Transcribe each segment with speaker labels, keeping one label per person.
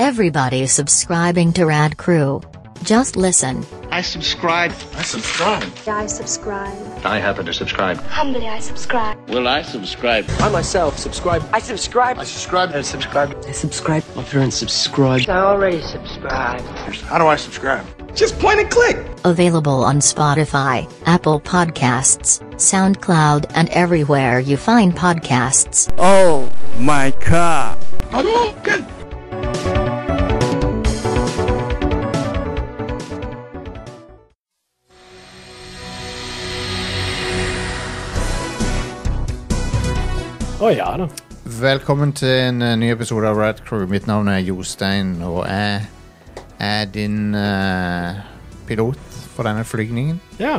Speaker 1: Everybody subscribing to Rad Crew. Just listen.
Speaker 2: I subscribe.
Speaker 3: I subscribe.
Speaker 4: I subscribe.
Speaker 5: I happen to subscribe.
Speaker 4: Humbly, I subscribe.
Speaker 2: Will I subscribe?
Speaker 6: I myself subscribe.
Speaker 7: I subscribe.
Speaker 3: I subscribe.
Speaker 6: I subscribe.
Speaker 7: I subscribe.
Speaker 6: My parents subscribe.
Speaker 8: I already subscribe.
Speaker 3: How do I subscribe?
Speaker 6: Just point and click.
Speaker 1: Available on Spotify, Apple Podcasts, SoundCloud, and everywhere you find podcasts.
Speaker 9: Oh my god.
Speaker 3: I'm all good.
Speaker 10: Å ja da.
Speaker 11: Velkommen til en eh, ny episode av Rad Crew. Mitt navn er Jostein, og jeg er din eh, pilot for denne flygningen.
Speaker 10: Ja.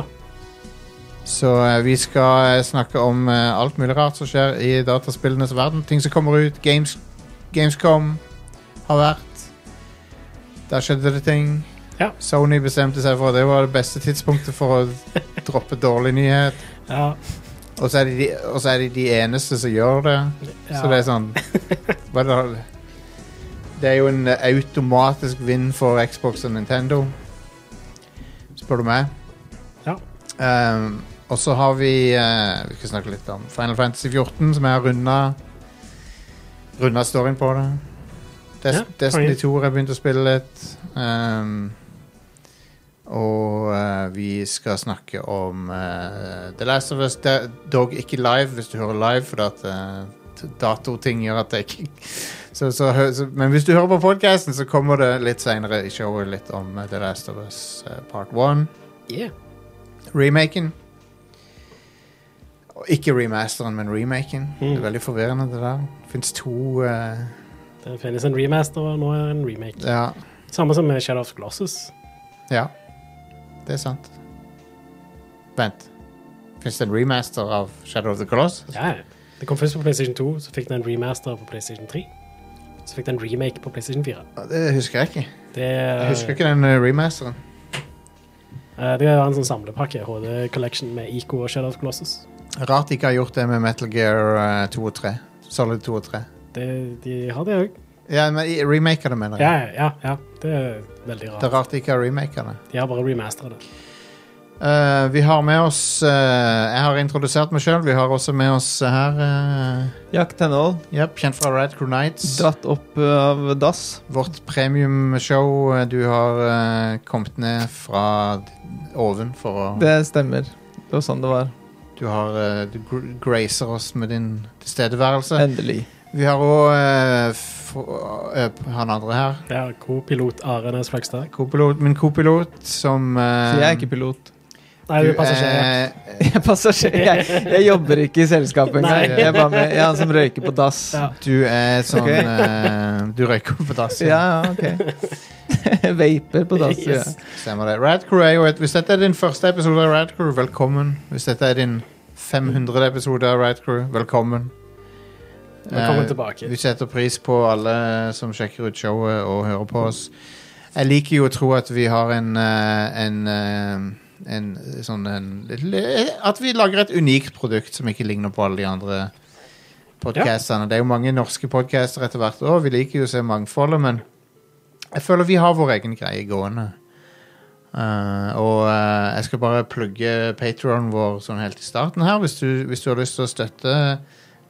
Speaker 11: Så eh, vi skal eh, snakke om eh, alt mulig rart som skjer i dataspillenes verden. Ting som kommer ut. Games, Gamescom har vært. Der skjedde det ting.
Speaker 10: Ja.
Speaker 11: Sony bestemte seg for at det var det beste tidspunktet for å droppe dårlig nyhet.
Speaker 10: ja.
Speaker 11: Og så er de de, og så er de, de eneste som gjør det.
Speaker 10: ja.
Speaker 11: Så det er sånn hva da? Det er jo en eh, automatisk vinn for Xbox og Nintendo, spør du meg.
Speaker 10: Ja.
Speaker 11: Ehm, og så har vi eh, Vi skal snakke litt om Final Fantasy 14, som er runda Runda storyen på det. Des
Speaker 10: Ja,
Speaker 11: Destiny
Speaker 10: konge.
Speaker 11: 2 har jeg begynt å spille litt. Ehm, og eh, vi skal snakke om eh, The Last of Us. Det- Dog ikke live, hvis du hører live, for at eh, t- datoting gjør at det ikke så, så, hø- så, Men hvis du hører på podkasten, så kommer det litt seinere i showet litt om eh, The Last of Us eh, Part 1.
Speaker 10: Yeah.
Speaker 11: Remaken. Og Ikke remasteren, men remaken. Det er veldig forvirrende, det der. Det fins to eh,
Speaker 10: Det finnes en remaster, og nå er en remake.
Speaker 11: Ja.
Speaker 10: Samme som med Shadow of the Colossus.
Speaker 11: Ja. Det er sant. Vent. Fins det en remaster av Shadow of the Colossus?
Speaker 10: Ja. ja. Det kom først på PlayStation 2, så fikk den en remaster på PlayStation 3. Så fikk den en remake på PlayStation 4.
Speaker 11: Det husker jeg ikke.
Speaker 10: Det,
Speaker 11: Jeg husker ikke den eh, remasteren.
Speaker 10: eh, det er en sånn samlepakke, HD Collection med Ico og Shadow of the Colossus.
Speaker 11: Rart de ikke har gjort det med Metal Gear eh, 2 og 3. Solid 2 og 3.
Speaker 10: Det, de har det òg.
Speaker 11: Ja, men i- remaker det, mener jeg.
Speaker 10: Ja, ja, ja. Det er veldig
Speaker 11: Det er
Speaker 10: rart.
Speaker 11: rart de ikke har remaker det.
Speaker 10: De har bare remasteret det.
Speaker 11: Eh, vi har med oss eh, Jeg har introdusert meg sjøl. Vi har også med oss her eh,
Speaker 12: Jack Tenhold,
Speaker 11: Japp, kjent fra Red Crew Nights.
Speaker 12: dratt opp eh, av dass.
Speaker 11: Vårt premiumshow. eh, Du har eh, kommet ned fra d- oven for å
Speaker 12: Det stemmer. Det var sånn det var.
Speaker 11: Du har eh, Du gr- gracer oss med din tilstedeværelse.
Speaker 12: Endelig.
Speaker 11: Vi har òg eh, han andre her.
Speaker 10: Det er co-pilot Are Næss Fløgstad.
Speaker 11: Kopilot, min kopilot, som eh,
Speaker 12: Så jeg er ikke pilot.
Speaker 10: Nei,
Speaker 11: du
Speaker 10: du passer ikke.
Speaker 11: er- eh,
Speaker 12: Jeg er passasjer. Jeg, jeg jobber ikke i selskapet engang.
Speaker 10: Nei.
Speaker 12: Jeg er bare med. Jeg er han som røyker på dass.
Speaker 10: Ja.
Speaker 11: Du er sånn
Speaker 12: Ok.
Speaker 11: eh, Du røyker på dass.
Speaker 12: Ja, ja, ok. Vaper på dass. Ja.
Speaker 10: Yes.
Speaker 11: Stemmer det. Radcrew er jo et Hvis dette er din første episode av Radcrew, velkommen. Hvis dette er din 500. episode av Radcrew, velkommen.
Speaker 10: Velkommen
Speaker 11: Eh,
Speaker 10: tilbake.
Speaker 11: Vi setter pris på alle som sjekker ut showet og hører på oss. Jeg liker jo å tro at vi har en, eh, en, eh, en sånn en, At vi lager et unikt produkt som ikke ligner på alle de andre podcastene. Det er jo mange norske podcaster etter hvert år. Vi liker jo å se mangfoldet, men jeg føler vi har vår egen greie gående. Eh, og eh, jeg skal bare plugge Patreon vår sånn helt i starten her. Hvis du, hvis du har lyst til å støtte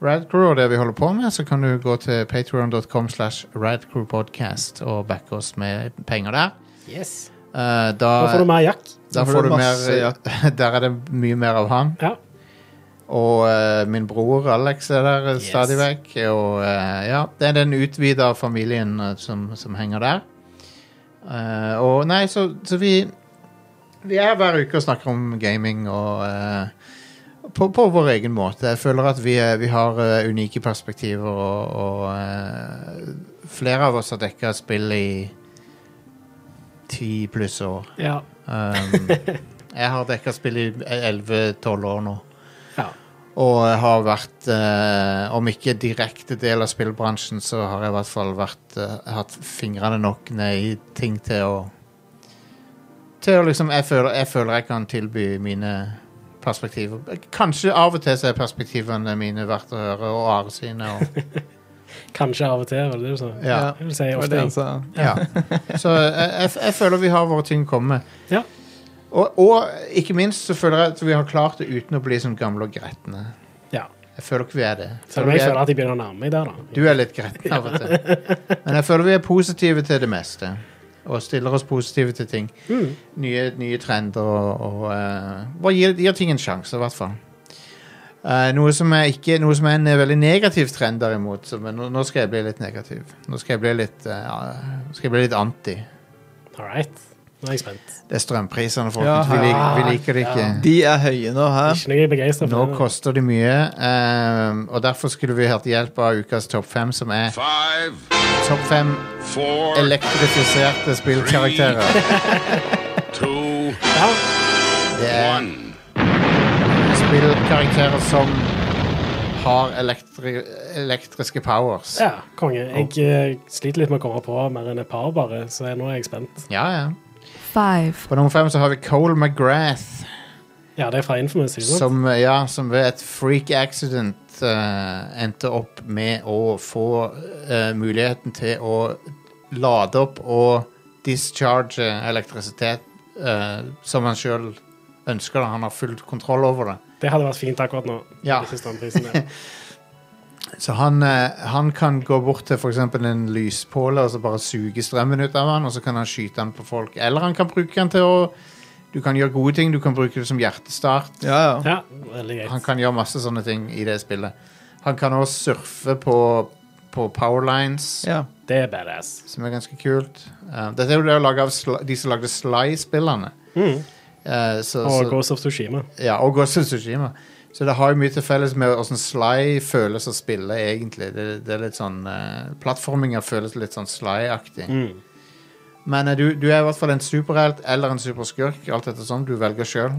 Speaker 11: Radcrew og det vi holder på med, så kan du gå til patreon.com slash radcrewpodcast og backe oss med penger der.
Speaker 10: Yes.
Speaker 11: Eh, da,
Speaker 10: Da får du mer Jack.
Speaker 11: da får du
Speaker 12: masse,
Speaker 11: mer Der er det mye mer av han.
Speaker 10: Ja.
Speaker 11: Og eh, min bror Alex er der eh,
Speaker 10: Yes.
Speaker 11: stadig vekk. Og eh, ja, det er den utvida familien eh, som, som henger der. Eh, og nei, så, så vi Vi er hver uke og snakker om gaming og eh, på, på vår egen måte. Jeg føler at vi, eh, vi har eh, unike perspektiver, og, og eh, flere av oss har dekka spill i ti pluss år.
Speaker 10: Ja.
Speaker 11: Um, jeg har dekka spill i 11-12 år nå.
Speaker 10: Ja.
Speaker 11: Og jeg har vært, eh, om ikke direkte del av spillbransjen, så har jeg i hvert fall vært, eh, hatt fingrene nok ned i ting til å Til å liksom jeg føler, jeg føler jeg kan tilby mine perspektiver. Kanskje av og til så er perspektivene mine verdt å høre, og Are sine. Og,
Speaker 10: Kanskje av og til, var det det du sa?
Speaker 11: Ja.
Speaker 10: Jeg vil si
Speaker 12: Det var
Speaker 10: ofte.
Speaker 12: det han
Speaker 10: jeg.
Speaker 12: sa.
Speaker 11: Ja. Så jeg, jeg, jeg føler vi har våre ting komme.
Speaker 10: Ja.
Speaker 11: Og, og ikke minst så føler jeg at vi har klart det uten å bli sånn gamle og gretne.
Speaker 10: Ja.
Speaker 11: Jeg føler ikke vi er det. Jeg
Speaker 10: Selv
Speaker 11: føler
Speaker 10: om jeg
Speaker 11: vi er-
Speaker 10: føler at jeg begynner å nærme meg der, da.
Speaker 11: Du er litt gretten av og til. Men jeg føler vi er positive til det meste. Og stiller oss positive til ting. Nye, nye trender og, og eh, Bare gir, gir ting en sjanse, i hvert fall. Eh, noe, som er ikke, noe som er en eh, veldig negativ trend, derimot. Så, men nå, nå skal jeg bli litt negativ. Nå skal jeg bli litt, eh, ja, skal jeg bli litt anti.
Speaker 10: All right. Nå er jeg spent.
Speaker 11: Det er strømprisene,
Speaker 12: Ja,
Speaker 11: folkens. Vi, lik, vi liker det ikke.
Speaker 12: De er høye nå, hæ?
Speaker 10: Ikke noe jeg er begeistra
Speaker 11: Nå
Speaker 10: for. det.
Speaker 11: koster det mye, eh, og derfor skulle vi hatt hjelp av ukas topp fem, som er
Speaker 5: Five,
Speaker 11: topp fem
Speaker 5: four,
Speaker 11: elektrifiserte spillkarakterer.
Speaker 5: two,
Speaker 11: Det er
Speaker 5: one.
Speaker 11: spillkarakterer som har elektri elektriske powers.
Speaker 10: Ja, konge. Jeg eh, sliter litt med å komme på mer enn et par, bare, så nå er jeg spent.
Speaker 11: Ja, ja.
Speaker 7: five,
Speaker 11: På nummer fem så har vi Cole McGrath,
Speaker 10: Ja, det er fra Infamous, ikke sant?
Speaker 11: som, eh, ja, som ved et freak accident eh, endte opp med å få eh, muligheten til å lade opp og discharge elektrisitet eh, som han sjøl ønsker. Da. Han har full kontroll over det.
Speaker 10: Det hadde vært fint akkurat nå.
Speaker 11: Ja.
Speaker 10: Hvis det står en pris med.
Speaker 11: Så han, eh, han kan gå bort til f.eks. en lyspåle og så bare suge strømmen ut av han, og så kan han skyte han på folk. Eller han kan bruke han til å Du kan gjøre gode ting. Du kan bruke det som hjertestart.
Speaker 12: Ja, ja.
Speaker 10: Ja, veldig
Speaker 11: Han
Speaker 10: greit.
Speaker 11: kan gjøre masse sånne ting i det spillet. Han kan også surfe på, på powerlines,
Speaker 12: ja.
Speaker 10: Det er badass.
Speaker 11: som er ganske kult. Eh, dette er jo det å lage av Sly- de som lagde Sly-spillene. Eh, så- så-
Speaker 10: Og Ghost of Tsushima.
Speaker 11: Ja, og Ghost of Tsushima. Så det har jo mye til felles med hvordan Sly føles å spille, egentlig. Det, det er litt sånn eh, Plattforminga føles litt sånn Sly-aktig. Men eh, du, du er i hvert fall en superhelt eller en superskurk. Alt etter sånn. Du velger sjøl.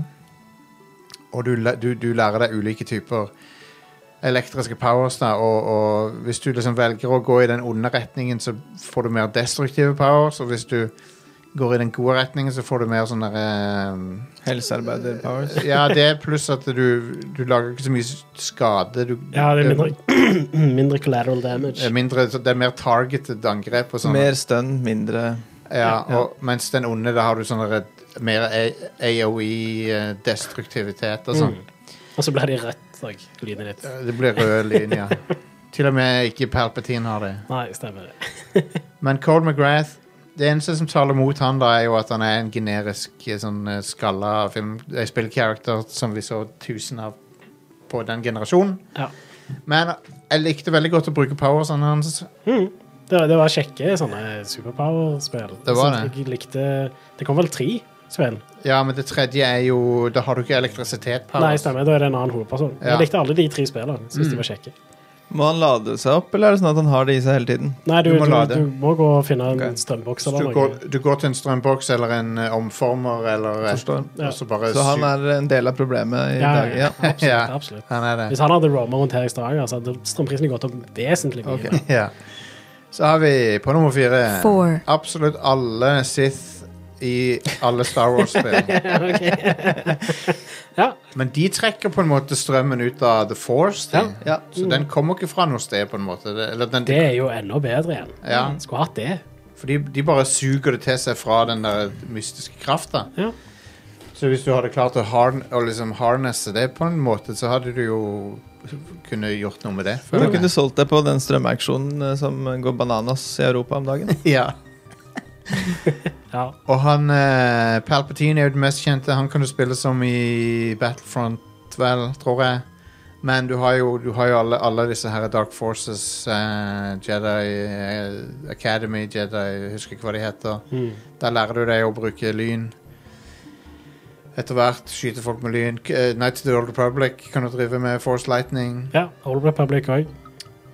Speaker 11: Og du, læ- du, du lærer deg ulike typer elektriske powers, da. Og, og hvis du liksom velger å gå i den onde retningen, så får du mer destruktive powers. Og hvis du går i den gode retningen, så får du mer sånn derre
Speaker 12: Helsearbeider powers.
Speaker 11: ja, det pluss at du, du lager ikke så mye skade. Du,
Speaker 10: Ja, det er mindre, mindre collateral damage.
Speaker 11: Det er, mindre, det er mer targeted angrep og sånn.
Speaker 12: Mer stønn, mindre
Speaker 11: ja, og, Mens den onde, da har du sånn redd- mer AOE-destruktivitet E, eh, og sånn.
Speaker 10: Og så blir de rødt òg, lynet ditt.
Speaker 11: Det blir røde linjer. Til og med ikke Palpatine har det.
Speaker 10: Nei, stemmer det.
Speaker 11: Men Cole McGrath Det eneste som taler mot han da er jo at han er en generisk eh, sånn eh, skalla film, eh, spillkarakter som vi så tusen av på den generasjonen.
Speaker 10: Ja.
Speaker 11: Men jeg likte veldig godt å bruke powersene hans.
Speaker 10: Det, var- det var kjekke sånne superpower-spill.
Speaker 11: Det var
Speaker 10: Jeg
Speaker 11: det.
Speaker 10: synes Jeg likte Det kom vel tre spill?
Speaker 11: Ja, men det tredje er jo Da har du ikke elektrisitet. Powers.
Speaker 10: Nei, stemmer. Da er det en annen hovedperson.
Speaker 11: Ja. Mm.
Speaker 10: Jeg likte alle de tre spillene. Syns de var kjekke.
Speaker 12: Må han lade seg opp, eller er det sånn at han har det i seg hele tiden?
Speaker 10: Nei, du,
Speaker 11: Du
Speaker 10: du,
Speaker 11: må lade.
Speaker 10: du, må gå og finne en
Speaker 12: Ok.
Speaker 10: strømboks
Speaker 11: Så
Speaker 10: eller
Speaker 11: du
Speaker 10: noe.
Speaker 11: går, du går til en strømboks eller en eh, omformer eller et-
Speaker 12: Forstår.
Speaker 11: og så bare
Speaker 12: Så han
Speaker 11: su-
Speaker 12: er en del av problemet i
Speaker 10: Ja,
Speaker 12: dag. Ja.
Speaker 10: absolutt,
Speaker 11: Ja.
Speaker 10: absolutt.
Speaker 11: han er det.
Speaker 10: Hvis han hadde roama rundt her i Stavanger, så hadde strømprisene gått opp vesentlig mye.
Speaker 12: Ok.
Speaker 10: mer.
Speaker 11: Ja. Så har vi på nummer fire
Speaker 7: Four.
Speaker 11: absolutt alle Sith i alle Star Wars-spill.
Speaker 10: Ja.
Speaker 11: Men de trekker på en måte strømmen ut av The Force. De.
Speaker 12: Ja.
Speaker 11: Så den kommer ikke fra noe sted, på en måte. Det- Eller den,
Speaker 10: Det er jo enda bedre igjen.
Speaker 11: Ja.
Speaker 10: Skulle hatt det.
Speaker 11: For de, de bare suger det til seg fra den der mystiske krafta.
Speaker 10: Ja.
Speaker 11: Så hvis du hadde klart å, harn, å liksom harnesse det på en måte, så hadde du jo kunne gjort noe med det.
Speaker 12: Du
Speaker 11: føler jeg.
Speaker 12: kunne solgt deg på den strømauksjonen eh, som går bananas i Europa om dagen.
Speaker 11: Ja.
Speaker 10: Ja.
Speaker 11: Og han eh, Palpatine er jo den mest kjente. Han kan du spille som i Battlefront, vel, tror jeg. Men du har jo, du har jo alle, alle disse her Dark Forces, eh, Jedi eh, Academy, Jedi Jeg husker ikke hva de heter.
Speaker 10: Mm.
Speaker 11: Der lærer du deg å bruke lyn. Etter hvert skyte folk med lyn. K- eh, Knights of the Old Republic kan du drive med Force Lightning.
Speaker 10: ja. Old Republic òg.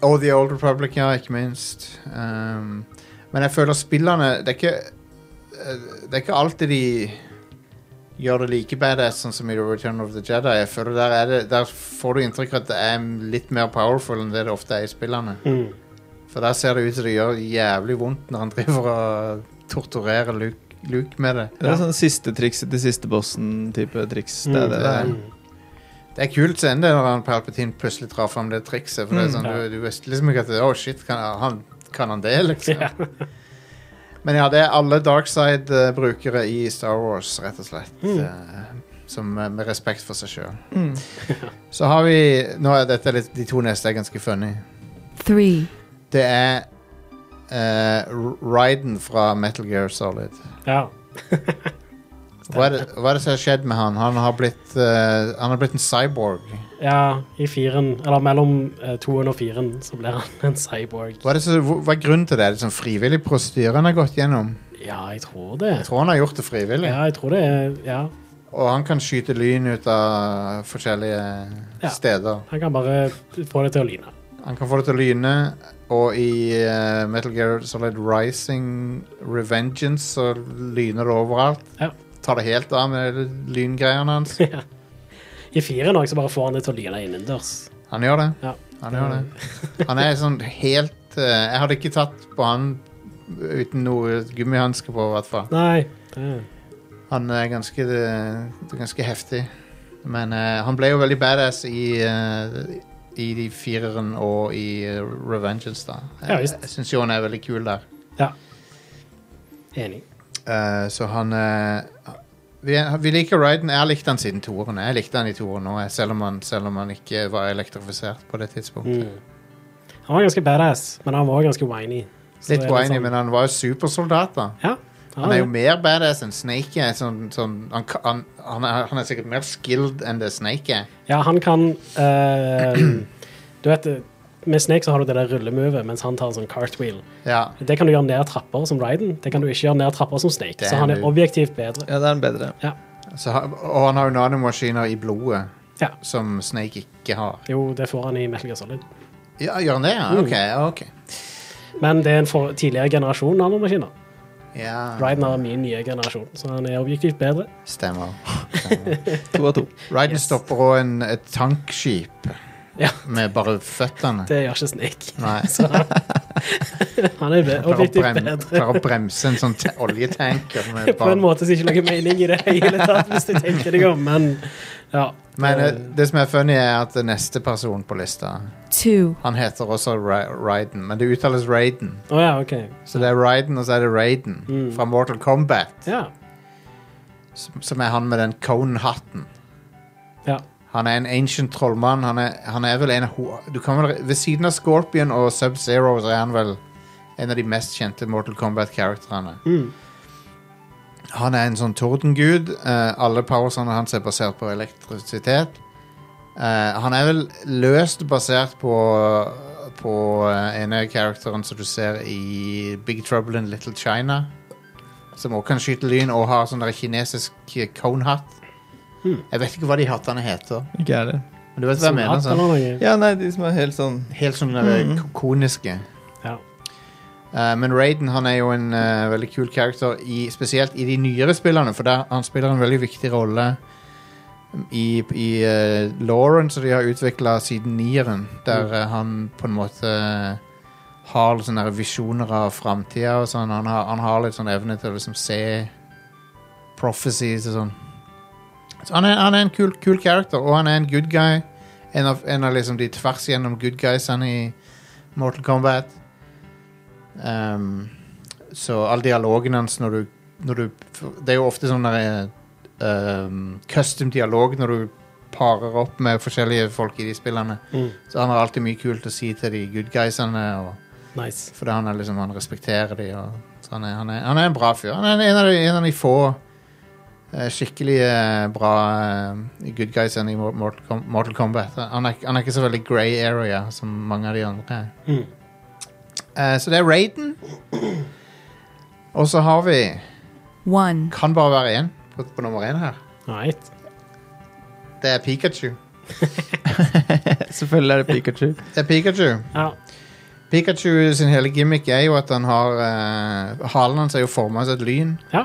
Speaker 11: Og The Old Republic, ja, ikke minst. Um, men jeg føler spillerne Det er ikke eh, Det er ikke alltid de gjør det like badass sånn som i The Return of the Jedi. Jeg føler Der, er det, der får du inntrykk av at det er litt mer powerful enn det det ofte er i spillene.
Speaker 10: Mm.
Speaker 11: For der ser det ut som det gjør jævlig vondt når han driver og torturerer Luke, Luke med det.
Speaker 10: Mm.
Speaker 12: Det er sånn siste trikset til siste bossen-type triks. Det er det det er.
Speaker 11: Mm. Det er kult scene det når han Palpatine plutselig drar fram det trikset. For det er sånn,
Speaker 10: Mm, Ja.
Speaker 11: du, du visste liksom ikke at Å, shit, kan han, kan han det, liksom?
Speaker 10: Ja.
Speaker 11: Men ja, det er alle Darkside-brukere i Star Wars, rett og slett.
Speaker 10: Mm.
Speaker 11: eh, Som eh, Med respekt for seg sjøl.
Speaker 10: Mm.
Speaker 11: Så har vi Nå er dette litt, De to neste er ganske funny.
Speaker 7: three,
Speaker 11: Det er eh, R- Raiden fra Metal Gear Solid.
Speaker 10: ja.
Speaker 11: Hva er, det, hva er det som har skjedd med han? Han har blitt, eh, han har blitt en cyborg.
Speaker 10: ja, i firen, eller mellom eh, toen og firen, så blir han en cyborg.
Speaker 11: Hva er, det som, hvor- hva er grunnen til det? Er det sånn frivillig prosedyre han har gått gjennom?
Speaker 10: Ja, jeg tror det.
Speaker 11: Jeg tror han har gjort det frivillig.
Speaker 10: Ja, jeg tror det er Ja.
Speaker 11: Og han kan skyte lyn ut av forskjellige
Speaker 10: Ja.
Speaker 11: steder.
Speaker 10: Han kan bare få det til å lyne.
Speaker 11: Han kan få det til å lyne, og i eh, Metal Gear Solid Rising Revengeance så lyner det overalt.
Speaker 10: Ja.
Speaker 11: Tar det helt av med lyngreiene hans.
Speaker 10: I firen òg, så bare får han det til å lyne innendørs.
Speaker 11: Han gjør det.
Speaker 10: Ja.
Speaker 11: Han gjør det. Han er sånn helt eh, Jeg hadde ikke tatt på han uten noe gummihanske på, i hvert fall.
Speaker 10: Nei. Eh, Det,
Speaker 11: Han er ganske, det er ganske heftig. Men eh, han ble jo veldig badass i, eh, i de fireren og i eh, Revengeance, da.
Speaker 10: Ja,
Speaker 11: jeg
Speaker 10: visst.
Speaker 11: jeg syns jo han er veldig kul der.
Speaker 10: ja. Enig.
Speaker 11: Eh, så han eh, vi, vi liker Ryden. Jeg har likt han siden toeren. Jeg likte han i toeren òg, selv, om han- selv om han ikke var elektrifisert på det
Speaker 10: Mm.
Speaker 11: tidspunktet.
Speaker 10: Han var ganske badass, men han var ganske whiny. Så
Speaker 11: Litt
Speaker 10: det er
Speaker 11: whiny,
Speaker 10: sånn-
Speaker 11: men han var jo supersoldat, da.
Speaker 10: Ja.
Speaker 11: Han er jo
Speaker 10: ja.
Speaker 11: mer badass enn Snake. er. Sånn, sånn, han, ka- han, han, er, han er sikkert mer skilled enn det Snake er.
Speaker 10: ja, han kan eh, Du vet, med Snake så har du det der rullemovet, mens han tar en sånn cartwheel.
Speaker 11: Ja.
Speaker 10: Det kan du gjøre ned trapper som Ryden. Det kan du ikke gjøre ned trapper som Snake.
Speaker 11: Det er
Speaker 10: Så han er
Speaker 11: du.
Speaker 10: objektivt bedre.
Speaker 12: Ja, det er en bedre.
Speaker 11: Så, han- og han har jo nanomaskiner i blodet,
Speaker 10: Ja.
Speaker 11: som Snake ikke har.
Speaker 10: Jo, det får han i Metal Gear Solid.
Speaker 11: Ja, Gjør han det? Ja,
Speaker 10: Mm.
Speaker 11: ok. ja, ok.
Speaker 10: Men det er en for tidligere generasjon nanomaskiner.
Speaker 11: Ja,
Speaker 10: Ryden er min nye generasjon, så han er objektivt bedre.
Speaker 11: stemmer.
Speaker 12: To av to.
Speaker 11: Ryden stopper òg en- et tankskip
Speaker 10: Ja.
Speaker 11: med bare føttene.
Speaker 10: Det gjør ikke Snake.
Speaker 11: Nei.
Speaker 10: Så han, han er be-
Speaker 11: Klarer å,
Speaker 10: objektivt
Speaker 11: brem,
Speaker 10: bedre.
Speaker 11: klarer å bremse en sånn te- oljetanker med
Speaker 10: På en
Speaker 11: bare
Speaker 10: måte som ikke lager mening i det hele tatt, hvis du tenker deg om, men ja.
Speaker 11: Men eh, det som er funny, er at det neste person på lista
Speaker 7: two,
Speaker 11: Han heter også Ra- Raiden, men det uttales Raiden.
Speaker 10: Å ja, OK.
Speaker 11: Så det er Raiden, og så er det Raiden fra Mortal Kombat,
Speaker 10: Mm. Ja.
Speaker 11: som, som er han med den cone-hatten.
Speaker 10: ja.
Speaker 11: Han er en ancient trollmann. Han er, han er vel en av ho- du kan vel, Ved siden av Scorpion og Sub-Zero så er han vel en av de mest kjente Mortal Kombat-karakterene.
Speaker 10: Mm.
Speaker 11: Han er en sånn tordengud. Eh, alle powersene hans er basert på elektrisitet. Eh, han er vel løst basert på på eh, ene karakteren som du ser i Big Trouble in Little China. Som også kan skyte lyn og har sånn der kinesisk cone-hatt. Jeg vet ikke hva de hattene heter.
Speaker 12: Ikke jeg heller.
Speaker 11: Men du vet hva jeg mener?
Speaker 10: Hatt
Speaker 11: Sånn.
Speaker 10: eller noe?
Speaker 12: Ja, nei, de som er helt sånn
Speaker 11: Helt sånn mm. koniske.
Speaker 10: Ja.
Speaker 11: Eh, men Raiden han er jo en eh, veldig kul karakter, i, spesielt i de nyere spillene, for der, han spiller en veldig viktig rolle i, i eh, Lauren, som de har utvikla siden nieren, der eh, han på en måte eh, har sånne her visjoner av framtida og sånn. Han har, han har litt sånn evne til å liksom se prophecies og sånn. Så han er, han er en kul, kul karakter, og han er en good guy. En av, en av liksom de tvers igjennom good guysene i Mortal Kombat. Ehm, så alle dialogene hans når du, når du Det er jo ofte sånn der ehm, custom dialog når du parer opp med forskjellige folk i de spillene.
Speaker 10: Mm.
Speaker 11: Så han har alltid mye kult å si til de good guysene, og,
Speaker 10: Nice.
Speaker 11: fordi han, er liksom, han respekterer de. Og, så han er, han, er, han er en bra fyr. Han er en av de, en av de få eh, skikkelig eh, bra eh, good guysene i Mor- Mortal, Kom Mortal Kombat. Han er, han er ikke så veldig grey area som mange av de andre er.
Speaker 10: Mm.
Speaker 11: Eh, så det er Raiden. Og så har vi
Speaker 7: one,
Speaker 11: Kan bare være én på, på nummer én her.
Speaker 10: Right.
Speaker 11: Det er Pikachu.
Speaker 12: Selvfølgelig er det Pikachu.
Speaker 11: Det er Pikachu.
Speaker 10: Ja.
Speaker 11: Pikachu sin hele gimmick er jo at han har eh, Halen hans er jo forma som et lyn,
Speaker 10: ja.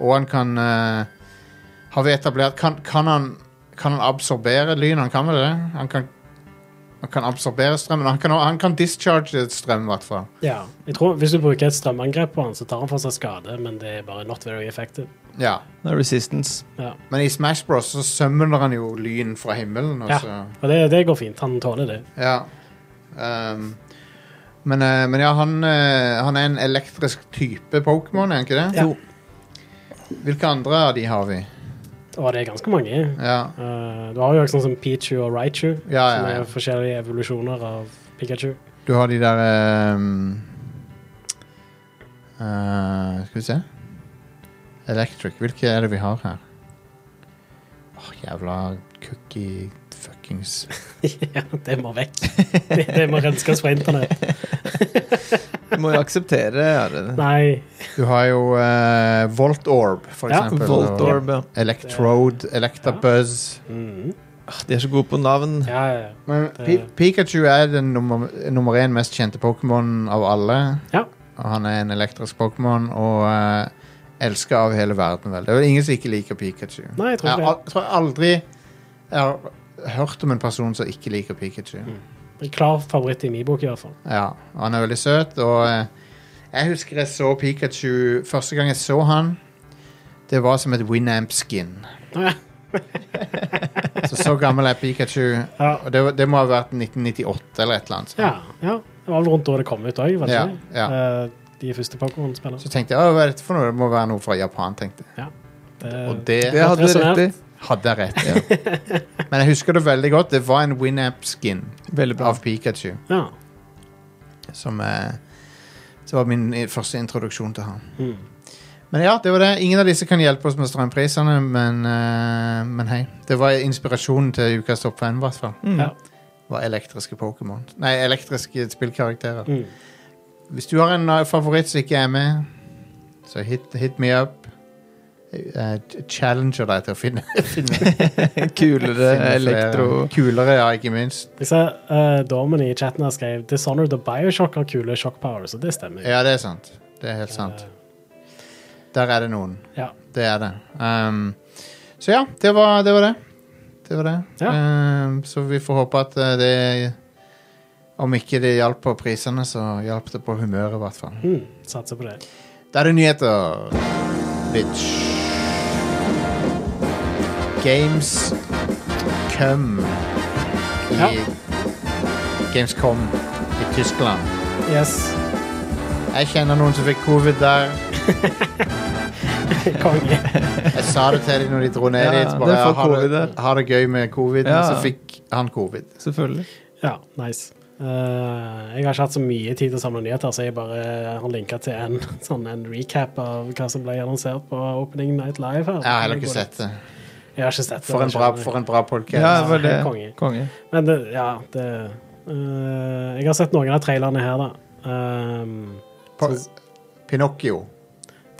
Speaker 11: og han kan eh, Har vi etablert Kan, kan, han, kan han absorbere lyn? Han kan vel det? Han kan Han kan absorbere strømmen. Han kan, han kan discharge strøm, i hvert fall.
Speaker 10: Ja, jeg tror Hvis du bruker et strømangrep på han, så tar han for seg skade, men det er bare not very effective.
Speaker 11: Ja.
Speaker 12: Det er resistance.
Speaker 10: Ja,
Speaker 11: Men i Smash Bros så summoner han jo lyn fra himmelen. Og
Speaker 10: ja.
Speaker 11: så,
Speaker 10: og det, det går fint. Han tåler det.
Speaker 11: ja. Ehm, men, eh, men ja, han, eh, han er en elektrisk type Pokémon, er han ikke det?
Speaker 10: Ja. Jo.
Speaker 11: Hvilke andre av de har vi?
Speaker 10: Og det er ganske mange.
Speaker 11: Ja.
Speaker 10: Eh, du har jo også sånn som Pichu og Raichu,
Speaker 11: Ja, ja,
Speaker 10: som er
Speaker 11: ja.
Speaker 10: forskjellige evolusjoner av Pikachu.
Speaker 11: Du har de der ehm, eh, Skal vi se Electric. Hvilke er det vi har her? Åh, jævla cookie fuckings
Speaker 10: ja, det må vekk. Det, det må renskes fra internett.
Speaker 12: Du må jo akseptere ja, det.
Speaker 10: Nei.
Speaker 11: Du har jo eh, Volt Orb, for
Speaker 10: Ja,
Speaker 11: eksempel.
Speaker 12: Volt
Speaker 11: og
Speaker 12: Orb, ja.
Speaker 11: Electrode, Electabuzz
Speaker 10: Mhm.
Speaker 12: Ah, De er så gode på navn.
Speaker 10: Ja, ja, ja.
Speaker 11: Men
Speaker 10: Det-
Speaker 11: Pi Pikachu er den nummer, nummer én mest kjente Pokémon av alle.
Speaker 10: Ja.
Speaker 11: Og han er en elektrisk Pokémon og uh, elsker av hele verden, vel. Det er jo ingen som ikke liker Pikachu.
Speaker 10: Nei, jeg tror ikke
Speaker 11: jeg, al- tror aldri jeg har hørt om en person som ikke liker Pikachu.
Speaker 10: En klar favoritt i min bok, i hvert fall.
Speaker 11: Ja, og han er veldig søt, og eh, jeg husker jeg så Pikachu Første gang jeg så han, det var som et Winamp-skin.
Speaker 10: Ja.
Speaker 11: så så gammel er Pikachu.
Speaker 10: Ja.
Speaker 11: Og det, var- det må ha vært 1998 eller et eller annet. sånt.
Speaker 10: Ja, ja. Det var vel rundt da det kom ut òg, var det
Speaker 11: Ja,
Speaker 10: ikke? det? Eh, de første Pokémon-spillerne.
Speaker 11: Så tenkte jeg, «Å, hva er dette for noe? Det må være noe fra Japan, tenkte jeg. Og det
Speaker 12: Det hadde du rett i.
Speaker 11: hadde jeg rett i. Ja. Men jeg husker det veldig godt. Det var en Winamp-skin
Speaker 12: Veldig bra.
Speaker 11: av Pikachu.
Speaker 10: Ja.
Speaker 11: Som eh, så var min i- første introduksjon til han.
Speaker 10: Mm.
Speaker 11: Men ja, det var det. Ingen av disse kan hjelpe oss med strømprisene, men, eh, men hei. Det var inspirasjonen til ukas Topp 5, i hvert fall.
Speaker 12: Mm.
Speaker 10: Ja.
Speaker 11: Var elektriske Pokémon. Nei, elektriske spillkarakterer.
Speaker 10: Mm.
Speaker 11: Hvis du har en eh, favoritt som ikke er med, så hit, hit me up. Jeg jeg challenger deg til å finne, finne,
Speaker 12: Kulere
Speaker 11: finne
Speaker 12: elektro.
Speaker 11: flere. Kulere, ja, ikke minst.
Speaker 10: Jeg ser eh, damen i chatten her skrev Dishonored og Bioshock har kule shock powers, og det stemmer.
Speaker 11: Ja, det er sant. Det er helt sant. Der er det noen.
Speaker 10: Ja.
Speaker 11: Det er det. Um, så ja, det var det. Var det. det, var det.
Speaker 10: Ja.
Speaker 11: Um, så vi får håpe at eh, det Om ikke det hjalp på prisene, så hjalp det på humøret, i hvert fall.
Speaker 10: Mm, satser på det.
Speaker 11: Da er det nyheter. Bitch. Games Come i
Speaker 10: Ja.
Speaker 11: Gamescom i Tyskland.
Speaker 10: Yes.
Speaker 11: Jeg kjenner noen som fikk covid der.
Speaker 10: Konge.
Speaker 11: Jeg sa det til dem når de dro ned
Speaker 12: Ja,
Speaker 11: dit.
Speaker 12: det
Speaker 11: Bare,
Speaker 12: er for
Speaker 11: ha,
Speaker 12: covid
Speaker 11: det,
Speaker 12: der.
Speaker 11: ha det gøy med covid. Men
Speaker 12: Ja.
Speaker 11: så fikk han covid.
Speaker 12: Selvfølgelig.
Speaker 10: Ja, nice. Eh, jeg har ikke hatt så mye tid til å samle nyheter, så jeg bare har linka til en, sånn, en recap av hva som ble annonsert på Opening Night Live. her.
Speaker 11: Jeg har heller ikke sett det.
Speaker 10: Jeg har ikke sett det.
Speaker 11: For en bra,
Speaker 10: skjønner jeg.
Speaker 11: for en bra podcast.
Speaker 12: Ja, det var det.
Speaker 10: Konge.
Speaker 12: Konge.
Speaker 10: Men det, ja, det eh, Jeg har sett noen av trailerne her, da. Ehm,
Speaker 11: Po- Pinocchio.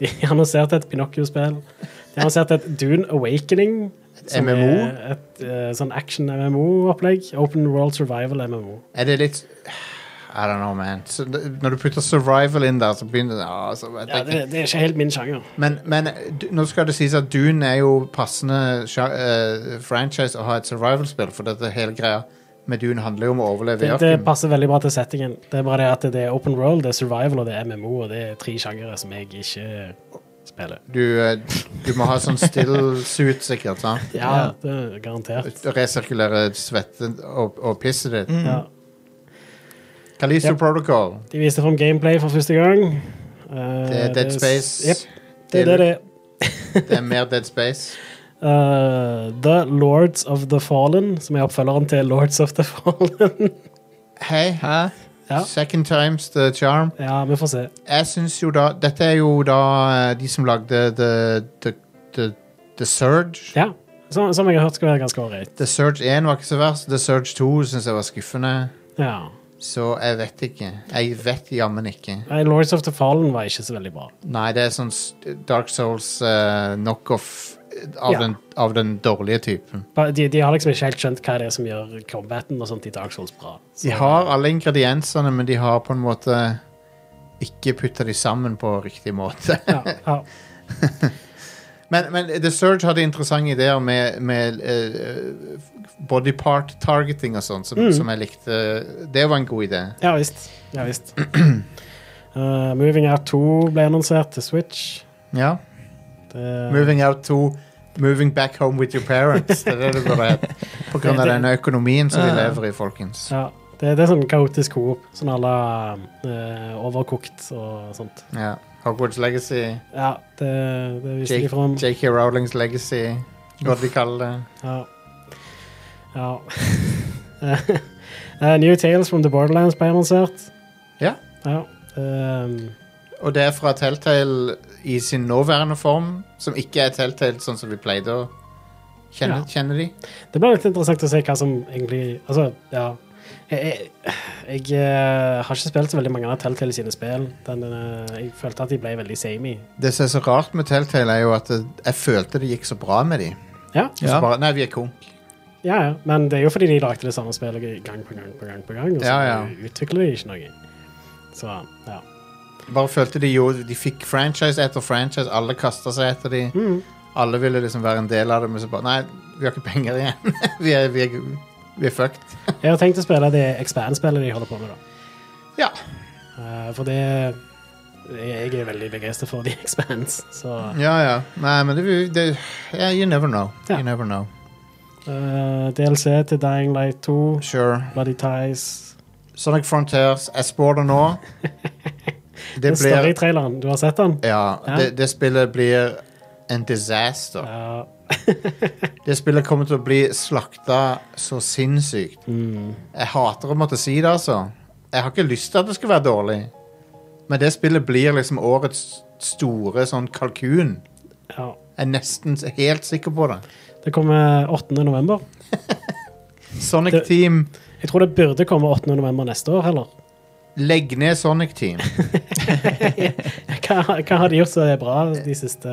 Speaker 10: de annonserte et Pinocchio-spill. De annonserte et Dune Awakening. som
Speaker 11: MMO?
Speaker 10: er Et eh, sånn action-MMO-opplegg. Open World Survival MMO.
Speaker 11: Er det litt I don't know, man. Så, det- når du putter survival inn der, så begynner det ah, så, jeg
Speaker 10: Ja,
Speaker 11: tenker-
Speaker 10: det, det er ikke helt min sjanger.
Speaker 11: Men, men du- nå skal det sies at Dune er jo passende sja- eh, franchise å ha et survival-spill, for dette hele greia med Dune handler jo om å overleve i
Speaker 10: Det, det
Speaker 11: ørkenen.
Speaker 10: passer veldig bra til settingen. Det er bare det at det er open world, det er survival og det er MMO, og det er tre sjangere som jeg ikke spiller.
Speaker 11: Du, eh, du må ha sånn still suit, sikkert. sant?
Speaker 10: Ja, det er garantert.
Speaker 11: Resirkulere svetten og, og pisset ditt.
Speaker 10: Ja.
Speaker 11: Kalisto
Speaker 10: Yep.
Speaker 11: Protocol,
Speaker 10: De viste fram gameplay for første gang. Eh,
Speaker 11: det er Dead
Speaker 10: s-
Speaker 11: Space.
Speaker 10: Jep, det er det. det. er.
Speaker 11: Det er mer Dead Space.
Speaker 10: Eh, the Lords of the Fallen, som er oppfølgeren til Lords of the Fallen.
Speaker 11: Hei,
Speaker 12: Hæ?
Speaker 10: Ja.
Speaker 11: second times the charm.
Speaker 10: ja, vi får se.
Speaker 11: Jeg syns jo da Dette er jo da eh, de som lagde The, the, the, the Surge.
Speaker 10: Ja, som, som jeg har hørt skal være ganske ålreit.
Speaker 11: The Surge 1 var ikke så verst. The Surge 2 syns jeg var skuffende.
Speaker 10: Ja.
Speaker 11: Så jeg vet ikke. Jeg vet jammen ikke.
Speaker 10: Nei, Lords of the Fallen var ikke så veldig bra.
Speaker 11: Nei, det er sånn s- Dark Souls eh, knockoff av,
Speaker 10: Ja.
Speaker 11: den, av den dårlige typen.
Speaker 10: Bare- De, de har liksom ikke helt skjønt hva det er som gjør combaten og sånt i Dark Souls bra. Så-
Speaker 11: De har alle ingrediensene, men de har på en måte ikke putta de sammen på riktig måte.
Speaker 10: ja, ja.
Speaker 11: Men, men The Surge hadde interessante ideer med, med eh, body part targeting og sånn, som, som jeg likte. Det var en god idé.
Speaker 10: Ja visst. Ja, visst. Eh, Moving Out 2 ble annonsert til Switch.
Speaker 11: Ja.
Speaker 10: Det,
Speaker 11: Moving out to Moving back home with your parents. Det er det det burde hett. På grunn av den økonomien som vi lever i, folkens.
Speaker 10: ja, det, det er sånn kaotisk coop. Sånn à la eh, overkokt og sånt.
Speaker 11: Ja. Hogwarts legacy.
Speaker 10: Ja, det, det viste de
Speaker 11: Jake-
Speaker 10: fram.
Speaker 11: JK Rowlings legacy. Hva de kaller det.
Speaker 10: Ja. ja. Eh, New Tales from the Borderlands ble annonsert.
Speaker 11: Ja.
Speaker 10: Ja. ehm,
Speaker 11: Og det er fra Telltale i sin nåværende form, som ikke er Telltale sånn som vi pleide å kjenne,
Speaker 10: Ja.
Speaker 11: kjenne de.
Speaker 10: det blir litt interessant å se hva som egentlig Altså, ja. Jeg, jeg, jeg eh, har ikke spilt så veldig mange av Telltale sine spill. Den, eh, jeg følte at de ble veldig samey.
Speaker 11: Det som er så rart med Telltale, er jo at det, jeg følte det gikk så bra med de.
Speaker 10: Ja.
Speaker 11: Og så bare, nei, vi er konk.
Speaker 10: ja, ja. Men det er jo fordi de lagde det samme spillet gang på gang på gang, på gang og så
Speaker 11: Ja, ja.
Speaker 10: utvikler de ikke noe. Så, ja.
Speaker 11: Bare følte de jo De fikk franchise etter franchise, alle kasta seg etter de.
Speaker 10: Mm.
Speaker 11: Alle ville liksom være en del av det, men så bare Nei, vi har ikke penger igjen. vi, er, vi, er, vi er fucked.
Speaker 10: Jeg har tenkt å spille det Expand-spillet de holder på med, da.
Speaker 11: Ja.
Speaker 10: Eh, for det Jeg er veldig begeistra for The Expanse, så
Speaker 11: Ja, ja. Nei, men det, det yeah, You never know.
Speaker 10: Ja.
Speaker 11: You never know.
Speaker 10: eh, DLC til Dying Light 2,
Speaker 11: Sure.
Speaker 10: Bloody Ties
Speaker 11: Sonic Frontiers, jeg spår det nå. Det
Speaker 10: Den står i
Speaker 11: blir
Speaker 10: traileren. Du har sett den?
Speaker 11: Ja,
Speaker 10: Ja.
Speaker 11: det, det spillet blir en disaster.
Speaker 10: Ja.
Speaker 11: Det spillet kommer til å bli slakta så sinnssykt.
Speaker 10: Mm.
Speaker 11: Jeg hater å måtte si det, altså. Jeg har ikke lyst til at det skal være dårlig. Men det spillet blir liksom årets store sånn kalkun.
Speaker 10: ja.
Speaker 11: Jeg er nesten helt sikker på det.
Speaker 10: Det kommer 8. november.
Speaker 11: Sonic
Speaker 10: Det-
Speaker 11: Team
Speaker 10: Jeg tror det burde komme 8. november neste år, heller.
Speaker 11: Legg ned Sonic Team.
Speaker 10: Hva, hva har de gjort som er bra de siste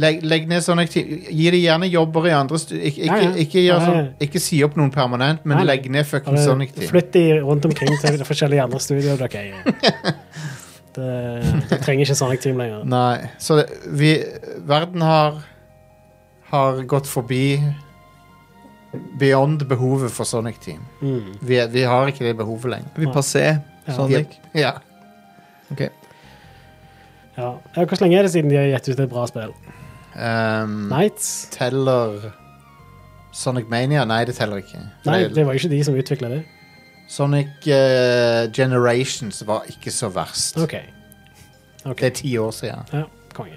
Speaker 11: Legg, legg ned Sonic Team. Gi de gjerne jobber i andre stu... Ikke, ikke,
Speaker 10: Ja, ja.
Speaker 11: ikke, gjør
Speaker 10: Nei.
Speaker 11: sånn, ikke si opp noen permanent, men
Speaker 10: Nei, nei.
Speaker 11: legg ned fucking
Speaker 10: Har
Speaker 11: Sonic
Speaker 10: du-
Speaker 11: Team.
Speaker 10: Flytt de rundt omkring til de forskjellige andre studioer dere er i. Det, det trenger ikke Sonic Team lenger.
Speaker 11: Nei, så det- vi Verden har har gått forbi beyond behovet for Sonic Team.
Speaker 10: Mm.
Speaker 11: Vi, er- vi har ikke det behovet lenger.
Speaker 12: Vi passer
Speaker 10: Ja.
Speaker 12: Sonic.
Speaker 11: Ja.
Speaker 12: Ok.
Speaker 10: Ja. Ja, Hvor lenge er det siden de har gitt ut et bra spill?
Speaker 11: Mm. ehm,
Speaker 10: Nights?
Speaker 11: Teller Sonic Mania? Nei, det teller ikke. For
Speaker 10: Nei,
Speaker 11: det-
Speaker 10: det var jo ikke de som utvikla det.
Speaker 11: Sonic eh, Generations var ikke så verst.
Speaker 10: OK.
Speaker 11: Det er ti år siden.
Speaker 10: Ja, konge.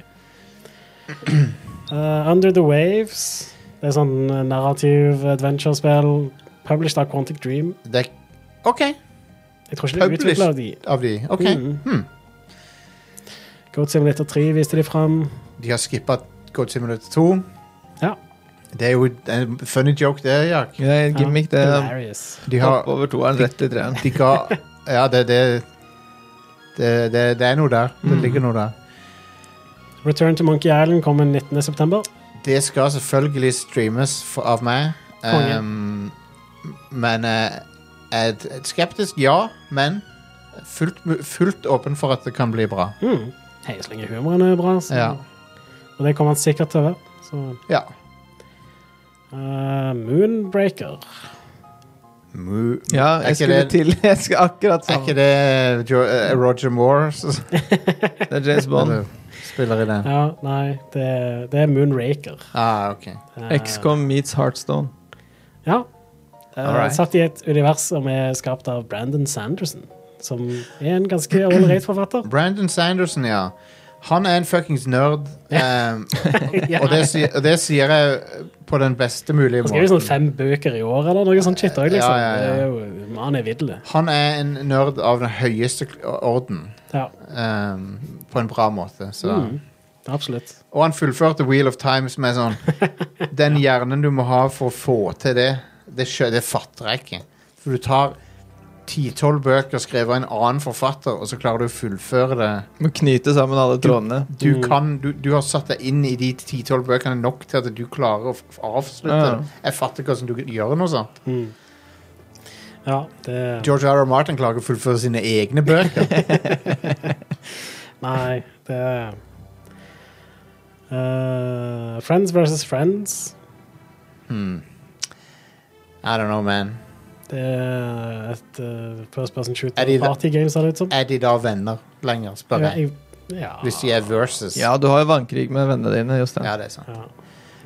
Speaker 10: Eh, Under the Waves. Det er sånn eh, narrativ adventure-spill. Published av Quantic Dream.
Speaker 11: Det er OK,
Speaker 10: Jeg tror ikke de
Speaker 11: Published?
Speaker 10: utvikla de.
Speaker 11: av de. OK.
Speaker 10: Mm.
Speaker 11: Hmm.
Speaker 10: Goat Simulator 3 viste de fram.
Speaker 11: De har skippa Goat Simulator 2.
Speaker 10: Ja.
Speaker 11: Det er jo en funny joke, det, Jack.
Speaker 12: Det er en gimmick, det. er
Speaker 10: Hilarious.
Speaker 11: De
Speaker 12: Hopp
Speaker 11: har
Speaker 12: over toeren, rett i treeren.
Speaker 11: De ga Ja, det det, det, det, det er noe der.
Speaker 10: Mm.
Speaker 11: Det ligger noe der.
Speaker 10: Return to Monkey Island kommer 19.9.
Speaker 11: Det skal selvfølgelig streames for, av meg.
Speaker 10: Konge.
Speaker 11: Um, men eh, et, et skeptisk ja, men fullt, mu- fullt åpen for at det kan bli bra.
Speaker 10: Mm. Hei, så lenge humoren er bra. Så.
Speaker 11: Ja.
Speaker 10: Og det kommer han sikkert til å være. Så.
Speaker 11: ja.
Speaker 10: eh, Moonbreaker.
Speaker 11: Mu-
Speaker 12: Ja,
Speaker 11: Er
Speaker 12: jeg
Speaker 11: ikke
Speaker 12: skulle
Speaker 11: det-
Speaker 12: til Jeg skal akkurat
Speaker 11: er ikke
Speaker 12: sammen.
Speaker 11: det jo, eh, Roger Moore som
Speaker 12: Det er James Bond.
Speaker 11: som spiller i den?
Speaker 10: Ja, nei, det, det er Moonraker.
Speaker 11: Ah, ok.
Speaker 10: Eh,
Speaker 12: XCOM meets Heartstone.
Speaker 10: Ja. Eh,
Speaker 11: Alright.
Speaker 10: Satt i et univers som er skapt av Brandon Sanderson, som er en ganske ålreit forfatter.
Speaker 11: Brandon Sanderson, ja. Han er en fuckings nerd. Um,
Speaker 10: ja.
Speaker 11: Og det, sier- og det sier jeg på den beste mulige
Speaker 10: Han skriver
Speaker 11: måten.
Speaker 10: sånn fem bøker i år eller noe sånt shit òg, liksom.
Speaker 11: Ja, ja, ja.
Speaker 10: Det er jo- Han er vidle.
Speaker 11: Han er en nerd av den høyeste kl- orden,
Speaker 10: Ja,
Speaker 11: ehm, på en bra måte. Så.
Speaker 10: Mm. absolutt.
Speaker 11: Og han fullførte Wheel of Time, som er sånn Den hjernen du må ha for å få til det, det, skjø- det fatter jeg ikke. For du tar ti-tolv bøker skrevet av en annen forfatter, og så klarer du å fullføre det.
Speaker 12: Må knyte sammen alle trådene.
Speaker 11: Du, kan, du, du har satt deg inn i de ti-tolv bøkene nok til at du klarer å f- avslutte
Speaker 12: Ja.
Speaker 11: det. Jeg fatter ikke hvordan du gjør noe sånt.
Speaker 10: Mm. Ja, det
Speaker 11: George R. R. Martin klarer ikke å fullføre sine egne bøker.
Speaker 10: Nei, det Eh, Friends versus Friends.
Speaker 11: Hmm. I don't know, man.
Speaker 10: Det er et eh, first person shooter
Speaker 11: Er de det?
Speaker 10: party game, ser det ut som.
Speaker 11: Er de da venner lenger, spør
Speaker 10: Ja,
Speaker 11: jeg.
Speaker 10: jeg- ja.
Speaker 11: Hvis de er versus.
Speaker 12: Ja, du har jo vannkrig med vennene dine, Jostein.
Speaker 11: Ja, det er sant.
Speaker 10: ja.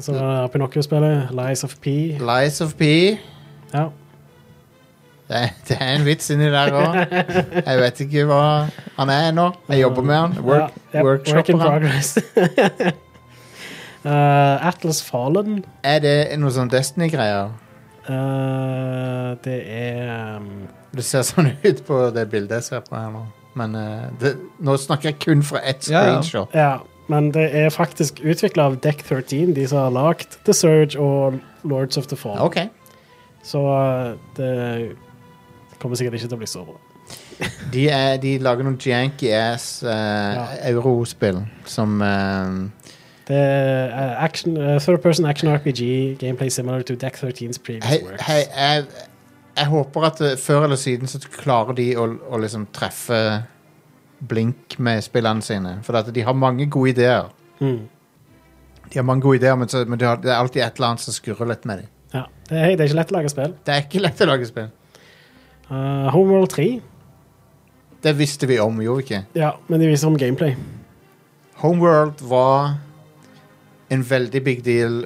Speaker 10: Så er det Pinocchio-spillet, Lies of P.
Speaker 11: Lies of P.
Speaker 10: Ja.
Speaker 11: Det er, det er en vits inni der òg. Jeg vet ikke hva han er ennå. Jeg jobber med han. Work,
Speaker 10: ja, yep, work
Speaker 11: workshopper
Speaker 10: in
Speaker 11: han.
Speaker 10: progress. Eh, Atlas Fallen.
Speaker 11: Er det noe sånn Destiny-greier?
Speaker 10: Eh, det er um,
Speaker 11: Det ser sånn ut på det bildet jeg ser på her nå. Men eh, det, nå snakker jeg kun fra ett
Speaker 12: Ja, ja.
Speaker 11: screenshot.
Speaker 10: Ja, men det er faktisk utvikla av Deck 13, de som har lagd The Surge og Lords of the Fall.
Speaker 11: OK.
Speaker 10: Så eh, det kommer sikkert ikke til å bli så bra.
Speaker 11: De, er, de lager noen janky ass eh, eurospill som eh,
Speaker 10: Det er eh, action, eh, third person action RPG, gameplay similar to Deck 13's previous
Speaker 11: Hei,
Speaker 10: works.
Speaker 11: hei jeg, jeg håper at eh, før eller siden så klarer de å, å liksom treffe blink med spillene sine. For at de har mange gode ideer.
Speaker 10: Mm.
Speaker 11: De har mange gode ideer, men, så, men de har, det er alltid et eller annet som skurrer litt med dem.
Speaker 10: Ja, det, er, det er ikke lett å lage spill.
Speaker 11: Det er ikke lett å lage spill.
Speaker 10: Eh, Homeworld 3,
Speaker 11: Det visste vi om, gjorde vi ikke?
Speaker 10: ja, men de viser om gameplay.
Speaker 11: Homeworld var en veldig big deal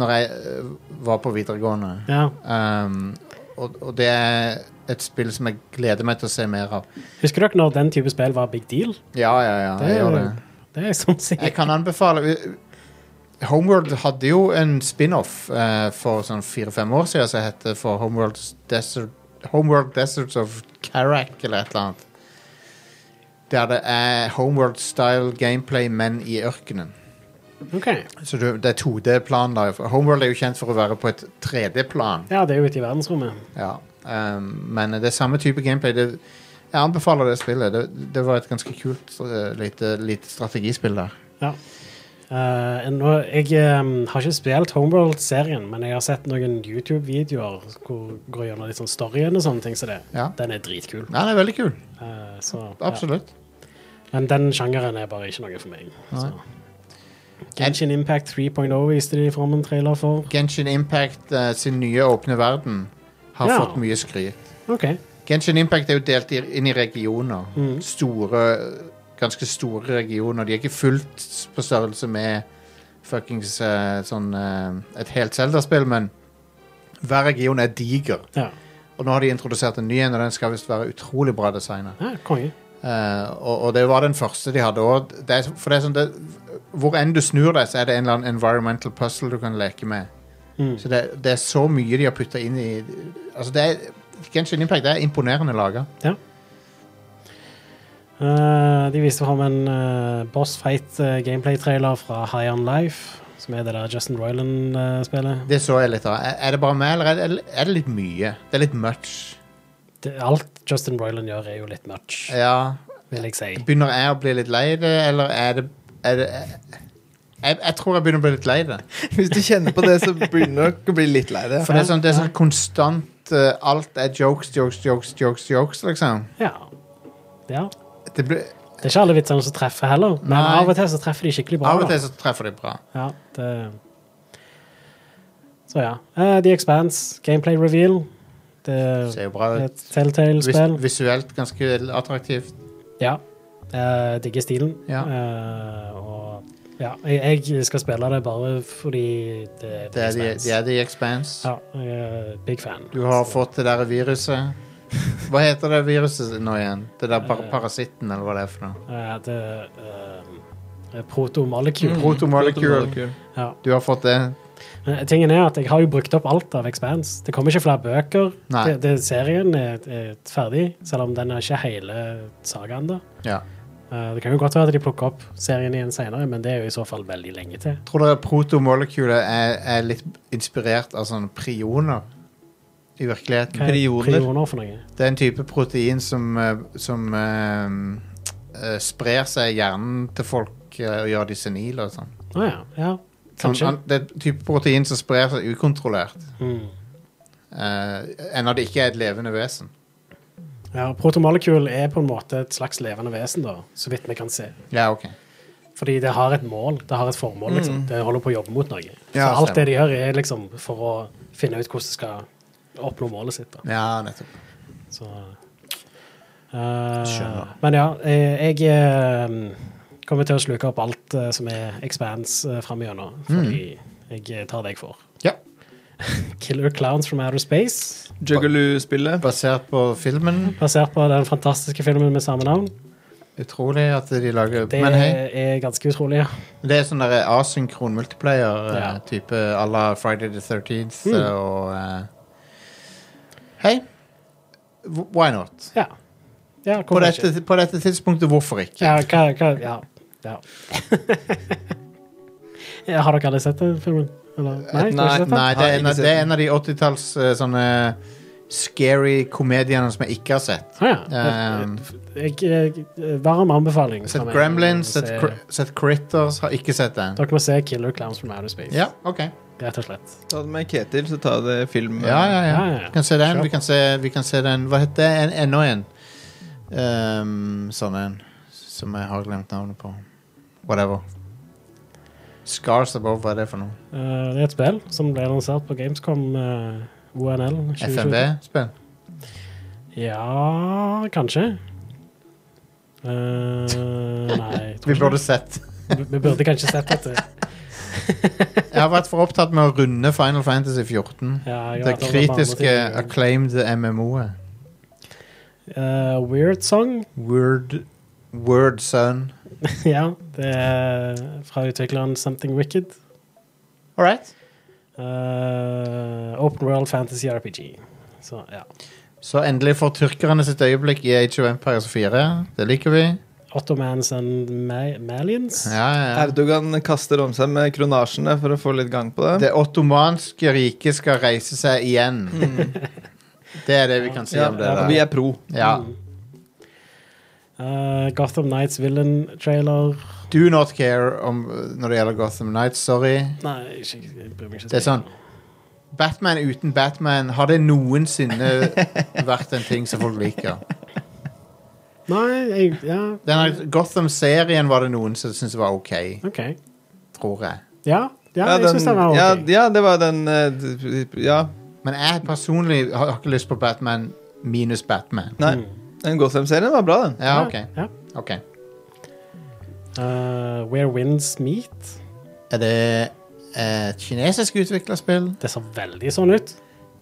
Speaker 11: når jeg øh, var på videregående.
Speaker 10: Ja.
Speaker 11: Um, og, og det er et spill som jeg gleder meg til å se mer av.
Speaker 10: Husker dere når den type spill var big deal?
Speaker 11: Ja, ja, ja.
Speaker 10: Det
Speaker 11: Jeg,
Speaker 10: er-
Speaker 11: gjør det.
Speaker 10: Det er sånn
Speaker 11: jeg
Speaker 10: sikkert.
Speaker 11: kan anbefale Homeworld hadde jo en spin-off eh, for sånn fire-fem år siden som het for Homeworld Desert, Homeworld Deserts of Karak, eller et eller annet. Der det er Homeworld-style gameplay, men i ørkenen.
Speaker 10: Ok.
Speaker 11: Så du, det er 2D-plan da. For Homeworld er jo kjent for å være på et 3D-plan.
Speaker 10: Ja, det er jo ute i verdensrommet.
Speaker 11: Ja. Um, men det er samme type gameplay. Det, jeg anbefaler det spillet. Det, det var et ganske kult uh, lite, lite strategispill der.
Speaker 10: Eh, nå, jeg eh, har ikke spilt Homeworld-serien, men jeg har sett noen YouTube-videoer hvor går gjennom litt sånn storyen og sånne ting. Så det,
Speaker 11: Ja.
Speaker 10: Den er dritkul.
Speaker 11: Nei, det er veldig kul.
Speaker 10: Eh, så, ja.
Speaker 11: Absolutt.
Speaker 10: Men den sjangeren er bare ikke noe for meg. Så.
Speaker 11: Nei.
Speaker 10: Genshin Impact 3.0 viste de fram en trailer for.
Speaker 11: Genshin Impact uh, sin nye åpne verden har
Speaker 10: Ja.
Speaker 11: fått mye skryt.
Speaker 10: OK.
Speaker 11: Genshin Impact er jo delt i- inn i regioner. Store, ganske store regioner. De er ikke fullt på størrelse med fuckings eh, sånn eh, et helt Zelda-spill, men hver region er diger.
Speaker 10: Ja.
Speaker 11: Og nå har de introdusert en ny en, og den skal visst være utrolig bra designa.
Speaker 10: ja konge.
Speaker 11: og, og det var den første de hadde òg. For det er sånn det, Hvor enn du snur deg, så er det en eller annen environmental puzzle du kan leke med.
Speaker 10: Mm.
Speaker 11: Så det, det er så mye de har putta inn i Altså det er, Genshin Impact det er imponerende laga.
Speaker 10: Eh, de viste fram en eh, boss fight eh, gameplay-trailer fra High On Life, som er det der Justin eh, Royland-spillet.
Speaker 11: Det så jeg litt av. Er, er det bare meg, eller er det, er det litt mye? Det er litt much.
Speaker 10: Alt Justin Royland gjør, er jo litt much,
Speaker 11: Ja.
Speaker 10: vil jeg si.
Speaker 11: Begynner jeg å bli litt lei det, eller er det, er det jeg, jeg tror jeg begynner å bli litt lei det.
Speaker 12: Hvis du kjenner på det, så begynner du å bli litt lei det.
Speaker 11: For det er sånn, det er sånn konstant eh, Alt er jokes, jokes, jokes, jokes, jokes liksom.
Speaker 10: Ja. ja.
Speaker 11: Det blir,
Speaker 10: Det er ikke alle vitsene som treffer heller, men
Speaker 11: Nei.
Speaker 10: av og til så treffer de skikkelig bra.
Speaker 11: av og
Speaker 10: da.
Speaker 11: til så treffer de bra.
Speaker 10: Ja, det... Så ja. Eh, The Expanse, gameplay reveal. Det
Speaker 11: Ser jo bra ut.
Speaker 10: er et
Speaker 11: Vis,
Speaker 10: Telltale-spill.
Speaker 11: visuelt ganske attraktivt.
Speaker 10: Ja. Eh, digger stilen.
Speaker 11: Ja.
Speaker 10: Eh, og ja, jeg, jeg skal spille det bare fordi det er
Speaker 11: Det er The,
Speaker 10: Expanse.
Speaker 11: det er the Expanse.
Speaker 10: Ja, jeg er big fan.
Speaker 11: Du har
Speaker 10: Så-
Speaker 11: fått det der viruset. Hva heter det viruset nå igjen? Det der par parasitten, eller hva det er for noe?
Speaker 10: Eh, det eh, er protomolekul.
Speaker 11: Protomolekul.
Speaker 10: Ja.
Speaker 11: Du har fått det.
Speaker 10: Men Eh, Tingen er at Jeg har jo brukt opp alt av Expanse. Det kommer ikke flere bøker.
Speaker 11: Nei.
Speaker 10: Det, det, serien er, er ferdig, selv om den er ikke hele sagaen. da.
Speaker 11: Ja.
Speaker 10: Eh, det kan jo godt være at de plukker opp serien igjen senere, men det er jo i så fall veldig lenge til.
Speaker 11: Tror dere protomolekulet er, er litt inspirert av sånne prioner i virkeligheten?
Speaker 10: Hva er
Speaker 12: Prioner.
Speaker 10: prioner for noe?
Speaker 11: Det er en type protein som, eh, som eh, eh, sprer seg i hjernen til folk eh, og gjør de senile og sånn.
Speaker 10: Å ja. ja.
Speaker 11: Sånn,
Speaker 10: Kanskje.
Speaker 11: an- Det er en type protein som sprer seg ukontrollert.
Speaker 10: Mm.
Speaker 11: eh, enn når det ikke er et levende vesen.
Speaker 10: Ja, Protomolekul er på en måte et slags levende vesen, da, så vidt vi kan se.
Speaker 11: Ja, ok.
Speaker 10: Fordi det har et mål, det har et formål. liksom. Det holder på å jobbe mot noe. Så
Speaker 11: Mm. Ja,
Speaker 10: alt
Speaker 11: stemmer.
Speaker 10: det de gjør, er liksom for å finne ut hvordan de skal oppnå målet sitt. da.
Speaker 11: Ja, nettopp.
Speaker 10: Så, eh, men ja, eh, jeg eh, kommer til å sluke opp alt eh, som er Expanse uh, framover,
Speaker 11: Mm.
Speaker 10: fordi jeg eh, tar det jeg får.
Speaker 11: Ja.
Speaker 10: Killer Clowns from Outer Space,
Speaker 12: Juggaloo-spillet.
Speaker 11: Basert på filmen.
Speaker 10: basert på den fantastiske filmen med samme navn.
Speaker 11: Utrolig at de lager
Speaker 10: Det
Speaker 11: Men hei,
Speaker 10: er ganske utrolig. ja.
Speaker 11: det er sånn der asynkron
Speaker 10: Ja.
Speaker 11: multiplayer-type à la Friday the 13th
Speaker 10: Mm.
Speaker 11: og eh, Hei, w- why not?
Speaker 10: Ja. ja
Speaker 11: På
Speaker 10: hvorfor ikke?
Speaker 11: dette, på dette tidspunktet, hvorfor ikke?
Speaker 10: Ja, hva, hva Ja. ja. ja har dere aldri sett den filmen? Eller? Nei,
Speaker 12: Eh,
Speaker 10: du har ikke sett den?
Speaker 11: Nei, det er, en,
Speaker 12: Har ikke
Speaker 11: av-
Speaker 12: sett
Speaker 11: det er en av de 80-talls eh, sånne scary komediene som jeg ikke har sett.
Speaker 10: Ah, ja.
Speaker 11: Um,
Speaker 10: Jeg, jeg, varm anbefaling.
Speaker 11: sett
Speaker 10: fra meg.
Speaker 11: Gremlins,
Speaker 10: Se-
Speaker 11: sett, Cri- sett Critters, har ikke sett den.
Speaker 10: Dere må se Killer Clowns from Outer Space.
Speaker 11: Ja, ok.
Speaker 10: Rett og slett.
Speaker 12: Ta det med Ketil, så tar det film.
Speaker 11: Ja, ja,
Speaker 10: Ja,
Speaker 11: ja.
Speaker 10: ja, ja.
Speaker 11: Vi kan se den.
Speaker 10: Sure.
Speaker 11: Vi kan se, vi kan se den Hva heter det? En, enda en. Ehm, sånn en som jeg har glemt navnet på. Whatever. Scars Above, hva er det for noe?
Speaker 10: Eh, det er et spill som ble lansert på Gamescom eh, ONL. 2020.
Speaker 11: FMV-spill?
Speaker 10: Ja, kanskje. Eh, nei tror
Speaker 11: Vi
Speaker 10: ikke
Speaker 11: burde
Speaker 10: det.
Speaker 11: sett.
Speaker 10: Vi- Vi burde kanskje sett dette.
Speaker 11: Jeg har vært for opptatt med å runde Final Fantasy 14.
Speaker 10: Ja, jeg
Speaker 11: Det
Speaker 10: har vært over på andre
Speaker 11: kritiske,
Speaker 10: ting.
Speaker 11: acclaimed MMO-et.
Speaker 10: Eh, Weird Song.
Speaker 11: Word Word Son.
Speaker 10: ja, det er fra utvikleren Something Wicked.
Speaker 11: All right.
Speaker 10: Eh, open World Fantasy RPG. Så ja.
Speaker 11: Så endelig får tyrkerne sitt øyeblikk i Age of Empires 4. Det liker vi.
Speaker 10: Ottomans and Ma Malians.
Speaker 11: Ja, ja, ja.
Speaker 12: Erdogan kaster om seg med kronasjene for å få litt gang på det.
Speaker 11: Det ottomanske riket skal reise seg igjen. Det er det vi kan si
Speaker 12: ja,
Speaker 11: om det.
Speaker 12: vi
Speaker 11: Der.
Speaker 12: er pro.
Speaker 11: Ja.
Speaker 10: Eh, Gotham Nights Villain-trailer.
Speaker 11: Do not care om, når det gjelder Gotham Nights. Sorry.
Speaker 10: Nei, ikke, jeg bryr meg ikke. så
Speaker 11: Det er sånn
Speaker 10: mye.
Speaker 11: Batman uten Batman, har det noensinne vært en ting som folk liker?
Speaker 10: Nei, jeg, ja,
Speaker 11: Denne Gotham-serien var det noen som syntes var OK,
Speaker 10: OK.
Speaker 11: tror jeg.
Speaker 10: Ja, ja, jeg
Speaker 12: den-
Speaker 10: syns den var OK.
Speaker 12: ja, ja, det var den eh, d- d- Ja.
Speaker 11: Men jeg personlig har har ikke lyst på Batman minus Batman.
Speaker 12: Nei. Den Gotham-serien var bra, den.
Speaker 11: Mm. Ja, OK.
Speaker 10: Ja.
Speaker 11: ok.
Speaker 10: Eh, Where Winds Meet.
Speaker 11: Er det et kinesisk utviklerspill?
Speaker 10: Det så veldig sånn ut.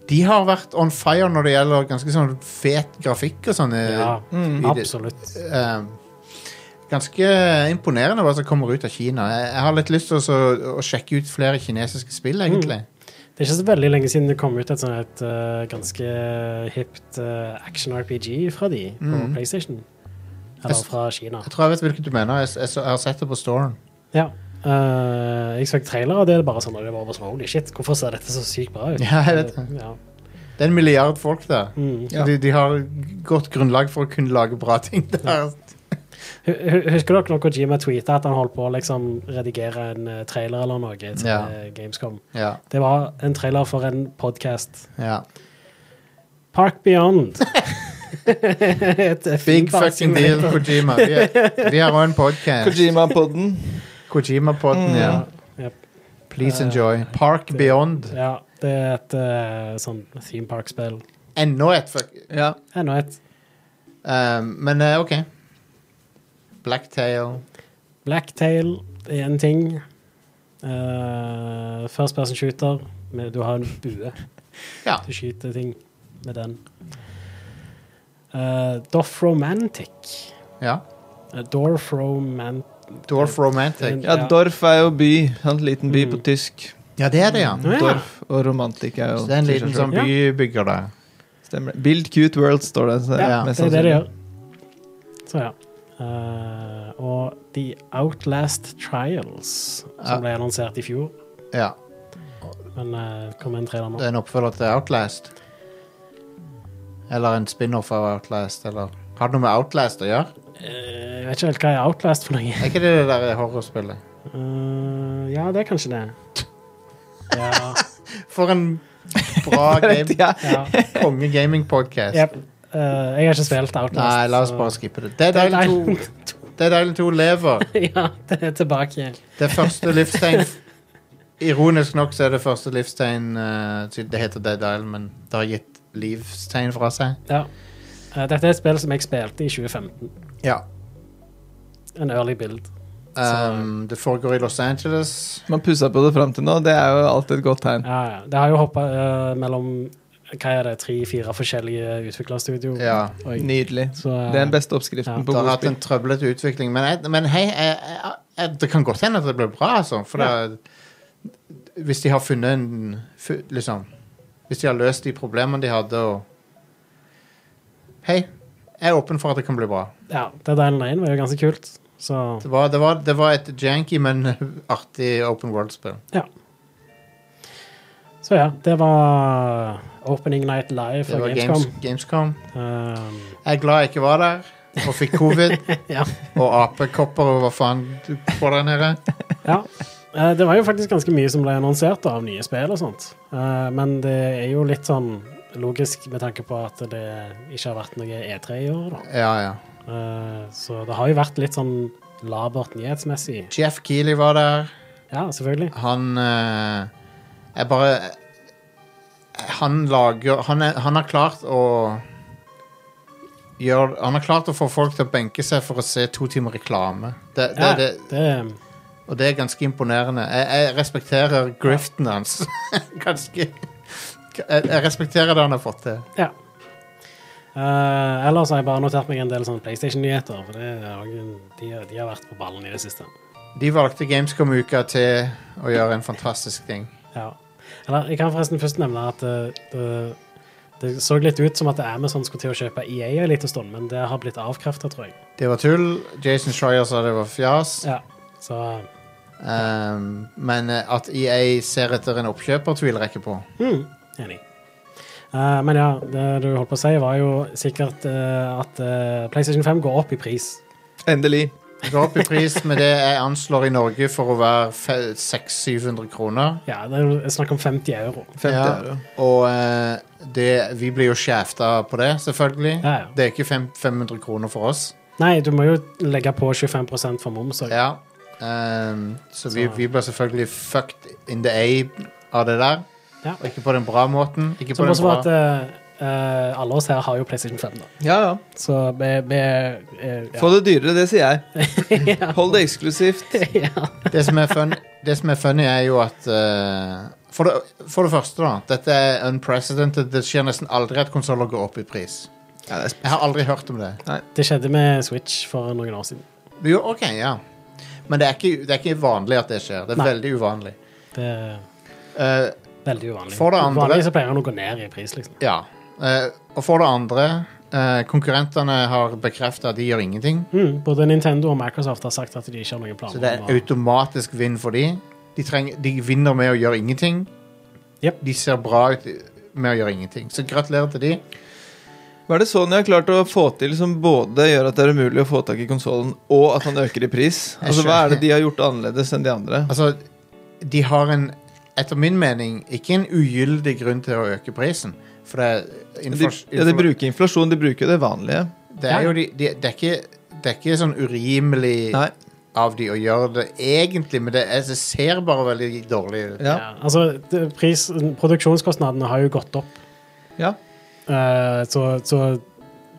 Speaker 11: De har vært on fire når det gjelder ganske sånn fet grafikk og sånn. eh,
Speaker 10: Ja,
Speaker 12: Mm.
Speaker 11: i det-
Speaker 10: absolutt.
Speaker 11: eh, ganske imponerende hva som kommer ut av Kina. Jeg, jeg har litt lyst til å, så- å sjekke ut flere kinesiske spill, egentlig.
Speaker 10: Det er ikke så veldig lenge siden det kom ut et sånt et, eh, ganske hipt eh, action-RPG fra de på
Speaker 11: Mm.
Speaker 10: PlayStation.
Speaker 11: Jeg
Speaker 10: Eller
Speaker 11: s-
Speaker 10: fra Kina.
Speaker 11: Jeg tror jeg vet hvilket du mener. Jeg, jeg, så- jeg har sett det på Storen.
Speaker 10: Ja. Eh, jeg så trailer, og det er bare sånn og det var bare sånn, Holy shit, hvorfor ser dette så sykt bra ut?
Speaker 11: Ja, jeg vet det.
Speaker 10: Ja.
Speaker 11: Det er en milliard folk der.
Speaker 10: Mm.
Speaker 11: Så de, de har godt grunnlag for å kunne lage bra ting der.
Speaker 10: Hu- hu- Husker dere når Kojima tweeta at han holdt på å liksom redigere en eh, trailer eller noe til
Speaker 11: Ja.
Speaker 10: eh, Gamescom?
Speaker 11: Ja,
Speaker 10: Det var en trailer for en podkast.
Speaker 11: ja.
Speaker 10: Park Beyond. Et eh,
Speaker 11: Big
Speaker 10: filmpark
Speaker 11: fucking deal,
Speaker 10: simulator.
Speaker 11: Kojima. Vi er- Vi har òg en podkast.
Speaker 12: Kojima-podden.
Speaker 11: Kojima-podden, ja.
Speaker 10: Jep.
Speaker 11: Please enjoy. Park Beyond.
Speaker 10: Ja, det er et eh, sånn theme park-spill.
Speaker 11: Enda et fuck...
Speaker 12: Ja.
Speaker 10: Enda et.
Speaker 11: Um, men eh, OK. Blacktail.
Speaker 10: Blacktail er en ting. Eh, first person shooter. Med, du har en bue.
Speaker 11: Ja.
Speaker 10: Du skyter ting med den. Uh, Doff Romantic.
Speaker 11: ja.
Speaker 10: Uh, Dorf Roman...
Speaker 11: Dorf Romantic.
Speaker 12: ja,
Speaker 10: Ja.
Speaker 12: Dorf er jo by. En liten by
Speaker 10: Mm.
Speaker 12: på tysk.
Speaker 11: Ja, det er det, ja.
Speaker 10: Å, ja.
Speaker 12: Dorf og romantikk er jo
Speaker 11: Så det er en liten sånn
Speaker 10: Ja.
Speaker 11: bybygger der.
Speaker 12: Stemmer det. Build cute world, står det. så-
Speaker 11: Ja,
Speaker 12: mest
Speaker 10: Det er det de
Speaker 12: sannsynlig.
Speaker 10: gjør. Så ja. Eh, og The Outlast Trials,
Speaker 11: Ja.
Speaker 10: som ble annonsert i fjor,
Speaker 11: Ja.
Speaker 10: men uh, kom en trailer nå.
Speaker 11: Det er en oppfølger til Outlast. Eller en spin-off av Outlast, eller Har det noe med Outlast å gjøre?
Speaker 10: Eh, Jeg vet ikke helt hva er Outlast for noe.
Speaker 11: Er ikke det det der horrorspillet?
Speaker 10: Eh, ja, det er kanskje det. Ja.
Speaker 11: For en bra game,
Speaker 12: Ja.
Speaker 10: ja.
Speaker 11: konge gaming-podkast.
Speaker 10: Jep. Eh, jeg har ikke spilt Outlast.
Speaker 11: Nei, la oss
Speaker 10: så-
Speaker 11: bare skippe det. Dead
Speaker 10: Dead
Speaker 11: Island 2.
Speaker 10: Island 2.
Speaker 11: Dead Island 2 lever.
Speaker 10: ja, det er tilbake igjen.
Speaker 11: Det er første livstegn Ironisk nok så er det første livstegn eh, siden Det heter Dead Island, men det har gitt livstegn fra seg.
Speaker 10: Ja. Eh, Dette er et spill som jeg spilte i 2015.
Speaker 11: Ja.
Speaker 10: En early build.
Speaker 11: Um, det foregår i Los Angeles.
Speaker 12: Man pussa på det fram til nå, det er jo alltid et godt tegn.
Speaker 10: Ja, ja. Det har jo hoppa eh, mellom hva er det, tre-fire forskjellige utviklerstudio.
Speaker 11: Ja.
Speaker 10: Oi.
Speaker 12: Nydelig.
Speaker 10: Så, eh,
Speaker 12: Det er den beste
Speaker 10: Ja.
Speaker 12: oppskriften på
Speaker 11: Det har
Speaker 12: god
Speaker 11: hatt en
Speaker 12: spill.
Speaker 11: trøblete utvikling, men, jeg, men hei, jeg, jeg, jeg, det kan godt hende at det blir bra, altså. For det, hvis de har funnet en fu- Liksom Hvis de har løst de problemene de hadde, og Hei, jeg er åpen for at det kan bli bra.
Speaker 10: ja, Dead Island 1 var jo ganske kult. Så
Speaker 11: Det var, det var, det var et janky, men artig open world-spill.
Speaker 10: Så ja, det var eh, Opening Night Live
Speaker 11: Det
Speaker 10: fra
Speaker 11: var
Speaker 10: Gamescom.
Speaker 11: Games, Gamescom.
Speaker 10: Um,
Speaker 11: Jeg er glad jeg ikke var der og fikk covid
Speaker 10: Ja.
Speaker 11: og apekopper og hva faen du får der nede.
Speaker 10: ja. Eh, Det var jo faktisk ganske mye som ble annonsert da, av nye spill og sånt. Eh, Men det er jo litt sånn logisk med tanke på at det ikke har vært noe E3 i år, da.
Speaker 11: Ja, ja.
Speaker 10: Eh, Så det har jo vært litt sånn labert nyhetsmessig.
Speaker 11: Jeff Keeley var der.
Speaker 10: Ja, selvfølgelig.
Speaker 11: Han eh, Jeg bare Han lager han, er, han har klart å gjøre, Han har klart å få folk til å benke seg for å se to timer reklame. Det, det,
Speaker 10: Ja,
Speaker 11: det,
Speaker 10: det,
Speaker 11: og det er ganske imponerende. Jeg, jeg respekterer griften hans. ganske jeg, jeg respekterer det han har fått til.
Speaker 10: ja. Eh, ellers har jeg bare notert meg en del sånne PlayStation-nyheter. For det er også en- de, de har vært på ballen i det siste.
Speaker 11: De valgte Gamescom-uka til å gjøre en fantastisk ting.
Speaker 10: Ja. Eller, jeg kan forresten først nevne at eh, det, det så litt ut som at Amazon skulle til å kjøpe EA en liten stund, men det har blitt avkreftet, tror jeg.
Speaker 11: Det var tull. Jason Schreier sa det var fjas.
Speaker 10: Ja. Så eh,
Speaker 11: Um, men eh, at EA ser etter en oppkjøper, tviler jeg ikke på.
Speaker 10: hmm, enig. Eh, men ja, det du holdt på å si, var jo sikkert eh, at eh, PlayStation 5 går opp i pris.
Speaker 12: Endelig.
Speaker 11: Det går opp i pris med det jeg anslår i Norge for å være fe- 600-700 kroner.
Speaker 10: Ja, det er jo snakk om 50 euro.
Speaker 12: 50
Speaker 11: Ja,
Speaker 12: euro.
Speaker 11: og eh, det, vi blir jo skjefta på det, selvfølgelig.
Speaker 10: Ja, ja.
Speaker 11: Det er ikke fem, 500 kroner for oss.
Speaker 10: Nei, du må jo legge på 25 for moms. og-
Speaker 11: Ja. Um, så vi,
Speaker 10: Så-
Speaker 11: vi blir selvfølgelig fucked in the A av det der.
Speaker 10: Ja.
Speaker 11: Og ikke på den bra måten. Ikke på
Speaker 10: Som
Speaker 11: den
Speaker 10: også var at
Speaker 11: bra.
Speaker 10: eh, eh, alle oss her har jo PlayStation 5, da.
Speaker 12: Ja, ja.
Speaker 10: Så vi, vi eh, ja.
Speaker 12: Få det dyrere, det sier jeg. Hold det eksklusivt.
Speaker 11: Det som er fun, det som er funny, er jo at eh, for, det, for det første, da. Dette er unprecedented. Det skjer nesten aldri at konsoller går opp i pris.
Speaker 12: Ja, det er sp-
Speaker 11: Jeg har aldri hørt om det.
Speaker 10: Det skjedde med Switch for noen år siden.
Speaker 11: Jo, ok, ja. Men det er, ikke, det er ikke vanlig at det skjer. Det er
Speaker 10: Nei.
Speaker 11: veldig uvanlig.
Speaker 10: Det er
Speaker 11: Eh,
Speaker 10: veldig uvanlig.
Speaker 11: For det andre-
Speaker 10: Vanligvis så pleier den å gå ned i pris, liksom.
Speaker 11: ja. Eh, og for det andre, eh, konkurrentene har bekrefta at de gjør ingenting.
Speaker 10: Mm, både Nintendo og Microsoft har sagt at de ikke har noen
Speaker 11: Så
Speaker 10: planer
Speaker 11: det er
Speaker 10: om å
Speaker 11: automatisk vinn for de. De, trenger, de vinner med å gjøre ingenting.
Speaker 10: Jep.
Speaker 11: De ser bra ut med å gjøre ingenting. Så gratulerer til de.
Speaker 12: Hva er det Sony har klart å få til som både gjør at det er umulig å få tak i konsollen, og at den øker i pris? Altså, Hva er det de har gjort annerledes enn de andre?
Speaker 11: Altså, de har en etter min mening ikke en ugyldig grunn til å øke prisen. For det er,
Speaker 12: De,
Speaker 11: inflas-
Speaker 12: ja, de bruker inflasjon, de bruker det vanlige.
Speaker 11: det er jo de, de, det, er ikke, det er ikke sånn urimelig
Speaker 12: Nei,
Speaker 11: av de å gjøre det egentlig, men det, er, det ser bare veldig dårlig ut.
Speaker 12: ja,
Speaker 10: Ja, altså, det- pris, Produksjonskostnadene har jo gått opp,
Speaker 12: ja.
Speaker 10: Eh, så, så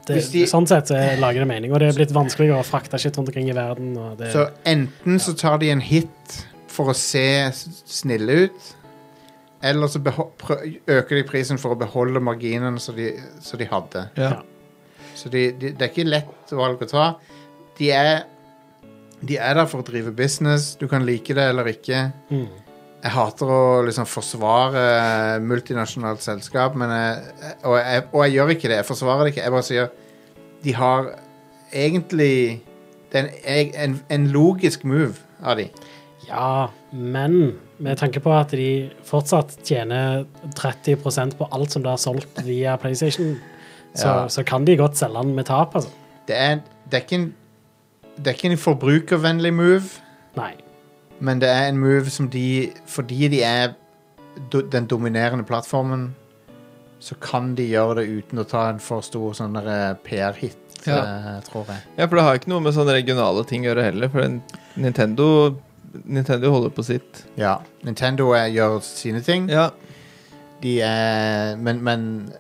Speaker 10: det,
Speaker 11: Hvis de-
Speaker 10: sånn sett så lager det mening. Og det er blitt vanskeligere å frakte shit rundt omkring i verden. Og det,
Speaker 11: Så enten så tar de en hit for å se s- snille ut, eller så beho- prø- øker de prisen for å beholde marginene som de, som de hadde.
Speaker 12: ja.
Speaker 11: Så de, de, det er ikke lett valg å ta. De er, de er der for å drive business. Du kan like det eller ikke.
Speaker 10: Mm.
Speaker 11: Jeg hater å liksom forsvare multinasjonalt selskap, men jeg, og, jeg, og jeg gjør ikke det. Jeg forsvarer det ikke. Jeg bare sier de har egentlig Det er en, en, en logisk move av de.
Speaker 10: ja, men med tanke på at de fortsatt tjener 30 på alt som blir solgt via PlayStation, så,
Speaker 11: Ja.
Speaker 10: så kan de godt selge den med tap, altså.
Speaker 11: Det er, det er, ikke, en, det er ikke en forbrukervennlig move.
Speaker 10: Nei.
Speaker 11: Men det er en move som de Fordi de er do, den dominerende plattformen, så kan de gjøre det uten å ta en for stor sånn der, eh, PR-hit. generelt,
Speaker 12: Ja.
Speaker 11: eh, tror jeg.
Speaker 12: Ja, for det har ikke noe med sånne regionale ting å gjøre heller, for den- Nintendo Nintendo holder på sitt.
Speaker 11: Ja. Nintendo eh, gjør sine ting.
Speaker 12: Ja,
Speaker 11: De er men, men,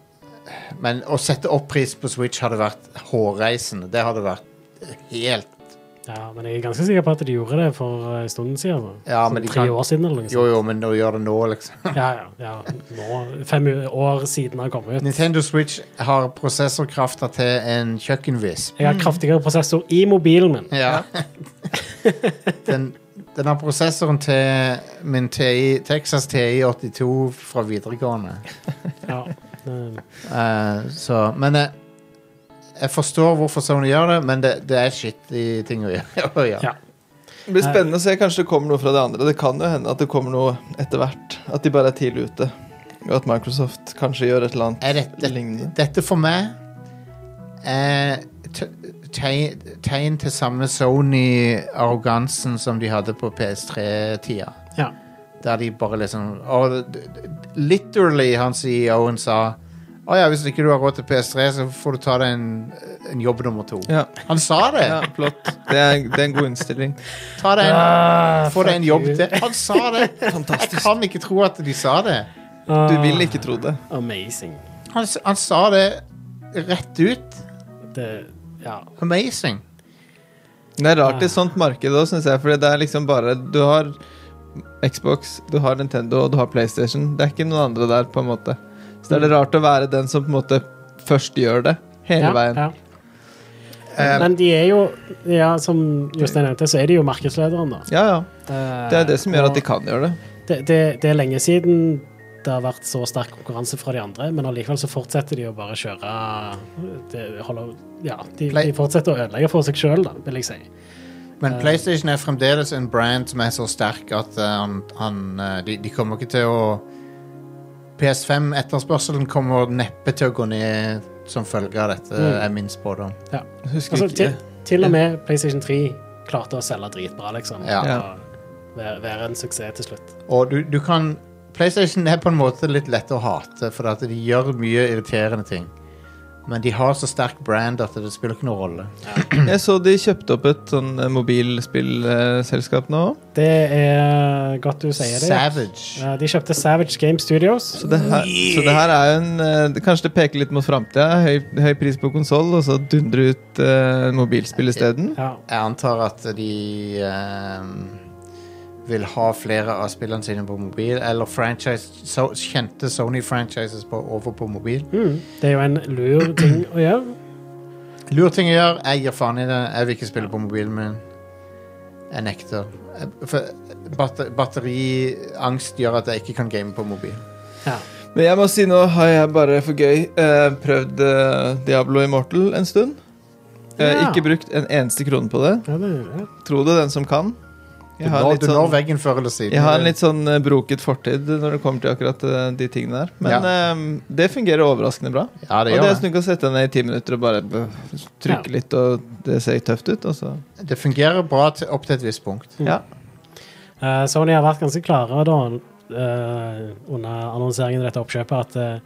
Speaker 11: men å sette opp pris på Switch hadde vært hårreisende. Det hadde vært helt
Speaker 10: Ja, men jeg er ganske sikker på at de gjorde det for eh, en stund siden. Altså.
Speaker 11: Ja,
Speaker 10: Sånn
Speaker 11: men de
Speaker 10: tre
Speaker 11: kan-
Speaker 10: år siden eller noe
Speaker 11: Jo,
Speaker 10: sånt.
Speaker 11: jo, men å gjøre det nå, liksom.
Speaker 10: Ja, ja, ja. Nå, fem u- år siden han kom ut.
Speaker 11: Nintendo Switch har prosessorkrafta til en kjøkkenvisp.
Speaker 10: Jeg har kraftigere prosessor i mobilen min.
Speaker 11: Ja. den, den har prosessoren til min TI, Texas TI82 fra videregående.
Speaker 10: Ja. det-
Speaker 11: Eh, så, men eh, jeg forstår hvorfor Sony gjør det, men det, det er shitty ting å gjøre. å gjøre.
Speaker 10: Ja.
Speaker 12: Det blir
Speaker 10: Nei.
Speaker 12: spennende å se. Kanskje det kommer noe fra det andre. Det kan jo hende at det kommer noe etter hvert. At de bare er tidlig ute. Og at Microsoft kanskje gjør et eller annet
Speaker 11: Er dette,
Speaker 12: lignende.
Speaker 11: dette for meg er te- tegn, tegn til samme Sony-arrogansen som de hadde på PS3-tida.
Speaker 10: ja.
Speaker 11: Der de bare liksom og, d- d- Literally, han CEO-en sa Å ja, hvis ikke du har råd til PS3, så får du ta deg en, en jobb nummer to.
Speaker 12: Ja.
Speaker 11: Han sa det!
Speaker 12: ja, flott. Det er, det er en god innstilling.
Speaker 11: Ta deg en, få deg en jobb
Speaker 10: Ah, you.
Speaker 11: til. Han sa det! Jeg
Speaker 12: Fantastisk.
Speaker 11: kan ikke tro at de sa det.
Speaker 12: Du vil ikke tro det.
Speaker 10: Amazing.
Speaker 11: Han, s- han sa det rett ut.
Speaker 10: Det, ja.
Speaker 11: Amazing.
Speaker 12: Det er rart i et sånt marked òg, syns jeg. Fordi det er liksom bare Du har Xbox, du har Nintendo og du har PlayStation. Det er ikke noen andre der, på en måte.
Speaker 10: Mm.
Speaker 12: Så det er det rart å være den som på en måte først gjør det. Hele
Speaker 10: ja,
Speaker 12: veien.
Speaker 10: Ja. Men de er jo, ja, som Jostein nevnte, så er de jo markedslederen, da.
Speaker 12: Ja, ja. Det er det som gjør at de kan gjøre det.
Speaker 10: det, det, det er lenge siden det har vært så sterk konkurranse fra de andre, men allikevel så fortsetter de å bare kjøre det holder, Ja, de,
Speaker 11: Play-
Speaker 10: de fortsetter å ødelegge for seg sjøl, da, vil jeg si.
Speaker 11: Men
Speaker 10: Eh.
Speaker 11: PlayStation er fremdeles en brand som er så sterk at eh, han, han, eh, de, de kommer ikke til å PS5-etterspørselen kommer neppe til å gå ned som følge av dette,
Speaker 10: Mm.
Speaker 11: er min spådom.
Speaker 10: Ja.
Speaker 12: Husker
Speaker 10: Altså,
Speaker 12: ikke
Speaker 10: til, til og med PlayStation 3 klarte å selge dritbra, liksom.
Speaker 11: Ja.
Speaker 12: Ja.
Speaker 10: Og være, være en suksess til slutt.
Speaker 11: Og du, du kan PlayStation er på en måte litt lett å hate, for at de gjør mye irriterende ting. Men de har så sterk brand at det spiller ikke noen rolle.
Speaker 12: Jeg så de kjøpte opp et sånn eh, mobilspillselskap nå.
Speaker 10: Det er godt du sier det.
Speaker 11: Savage.
Speaker 10: Ja, De kjøpte Savage Game Studios.
Speaker 12: Så det her, så det her er jo en eh, det- Kanskje det peker litt mot framtida. Høy, høy pris på konsoll, og så dundre ut eh, mobilspill isteden.
Speaker 10: Ja.
Speaker 11: Jeg antar at de ehm, vil ha flere av spillene sine på mobil, eller franchise, so, kjente Sony-franchises på, over på mobil.
Speaker 10: Mm. Det er jo en lur ting å gjøre.
Speaker 11: Lur ting å gjøre. Jeg gir faen i det. Jeg vil ikke spille på mobilen min. Jeg nekter. Jeg- For batter, batteriangst gjør at jeg ikke kan game på mobil.
Speaker 10: Ja.
Speaker 12: Men jeg må si nå har jeg bare for gøy eh, prøvd eh, Diablo Immortal en stund. Eh,
Speaker 10: Ja.
Speaker 12: Ikke brukt en eneste krone på det.
Speaker 10: Ja, det, ja.
Speaker 12: Tro det, den som kan.
Speaker 11: Du
Speaker 12: Jeg har,
Speaker 11: når,
Speaker 12: litt
Speaker 11: du når
Speaker 12: sånn,
Speaker 11: veggen før eller siden.
Speaker 12: jeg har en litt sånn eh, broket fortid når det kommer til akkurat eh, de tingene der. Men eh, det fungerer overraskende bra.
Speaker 11: Ja, det
Speaker 12: og det
Speaker 11: gjør
Speaker 12: er
Speaker 11: det.
Speaker 12: snakk å sette deg ned i ti minutter og bare bø- trykke
Speaker 10: Ja.
Speaker 12: litt, og det ser tøft ut. Og så.
Speaker 11: Det fungerer bra til, opp til et visst punkt.
Speaker 10: Mm.
Speaker 12: Ja.
Speaker 10: Eh, Sony har vært ganske klare da, eh, under annonseringen i dette oppkjøpet at eh,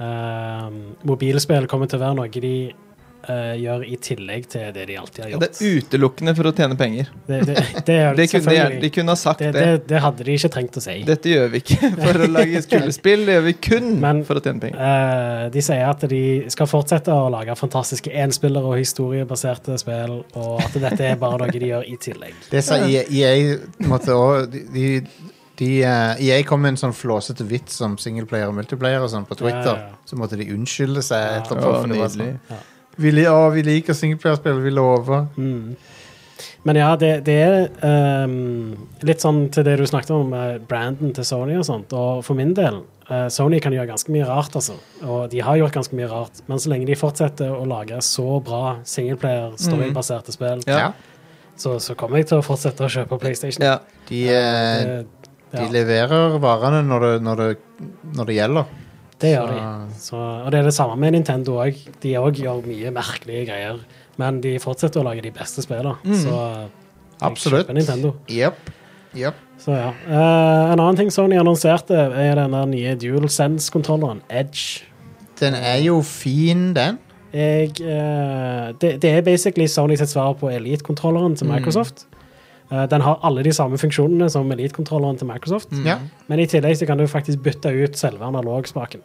Speaker 10: eh, mobilspill kommer til å være noe de eh, gjør i tillegg til det de alltid har
Speaker 12: Ja, det
Speaker 10: gjort.
Speaker 12: er utelukkende for å tjene penger.
Speaker 10: det, det, det er
Speaker 12: Det kunne de,
Speaker 10: selvfølgelig-
Speaker 12: de kunne ha sagt
Speaker 10: det,
Speaker 12: det.
Speaker 10: det, det hadde de ikke trengt å si.
Speaker 12: Dette gjør vi ikke for å lage skulespill, det gjør vi kun
Speaker 10: Men-
Speaker 12: for å tjene penger.
Speaker 10: Eh, de sier at de skal fortsette å lage fantastiske enspillere og historiebaserte spill, og at dette er bare noe de gjør i tillegg.
Speaker 11: Det sa E EA, EA måtte også, de, de, de, eh, EA kom med en sånn flåsete vits om singleplayer og multiplayer og sånn på Twitter.
Speaker 10: Ja, ja, ja.
Speaker 11: Så måtte de unnskylde seg
Speaker 12: Å,
Speaker 11: etterpå. for det var
Speaker 12: nydelig.
Speaker 11: sånn, vi, li- å, vi liker singleplayerspill, vi lover.
Speaker 10: Mm. Men ja, det, det er ehm, litt sånn til det du snakket om, eh, branden til Sony og sånt. Og for min del, eh, Sony kan gjøre ganske mye rart, altså. Og de har gjort ganske mye rart. Men så lenge de fortsetter å lage så bra
Speaker 11: Mm.
Speaker 10: singleplayer, storybaserte spill,
Speaker 12: Ja.
Speaker 10: så, så kommer jeg til å fortsette å kjøpe PlayStation.
Speaker 12: Ja.
Speaker 11: De, eh,
Speaker 10: Det,
Speaker 11: de
Speaker 10: ja,
Speaker 11: leverer varene når det, når det, når det gjelder.
Speaker 10: det gjør de. Så, og det er det samme med Nintendo òg. De òg gjør mye merkelige greier. Men de fortsetter å lage de beste spillene. Så jeg
Speaker 11: Mm. Absolutt.
Speaker 10: kjøper Nintendo.
Speaker 11: Jepp. Jepp.
Speaker 10: Så ja. Eh, en annen ting Sony annonserte, er den der nye DualSense-kontrolleren, Edge.
Speaker 11: Den er jo fin, den.
Speaker 10: Jeg, eh, det, det er basically Sony sitt svar på Elite-kontrolleren til Microsoft. Eh, den har alle de samme funksjonene som Elite-kontrolleren til Microsoft.
Speaker 11: Ja.
Speaker 10: Men i tillegg så kan du faktisk bytte ut selve analogspaken.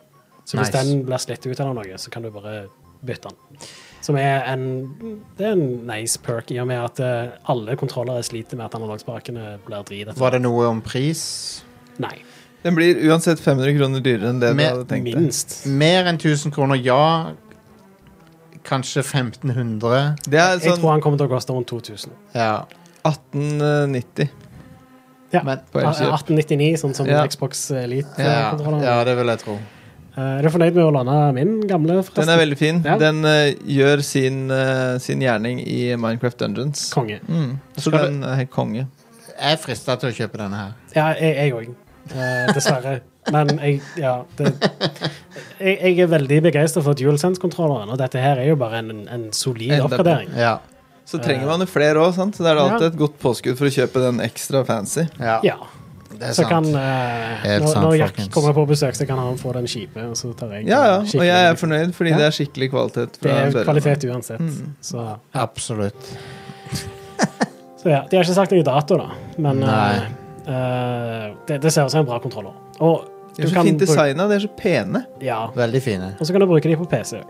Speaker 10: Så hvis
Speaker 11: Nice.
Speaker 10: den blir slitt ut eller noe, så kan du bare bytte den. Som er en, det er en nice perk, i og med at eh, alle kontrollere sliter med at analogspakene blir drit. etter-
Speaker 11: Var det noe om pris?
Speaker 10: Nei,
Speaker 12: Den blir uansett 500 kroner dyrere enn det
Speaker 11: Med-
Speaker 12: du hadde tenkt deg.
Speaker 10: minst.
Speaker 11: Mer enn 1000 kroner, ja. Kanskje 1500.
Speaker 12: Det er
Speaker 10: Jeg
Speaker 12: sånn
Speaker 10: tror han kommer til å koste rundt 2000.
Speaker 11: Ja.
Speaker 12: 1890
Speaker 10: Ja.
Speaker 11: Men-
Speaker 12: på Elkjøp.
Speaker 10: 1899, sånn som
Speaker 12: Ja.
Speaker 10: Xbox
Speaker 11: Ja,
Speaker 10: Elite-kontrolleren.
Speaker 11: ja, det vil jeg tro.
Speaker 10: Eh, Er du fornøyd med å låne min gamle? forresten?
Speaker 12: Den er veldig fin.
Speaker 10: Ja.
Speaker 12: Den eh, gjør sin, eh, sin gjerning i Minecraft Dungeons.
Speaker 10: Konge.
Speaker 12: Mm. Så
Speaker 11: Skal
Speaker 12: den er helt konge.
Speaker 11: Jeg er frista til å kjøpe denne her.
Speaker 10: Ja, jeg òg. dessverre. Men jeg Ja. Det, jeg, jeg er veldig begeistra for DualSense-kontrolleren, og dette her er jo bare en, en solid
Speaker 12: Enda-
Speaker 10: oppgradering.
Speaker 11: Ja.
Speaker 12: Så
Speaker 10: Eh.
Speaker 12: trenger man jo flere òg, sant? Så da er det alltid et godt påskudd for å kjøpe den ekstra fancy.
Speaker 11: ja.
Speaker 10: Ja.
Speaker 11: Det er
Speaker 10: Så kan
Speaker 11: sant.
Speaker 10: eh,
Speaker 11: Helt
Speaker 10: Når,
Speaker 11: sant,
Speaker 10: når Jack
Speaker 11: folkens.
Speaker 10: kommer på besøk, så kan han få den kjipe, og så tar jeg
Speaker 12: Ja, ja.
Speaker 10: den
Speaker 12: Og
Speaker 10: skikkelig.
Speaker 12: jeg er fornøyd, fordi
Speaker 10: Ja.
Speaker 12: det er skikkelig kvalitet.
Speaker 10: Det
Speaker 12: Fra
Speaker 10: er
Speaker 12: børen.
Speaker 10: kvalitet uansett.
Speaker 12: Mm.
Speaker 10: Så,
Speaker 11: Absolutt.
Speaker 10: så ja. De har ikke sagt noe dato, da, men eh,
Speaker 11: Nei.
Speaker 10: eh, det, det ser ut som en bra kontroller. Og
Speaker 12: De er
Speaker 10: du
Speaker 12: så
Speaker 10: kan
Speaker 12: fint
Speaker 10: bruke-
Speaker 12: designa, de er så pene.
Speaker 10: Ja.
Speaker 11: Veldig fine.
Speaker 10: Og så kan du bruke de på PC.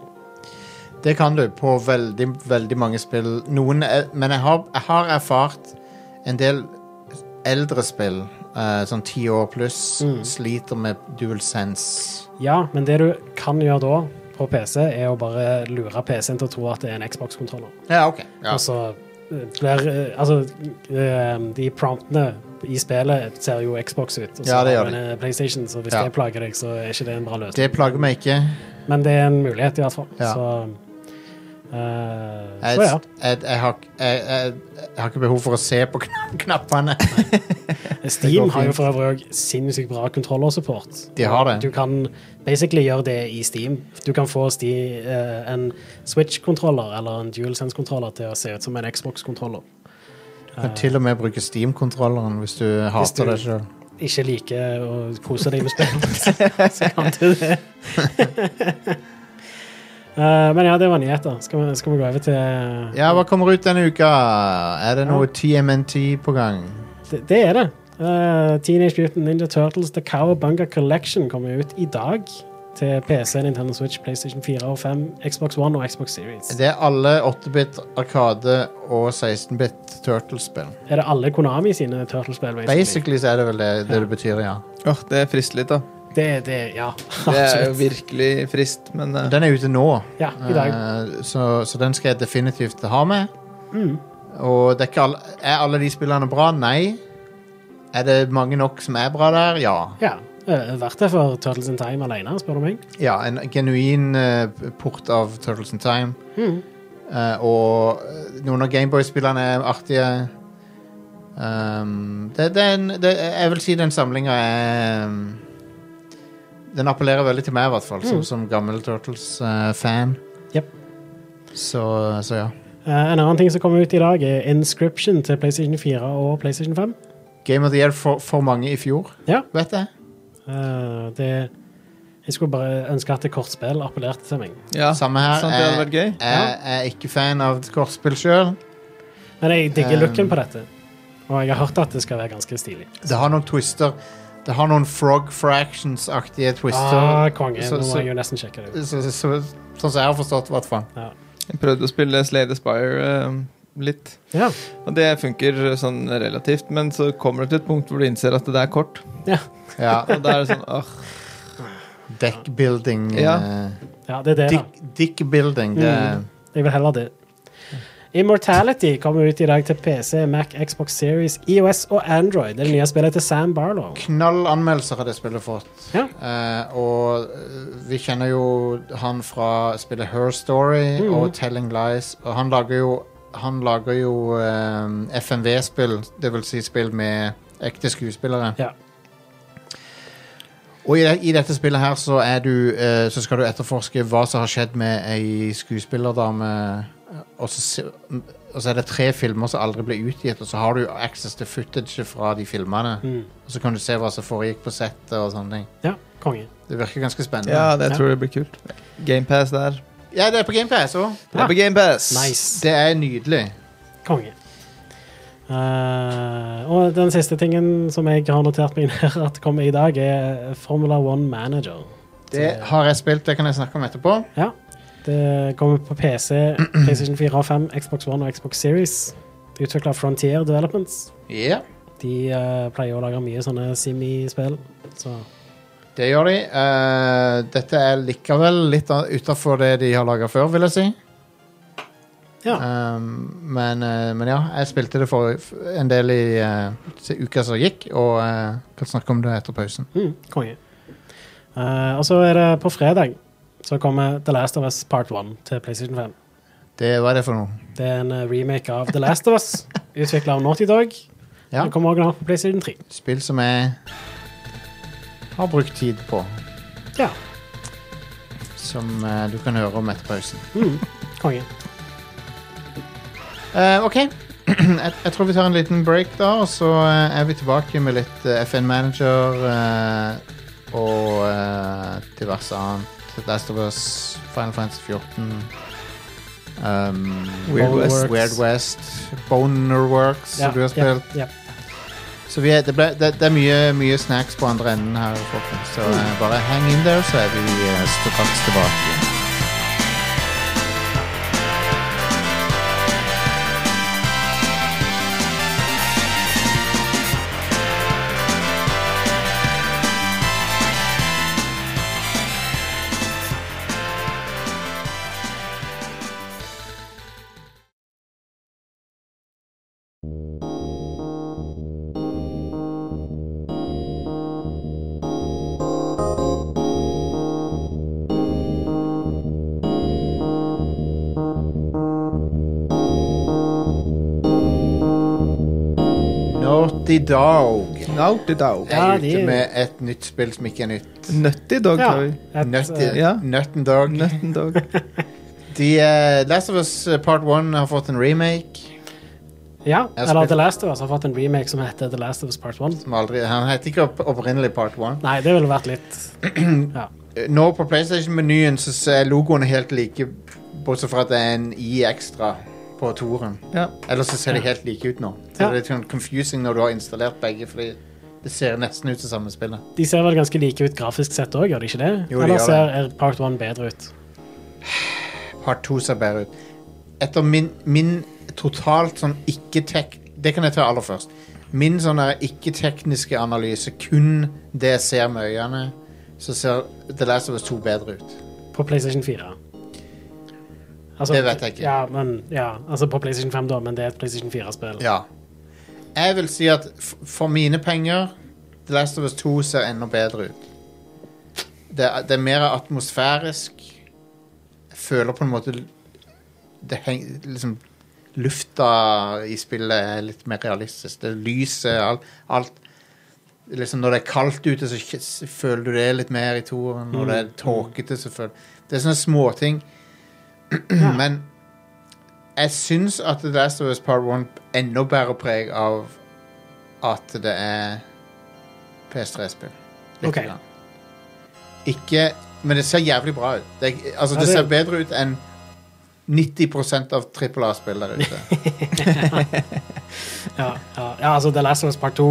Speaker 11: Det kan du på veldig, veldig mange spill. Noen er, men jeg har, jeg har erfart en del eldre spill, eh, sånn ti år pluss,
Speaker 10: Mm.
Speaker 11: sliter med dual sense.
Speaker 10: Ja, men det du kan gjøre da på PC, er å bare lure PC-en til å tro at det er en Xbox-kontroller.
Speaker 11: Ja, OK. Ja.
Speaker 10: Og så eh, blir eh, Altså, eh, de promptene i spillet ser jo Xbox ut. Og så
Speaker 11: Ja, det
Speaker 10: har
Speaker 11: gjør
Speaker 10: den, eh, PlayStation, så hvis
Speaker 11: Ja.
Speaker 10: det plager deg, så er ikke det en bra løsning.
Speaker 11: Det plager meg ikke.
Speaker 10: Men det er en mulighet, i hvert fall.
Speaker 11: Ja.
Speaker 10: Så eh,
Speaker 11: Jeg,
Speaker 10: Så ja.
Speaker 11: jeg, jeg, har, jeg, jeg, jeg har ikke behov for å se på kna- knappene.
Speaker 10: Steam har jo
Speaker 11: fint.
Speaker 10: for øvrig òg sinnssykt bra kontrollersupport.
Speaker 11: De har det.
Speaker 10: Du kan basically gjøre det i Steam. Du kan få sti, eh, en Switch-kontroller eller en DualSense-kontroller til å se ut som en Xbox-kontroller.
Speaker 11: Du kan til og med bruke Steam-kontrolleren hvis du
Speaker 10: du-
Speaker 11: hater det sjøl.
Speaker 10: Ikke liker å kose deg med spill, så kan du det. Eh, men ja, det var nyheter. Skal vi, skal vi gå over til eh,
Speaker 11: Ja, hva kommer ut denne uka? Er det noe TMNT på gang?
Speaker 10: det, det er det. Eh, Teenage Mutant Ninja Turtles The Cowabunga Collection kommer ut i dag til PC, Nintendo Switch, PlayStation 4 og 5, Xbox One og Xbox Series.
Speaker 11: Det er alle 8-bit Arkade og 16-bit Turtles-spill.
Speaker 10: Er det alle Konami sine Turtles-spill? basically?
Speaker 11: Basically så er det vel det det, det betyr, ja.
Speaker 12: Åh, Det er frist litt, da.
Speaker 10: Det, det, ja.
Speaker 12: Det er jo
Speaker 10: Absolutt.
Speaker 12: virkelig frist, men eh,
Speaker 11: Den er ute nå,
Speaker 10: Ja, i dag.
Speaker 11: eh, så, så den skal jeg definitivt ha med.
Speaker 10: Mm,
Speaker 11: Og det er, ikke alle, er alle de spillene bra? Nei. Er det mange nok som er bra der? Ja.
Speaker 10: Ja. eh, Verdt det for Turtles in Time alene, spør du meg.
Speaker 11: Ja, en genuin eh, port av Turtles in Time.
Speaker 10: Hmm.
Speaker 11: Eh, og eh, noen av Gameboy-spillene er artige. Um, det, det er en, det, jeg vil si den samlinga er um, Den appellerer veldig til meg, i hvert fall, som, som gammel Turtles-fan.
Speaker 10: Hmm. Jep.
Speaker 11: så, så ja.
Speaker 10: Eh, en annen ting som kommer ut i dag, er Inscription til PlayStation 4 og PlayStation 5.
Speaker 11: Game of the Year for, for mange i fjor,
Speaker 10: Ja.
Speaker 11: vet jeg.
Speaker 10: Eh, det Jeg skulle bare ønske at kortspill appellerte til meg.
Speaker 12: ja. eh,
Speaker 11: Samme her.
Speaker 12: Sant, det hadde vært gøy.
Speaker 11: jeg, jeg, er ikke fan av kortspill sjøl.
Speaker 10: Men jeg digger
Speaker 11: Um.
Speaker 10: looken på dette. Og jeg har hørt at det skal være ganske stilig.
Speaker 11: Det har noen twister. Det har noen Frog Fractions-aktige twister.
Speaker 10: Ah, konge.
Speaker 11: så-
Speaker 10: Nå
Speaker 11: så-
Speaker 10: må jeg jo nesten sjekke det ut.
Speaker 11: så, så, så, sånn som jeg har forstått, i hvert fall.
Speaker 12: Jeg prøvde å spille Slay the Spire eh, litt.
Speaker 10: Ja.
Speaker 12: Og det funker sånn relativt, men så kommer det til et punkt hvor du innser at det er kort.
Speaker 11: Ja,
Speaker 12: Og da er det sånn åh,
Speaker 11: Deckbuilding.
Speaker 12: Ja.
Speaker 11: eh,
Speaker 10: ja, Mm. det er det, da.
Speaker 11: dick- Dickbuilding. det er-
Speaker 10: Jeg vil heller det. Immortality kommer ut i dag til PC, Mac, Xbox Series, EOS og Android. Det er det nye spillet til Sam Barlow.
Speaker 11: Knall anmeldelser har det spillet fått.
Speaker 10: Ja.
Speaker 11: Eh, og eh, vi kjenner jo han fra spillet Her Story
Speaker 10: Mm.
Speaker 11: og Telling Lies. Og han lager jo, han lager jo eh, FMV-spill, dvs. Si spill med ekte skuespillere.
Speaker 10: Ja.
Speaker 11: Og i, det, i dette spillet her så, er du, eh, så skal du etterforske hva som har skjedd med ei skuespillerdame. Og så, se- og så er det tre filmer som aldri ble utgitt, og så har du access til footage fra de filmene.
Speaker 12: Mm.
Speaker 11: Og så kan du se hva som foregikk på settet og sånne ting.
Speaker 10: Mm. Ja, konge.
Speaker 11: Det virker ganske spennende.
Speaker 12: Ja, det
Speaker 10: Ja.
Speaker 12: tror jeg blir kult. Gamepass der.
Speaker 11: Ja, det er på GamePass òg.
Speaker 12: Det er på GamePass.
Speaker 10: Nice.
Speaker 11: Det er nydelig.
Speaker 10: Konge. Eh, og den siste tingen som jeg har notert meg ned at kommer i dag, er Formula One Manager.
Speaker 11: Det har jeg spilt, det kan jeg snakke om etterpå.
Speaker 10: Ja. Det kommer på PC, PlayStation 4 og 5, Xbox One og Xbox Series. Utvikla Frontier Developments.
Speaker 11: Ja,
Speaker 10: De eh, pleier å lage mye sånne simi-spill. Så
Speaker 11: det gjør de. Eh, dette er likevel litt utafor det de har laga før, vil jeg si.
Speaker 10: ja.
Speaker 11: Um, men, eh, men ja, jeg spilte det for f- en del i eh, se- uka som gikk, og eh, kan snakke om det etter pausen.
Speaker 10: Mm, konge. Eh, og så er det på fredag så kommer The Last of Us Part 1 til PlayStation 5.
Speaker 11: Det, hva er det for noe?
Speaker 10: Det er en eh, remake av The Last of Us, utvikla av Naughty Dog.
Speaker 11: Ja,
Speaker 10: Den kommer originalt på PlayStation 3.
Speaker 11: spill som jeg har brukt tid på.
Speaker 10: Ja,
Speaker 11: Som eh, du kan høre om etter pausen.
Speaker 10: Mm, konge.
Speaker 11: Eh, OK. jeg, jeg tror vi tar en liten break, da, og så eh, er vi tilbake med litt eh, FN Manager eh, og eh, diverse annet. Last of Us, Final Fantasy 14 um,
Speaker 12: Weird
Speaker 11: Boner-
Speaker 12: West.
Speaker 11: Weird West Bonerworks, som du har spilt.
Speaker 10: Ja, ja.
Speaker 11: Så vi er, det, ble, det, det er mye, mye snacks på andre enden her, folkens. Så eh, bare hang in there, så er vi eh, straks tilbake. Naughty Dog
Speaker 12: Naughty Dog.
Speaker 11: er
Speaker 10: Ja,
Speaker 11: ute
Speaker 10: de-
Speaker 11: med et nytt spill som ikke er nytt.
Speaker 12: Nutty Dog.
Speaker 10: Ja,
Speaker 12: har vi.
Speaker 10: et,
Speaker 11: Nutty,
Speaker 10: eh,
Speaker 12: uh, ja.
Speaker 11: Nutten Dog.
Speaker 12: Nutten Dog.
Speaker 11: De, eh, Last of Us eh, Part 1 har fått en remake.
Speaker 10: ja,
Speaker 11: Jeg
Speaker 10: eller
Speaker 11: spilte-
Speaker 10: The Last of Us har fått en remake som heter The Last of Us Part 1.
Speaker 11: Som aldri, han het ikke opp, opprinnelig Part 1.
Speaker 10: Nei, det ville vært litt ja.
Speaker 11: Eh, Nå på PlayStation-menyen så så er logoen helt like, bortsett fra at det er en I ekstra på toeren.
Speaker 12: Ja.
Speaker 11: Ellers så ser de helt like ut nå. Så
Speaker 10: Ja.
Speaker 11: Det er litt sånn confusing når du har installert begge, fordi det ser nesten ut som samme spillet.
Speaker 10: De ser vel ganske like ut grafisk sett òg, gjør de ikke det?
Speaker 11: Jo, de
Speaker 10: eller
Speaker 11: gjør
Speaker 10: ser er Part 1 bedre ut?
Speaker 11: Part 2 ser bedre ut. Etter min, min totalt sånn ikke-tek... Det kan jeg ta aller først. Min sånn der ikke-tekniske analyse, kun det jeg ser med øynene, så ser The Last of Us 2 bedre ut.
Speaker 10: På PlayStation 4. Altså,
Speaker 11: Det vet jeg ikke.
Speaker 10: Ja, men, ja, altså på PlayStation 5, da, men det er et PlayStation 4-spill.
Speaker 11: Ja. Jeg vil si at f- for mine penger The Last of Us 2 ser enda bedre ut. Det er, det er mer atmosfærisk. Jeg føler på en måte l- det heng, liksom, Lufta i spillet er litt mer realistisk. Det er lyset, alt, alt liksom Når det er kaldt ute, så kj- s- føler du det litt mer i toren. Når det
Speaker 10: Mm.
Speaker 11: er tåkete, så føler Det er sånne småting. Men jeg syns at The Last of Us Part 1 enda bærer preg av at det er PS3-spill. Litt
Speaker 10: Ok.
Speaker 11: grann. Ikke Men det ser jævlig bra ut. Det, er- altså,
Speaker 10: Ja,
Speaker 11: det
Speaker 10: det-
Speaker 11: ser bedre ut enn 90 av trippel A-spill der ute.
Speaker 10: Ja, ja, ja, altså The Last of Us Part 2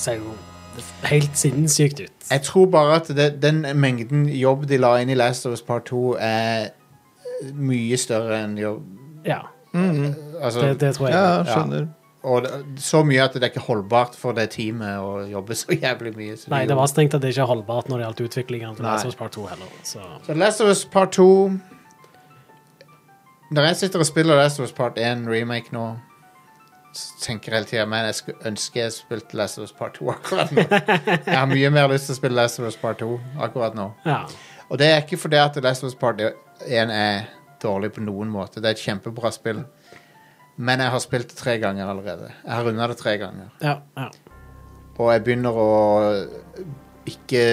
Speaker 10: ser jo helt sinnssykt ut.
Speaker 11: Jeg tror bare at det, den mengden jobb de la inn i Last of Us Part 2, er mye større enn jobb
Speaker 10: Ja,
Speaker 11: altså,
Speaker 10: det, det tror jeg.
Speaker 12: Ja, skjønner.
Speaker 11: Og det- så mye at det er ikke holdbart for det teamet å jobbe så jævlig mye. som de
Speaker 10: Nei, det
Speaker 11: gjorde.
Speaker 10: var strengt at det ikke er holdbart når det gjaldt utviklingen til
Speaker 11: Nei.
Speaker 10: Last of Us Part 2 heller. Så
Speaker 11: Så Last of Us Part 2 Når jeg sitter og spiller Last of Us Part 1 remake nå, så tenker jeg hele tida men jeg skulle ønske jeg spilte Last of Us Part 2 akkurat nå. Jeg har mye mer lyst til å spille Last of Us Part 2 akkurat nå.
Speaker 10: ja.
Speaker 11: Og det er ikke fordi at Last of Us Part 1 er dårlig på noen måte. Det er et kjempebra spill. Men jeg har spilt det tre ganger allerede. Jeg har runda det tre ganger.
Speaker 10: ja, ja.
Speaker 11: Og jeg begynner å ikke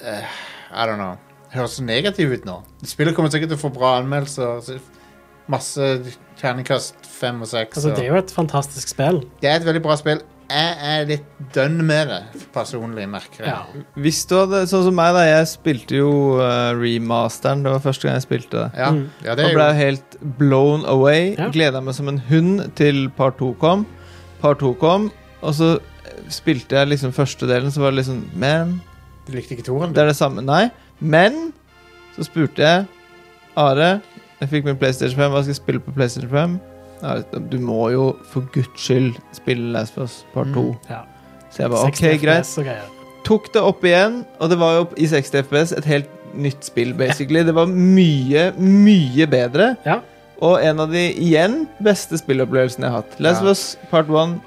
Speaker 11: eh, I don't know. Høres så negativ ut nå. Spillet kommer sikkert til å få bra anmeldelser. så Masse terningkast fem og seks.
Speaker 10: Altså,
Speaker 11: og-
Speaker 10: det er jo et fantastisk spill.
Speaker 11: Det er et veldig bra spill. jeg er litt dønn med det, personlig, merker jeg.
Speaker 10: Ja.
Speaker 12: Hvis du hadde, sånn som meg da, jeg spilte jo eh, remasteren, det var første gang jeg spilte det.
Speaker 11: Ja,
Speaker 10: Mm.
Speaker 11: ja, det
Speaker 12: Og
Speaker 11: er
Speaker 12: ble
Speaker 11: jo
Speaker 12: helt blown away.
Speaker 10: Ja.
Speaker 12: Gledet Gleda meg som en hund til par to kom. Par to kom, og så spilte jeg liksom første delen, så var det liksom Men
Speaker 11: Du likte ikke toeren?
Speaker 12: det er det samme. Nei. Men så spurte jeg Are. Jeg fikk min PlayStation 5. Hva skal jeg spille på PlayStation 5? Are, du må jo for guds skyld spille Last of Us Part
Speaker 11: Mm.
Speaker 12: 2.
Speaker 10: Ja.
Speaker 12: Så jeg bare
Speaker 10: 60
Speaker 12: OK, greit.
Speaker 10: FPS og greier.
Speaker 12: Tok det opp igjen, og det var jo i 60 FPS et helt nytt spill, basically. Det var mye, mye bedre.
Speaker 10: Ja.
Speaker 12: Og en av de igjen beste spillopplevelsene jeg har hatt. Last of
Speaker 11: Ja.
Speaker 12: Us Part 1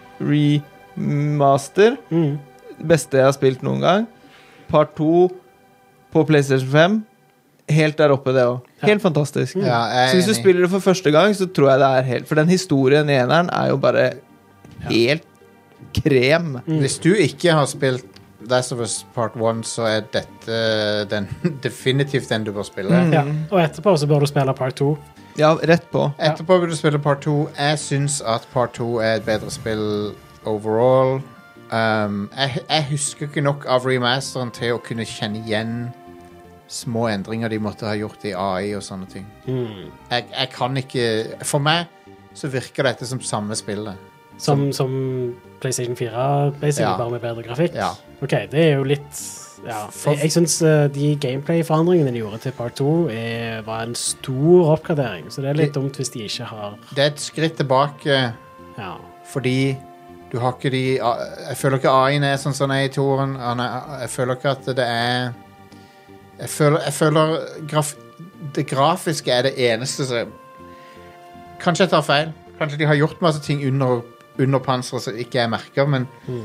Speaker 12: remaster
Speaker 10: Mm.
Speaker 12: beste jeg har spilt noen gang. Part 2 på PlayStation 5. Helt der oppe, det òg. Helt fantastisk.
Speaker 11: Ja, Mm. jeg er
Speaker 12: Så hvis du
Speaker 11: enig.
Speaker 12: spiller det for første gang, så tror jeg det er helt For den historien i eneren er jo bare helt krem.
Speaker 11: Hvis du ikke har spilt Last of Us Part 1, så er dette den, definitivt den du bør spille.
Speaker 10: Ja. Og etterpå så bør du spille Park 2.
Speaker 12: Ja, rett på.
Speaker 11: Etterpå vil du spille Part 2. Jeg syns at Part 2 er et bedre spill overall. Um, jeg, jeg husker ikke nok av remasteren til å kunne kjenne igjen små endringer de måtte ha gjort i AI og sånne ting.
Speaker 10: Mm.
Speaker 11: Jeg, jeg kan ikke For meg så virker dette som samme spillet.
Speaker 10: Som, som PlayStation 4, basically,
Speaker 11: Ja.
Speaker 10: bare med bedre grafikk.
Speaker 11: Ja.
Speaker 10: OK, det er jo litt ja.
Speaker 11: For-
Speaker 10: Jeg, jeg syns de gameplay-forandringene de gjorde til Park 2, er, var en stor oppgradering. Så det er litt
Speaker 11: Det-
Speaker 10: dumt hvis de ikke har
Speaker 11: Det er et skritt tilbake
Speaker 10: ja.
Speaker 11: fordi du har ikke de Jeg føler ikke AI-en er sånn som den er i toren. Han er- Jeg føler ikke at det er Jeg føler, jeg føler graf, det grafiske er det eneste som Kanskje jeg tar feil. Kanskje de har gjort masse ting under, under panseret som ikke jeg merker, men
Speaker 10: Hmm.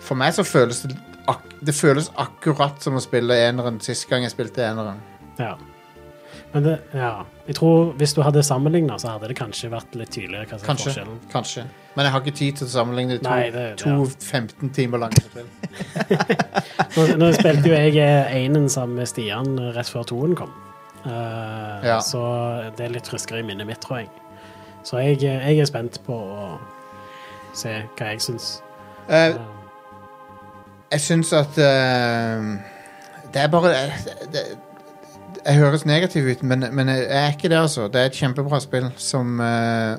Speaker 11: for meg så føles det ak, Det føles akkurat som å spille eneren sist gang jeg spilte eneren.
Speaker 10: ja. Men det, ja. jeg tror hvis du hadde sammenligna, så hadde det kanskje vært litt tydeligere hva som er
Speaker 11: Kanskje.
Speaker 10: forskjellen.
Speaker 11: Kanskje. Men jeg har ikke tid til å sammenligne de to,
Speaker 10: Nei, det- det-
Speaker 11: to 15 timer lange spill.
Speaker 10: Nå, nå spilte jo jeg eh, Einen sammen med Stian eh, rett før toen kom. Eh,
Speaker 11: Ja.
Speaker 10: Så det er litt friskere i minnet mitt, tror jeg. Så jeg, eh, jeg er spent på å se hva jeg syns.
Speaker 11: Eh,
Speaker 10: Ja.
Speaker 11: Jeg syns at eh, Det er bare det, det, Jeg høres negativ ut, men, men jeg er ikke det, altså. Det er et kjempebra spill som eh,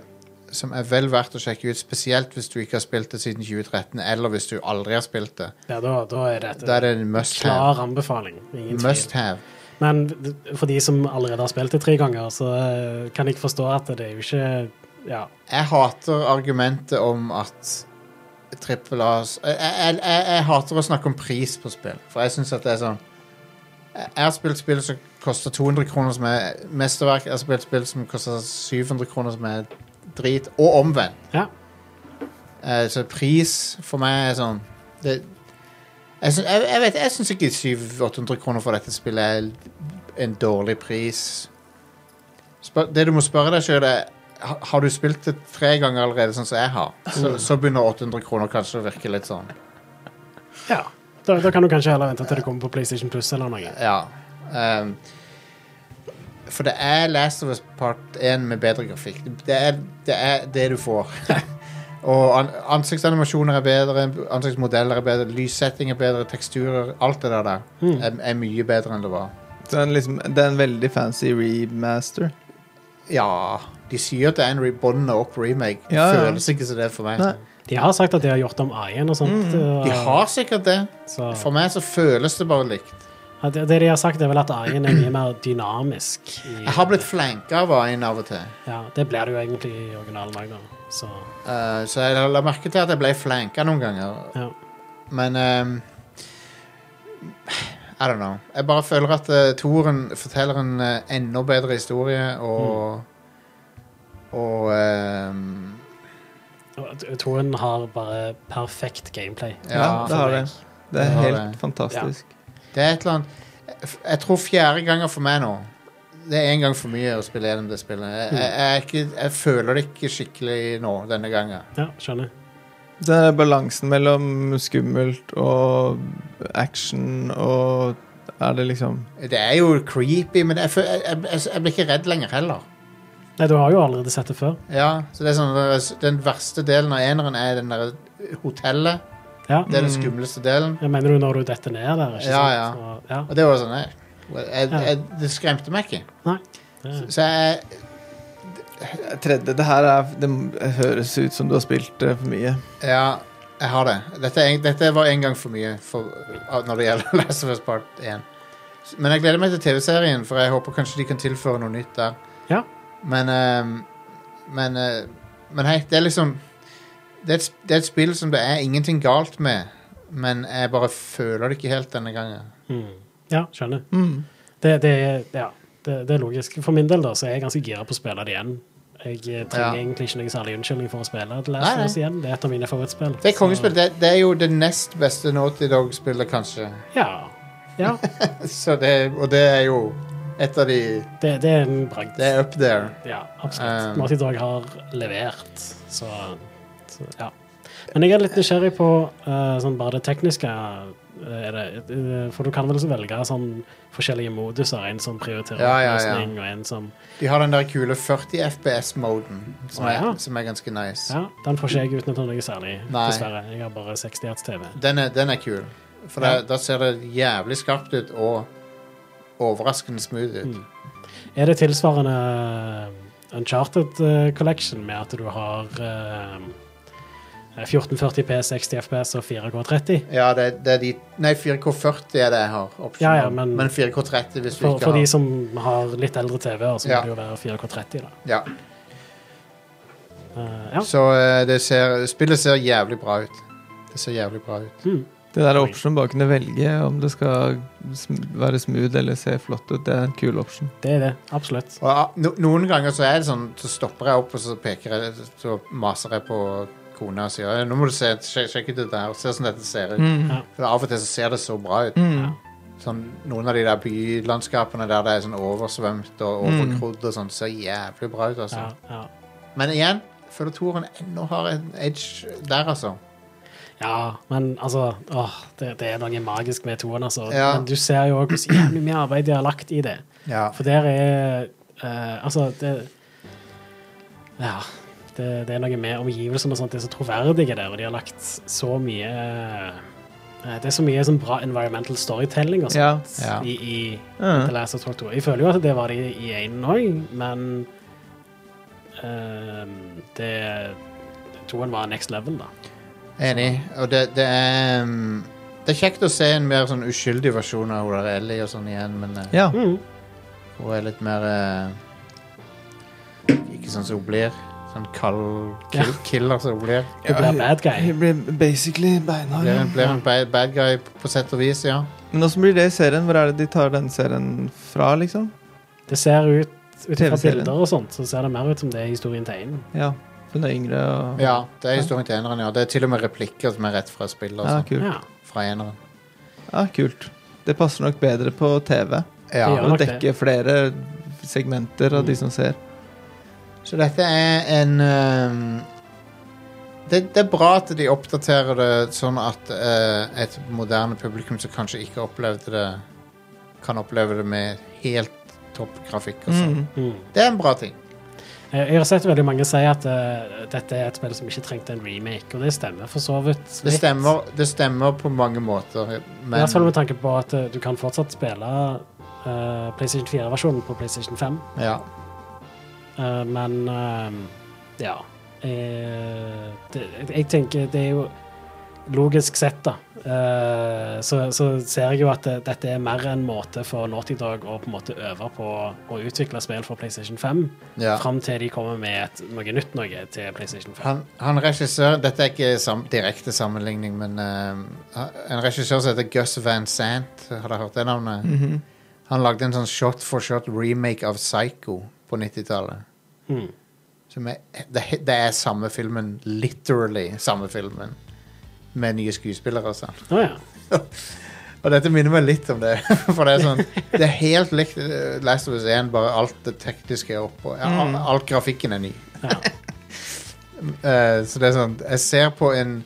Speaker 11: som er vel verdt å sjekke ut, spesielt hvis du ikke har spilt det siden 2013, eller hvis du aldri har spilt det.
Speaker 10: Ja, da, da er dette
Speaker 11: Da er det en
Speaker 10: en
Speaker 11: must have.
Speaker 10: klar anbefaling. Ingen
Speaker 11: Must
Speaker 10: tvil.
Speaker 11: have.
Speaker 10: Men for de som allerede har spilt det tre ganger, så eh, kan jeg forstå at det er jo ikke Ja.
Speaker 11: Jeg hater argumentet om at trippel A jeg, jeg, jeg, jeg hater å snakke om pris på spill, for jeg syns at det er sånn Jeg jeg har spilt spill som koster 200 kroner, som er mesterverk. Jeg har spilt spill som koster 700 kroner, som er drit. Og omvendt.
Speaker 10: ja.
Speaker 11: Eh, så pris for meg er sånn det, jeg, syns- jeg, jeg vet Jeg syns ikke 700-800 kroner for dette spillet er en dårlig pris. Spør, det du må spørre deg sjøl, er ha- har du spilt det tre ganger allerede, sånn som jeg har, så,
Speaker 12: Mm.
Speaker 11: så begynner 800 kroner kanskje å virke litt sånn.
Speaker 10: ja. Da, da kan du kanskje heller vente til det kommer på PlayStation Plus eller noe.
Speaker 11: Ja. ehm, for det er Last of Us Part 1 med bedre grafikk. Det er det, er det du får. Og an ansiktsanimasjoner er bedre, ansiktsmodeller er bedre, lyssetting er bedre, teksturer Alt det der, der
Speaker 12: Mm.
Speaker 10: Mm.
Speaker 11: er, er mye bedre enn det var.
Speaker 12: Så Det er, en liksom, det er en veldig fancy remaster.
Speaker 11: Ja De sier at det er en rebånda opp remake. Det
Speaker 12: Ja, ja.
Speaker 11: føles ikke som det er for meg.
Speaker 12: Nei.
Speaker 10: De har sagt at de har gjort om AI-en og sånt.
Speaker 11: Mm. De
Speaker 10: eh,
Speaker 11: har sikkert det.
Speaker 10: så.
Speaker 11: For meg så føles det bare likt.
Speaker 10: Ja, Det, det de har sagt, er vel at AI-en er mye mer dynamisk. I,
Speaker 11: Jeg har blitt flanka av en av og til.
Speaker 10: ja, det blir det jo egentlig i originalen òg, da. Så
Speaker 11: Eh, så jeg la merke til at jeg ble flanka noen ganger.
Speaker 10: ja.
Speaker 11: Men ehm, I don't know. Jeg bare føler at uh, Toren forteller en eh, enda bedre historie, og
Speaker 12: Mm.
Speaker 11: Og ehm,
Speaker 10: Og Jeg tror hun har bare perfekt gameplay.
Speaker 11: ja,
Speaker 12: Ja, det har det. Det er
Speaker 11: Det har
Speaker 12: helt
Speaker 11: det.
Speaker 12: fantastisk.
Speaker 11: Det er et eller annet jeg- Jeg tror fjerde ganger for meg nå. Det er én gang for mye å spille gjennom det spillet. Jeg,
Speaker 12: Mm.
Speaker 11: jeg, jeg, er ikke, jeg føler det ikke skikkelig nå, denne gangen.
Speaker 10: Ja, skjønner.
Speaker 12: Det er balansen mellom skummelt og action og Er det liksom
Speaker 11: Det er jo creepy, men jeg, fø- jeg, jeg, jeg blir ikke redd lenger heller.
Speaker 10: Nei, du har jo allerede sett det før.
Speaker 11: Ja, så det er sånn, eh, Den verste delen av eneren er den der hotellet.
Speaker 10: Ja.
Speaker 11: Det er
Speaker 12: Mm.
Speaker 11: den skumleste delen.
Speaker 10: Jeg mener du når du detter ned der, ikke
Speaker 11: Ja,
Speaker 10: sant? Og, ja.
Speaker 11: Og det var sånn jeg, jeg, jeg, Det skremte meg ikke.
Speaker 10: Nei.
Speaker 11: Så jeg
Speaker 12: Tredje. Det her er, det høres ut som du har spilt eh, for mye.
Speaker 11: Ja, jeg har det. Dette, er en- dette var en gang for mye for, av- når det gjelder Last of Us Part 1. Men jeg gleder meg til TV-serien, for jeg håper kanskje de kan tilføre noe nytt der.
Speaker 10: Ja.
Speaker 11: Men ehm, men, eh, men hei, det er liksom det er, et, sp- det er et spill som det er ingenting galt med, men jeg bare føler det ikke helt denne gangen.
Speaker 10: Mm. ja, skjønner.
Speaker 12: Mm.
Speaker 10: Det, det, er- ja, det, det er logisk. For min del da, så er jeg ganske gira på å spille det igjen. Jeg eh, trenger
Speaker 11: Ja.
Speaker 10: egentlig ikke noen særlig unnskyldning for å spille
Speaker 11: Nei,
Speaker 10: The Last
Speaker 11: nei.
Speaker 10: of Us igjen. Det er et av mine favorittspill.
Speaker 11: Det er kongespill.
Speaker 10: Så-
Speaker 11: Det, det er jo det nest beste Naughty Dog-spillet, kanskje.
Speaker 10: Ja. ja.
Speaker 11: Så det, og det er jo et av de
Speaker 10: Det, det er en bragd.
Speaker 11: Det er up there.
Speaker 10: Ja, absolutt.
Speaker 11: Um,
Speaker 10: Naughty Dog har levert, så, så ja. Men jeg er litt nysgjerrig på eh, sånn bare det tekniske. eh, Er det, eh, for du kan vel så velge sånn forskjellige moduser. En som prioriterer
Speaker 11: Ja, ja, ja.
Speaker 10: oppløsning, og en som
Speaker 11: De har den der kule 40 FPS-moden, som,
Speaker 10: Å, ja.
Speaker 11: er- som er ganske nice.
Speaker 10: Ja, den får ikke jeg utnytta noe særlig,
Speaker 11: Nei.
Speaker 10: dessverre. Jeg har bare 60 hertz TV.
Speaker 11: Den, er, den er kul. For
Speaker 10: Ja.
Speaker 11: da- da ser det jævlig skarpt ut og overraskende smooth ut.
Speaker 10: Mm. Er det tilsvarende Uncharted eh, Collection med at du har eh, 1440P, 60 FPS og 4K30?
Speaker 11: Ja, det, det er de Nei, 4K40 er det jeg har. optional.
Speaker 10: Ja, ja, men-
Speaker 11: 4K30 hvis du
Speaker 10: For,
Speaker 11: ikke
Speaker 10: for
Speaker 11: har
Speaker 10: de som har litt eldre TV-er, så
Speaker 11: Ja.
Speaker 10: må det jo være 4K30. da.
Speaker 11: ja.
Speaker 10: Eh, ja.
Speaker 11: Så eh, det ser, spillet ser jævlig bra ut. Det ser jævlig bra ut.
Speaker 10: Mm.
Speaker 12: Det der er option bare å kunne velge om det skal sm- være smooth eller se flott ut. Det er en kul option.
Speaker 10: Det er det. Absolutt.
Speaker 11: Og ah, no, noen ganger så er det sånn Så stopper jeg opp og så peker jeg Så maser jeg på kona og sier Nå må du se, sjek- sjekke ut dette her Se hvordan dette ser ut
Speaker 12: Mm.
Speaker 10: Ja.
Speaker 11: For av og til så ser det så bra ut sånn, Noen av de der bylandskapene Der det er sånn oversvømt og overkrodd og sånn, Ser jævlig bra ut altså
Speaker 10: Ja, ja.
Speaker 11: Men igjen, føler Toren enda har en edge Der altså
Speaker 10: ja men altså åh, det, det er noe magisk med toen, altså.
Speaker 11: Ja.
Speaker 10: Men du ser jo også hvor jævlig mye arbeid de har lagt i det.
Speaker 11: Ja,
Speaker 10: For der er eh, Altså, det Ja. Det, det er noe med omgivelsene og sånt. Det er så troverdige der, og de har lagt så mye eh, Det er så mye sånn bra environmental storytelling og sånt
Speaker 12: Ja.
Speaker 11: Ja.
Speaker 10: i, i
Speaker 12: Ja.
Speaker 10: The Last of Us 2. Jeg føler jo at det var det i én òg, men ehm, det Toen var next level, da.
Speaker 11: enig Og det, det er mm, Det er kjekt å se en mer sånn uskyldig versjon Av Ola Ellie og sånn igjen Men eh,
Speaker 12: Ja.
Speaker 11: Hun er litt mer eh, Ikke sånn som hun blir. Sånn kald kill, killer som hun blir.
Speaker 10: Du blir bad guy.
Speaker 12: Hun blir basically beinhard.
Speaker 11: Blir en, blir en bad, bad guy på sett og vis, ja.
Speaker 12: Men åssen blir det i serien? Hvor er det de tar den serien fra, liksom?
Speaker 10: Det ser ut ut fra
Speaker 12: TV-serien.
Speaker 10: bilder og sånt, så ser det mer ut som det er historien til Einen.
Speaker 12: Ja. Hun er yngre og
Speaker 11: Ja, Det er historien til eneren, ja. Det er til og med replikker som er rett fra spillet.
Speaker 12: Ja,
Speaker 11: og sånn,
Speaker 12: kult.
Speaker 10: Ja,
Speaker 11: Fra eneren.
Speaker 12: Ja, kult. Det passer nok bedre på TV.
Speaker 11: Ja.
Speaker 10: Ja.
Speaker 12: Å
Speaker 10: nok
Speaker 12: dekke flere segmenter av de som ser.
Speaker 11: Mm. Så dette er en ehm, det, det er bra at de oppdaterer det sånn at eh, et moderne publikum som kanskje ikke opplevde det, kan oppleve det med helt topp grafikk. Og sånn.
Speaker 12: Mm.
Speaker 10: Mm.
Speaker 11: Det er en bra ting.
Speaker 10: Jeg jeg har sett veldig mange si at eh, dette er et spill som ikke trengte en remake, og det stemmer for så vidt.
Speaker 11: Det
Speaker 10: litt.
Speaker 11: stemmer, det stemmer på mange måter,
Speaker 10: I hvert fall
Speaker 11: men
Speaker 10: med tanke på at eh, du kan fortsatt spille eh, PlayStation 4-versjonen på PlayStation 5,
Speaker 11: ja.
Speaker 10: eh, men eh, ja Eh, det, Jeg tenker det er jo logisk sett, da, eh, så, så ser jeg jo at det, dette er mer en måte for Naughty Dog å på en måte øve på å utvikle spill for PlayStation 5,
Speaker 11: ja.
Speaker 10: fram til de kommer med et, noe nytt noe til PlayStation 5.
Speaker 11: Han, han regissør Dette er ikke sam, direkte sammenligning, men eh, en regissør som heter Gus Van Sant, har dere hørt det navnet? Han lagde en sånn shot for shot remake av Psycho på 90-tallet.
Speaker 10: Mm.
Speaker 11: Som er, det, det er samme filmen, literally samme filmen, med nye skuespillere og sånn.
Speaker 10: Å ja.
Speaker 11: Og dette minner meg litt om det. For det er sånn Det er helt likt eh, Last of Us 1, bare alt det tekniske er oppå. Ja, al- Alt grafikken er ny.
Speaker 10: Mm. Ja.
Speaker 11: Eh, så det er sånn Jeg ser på en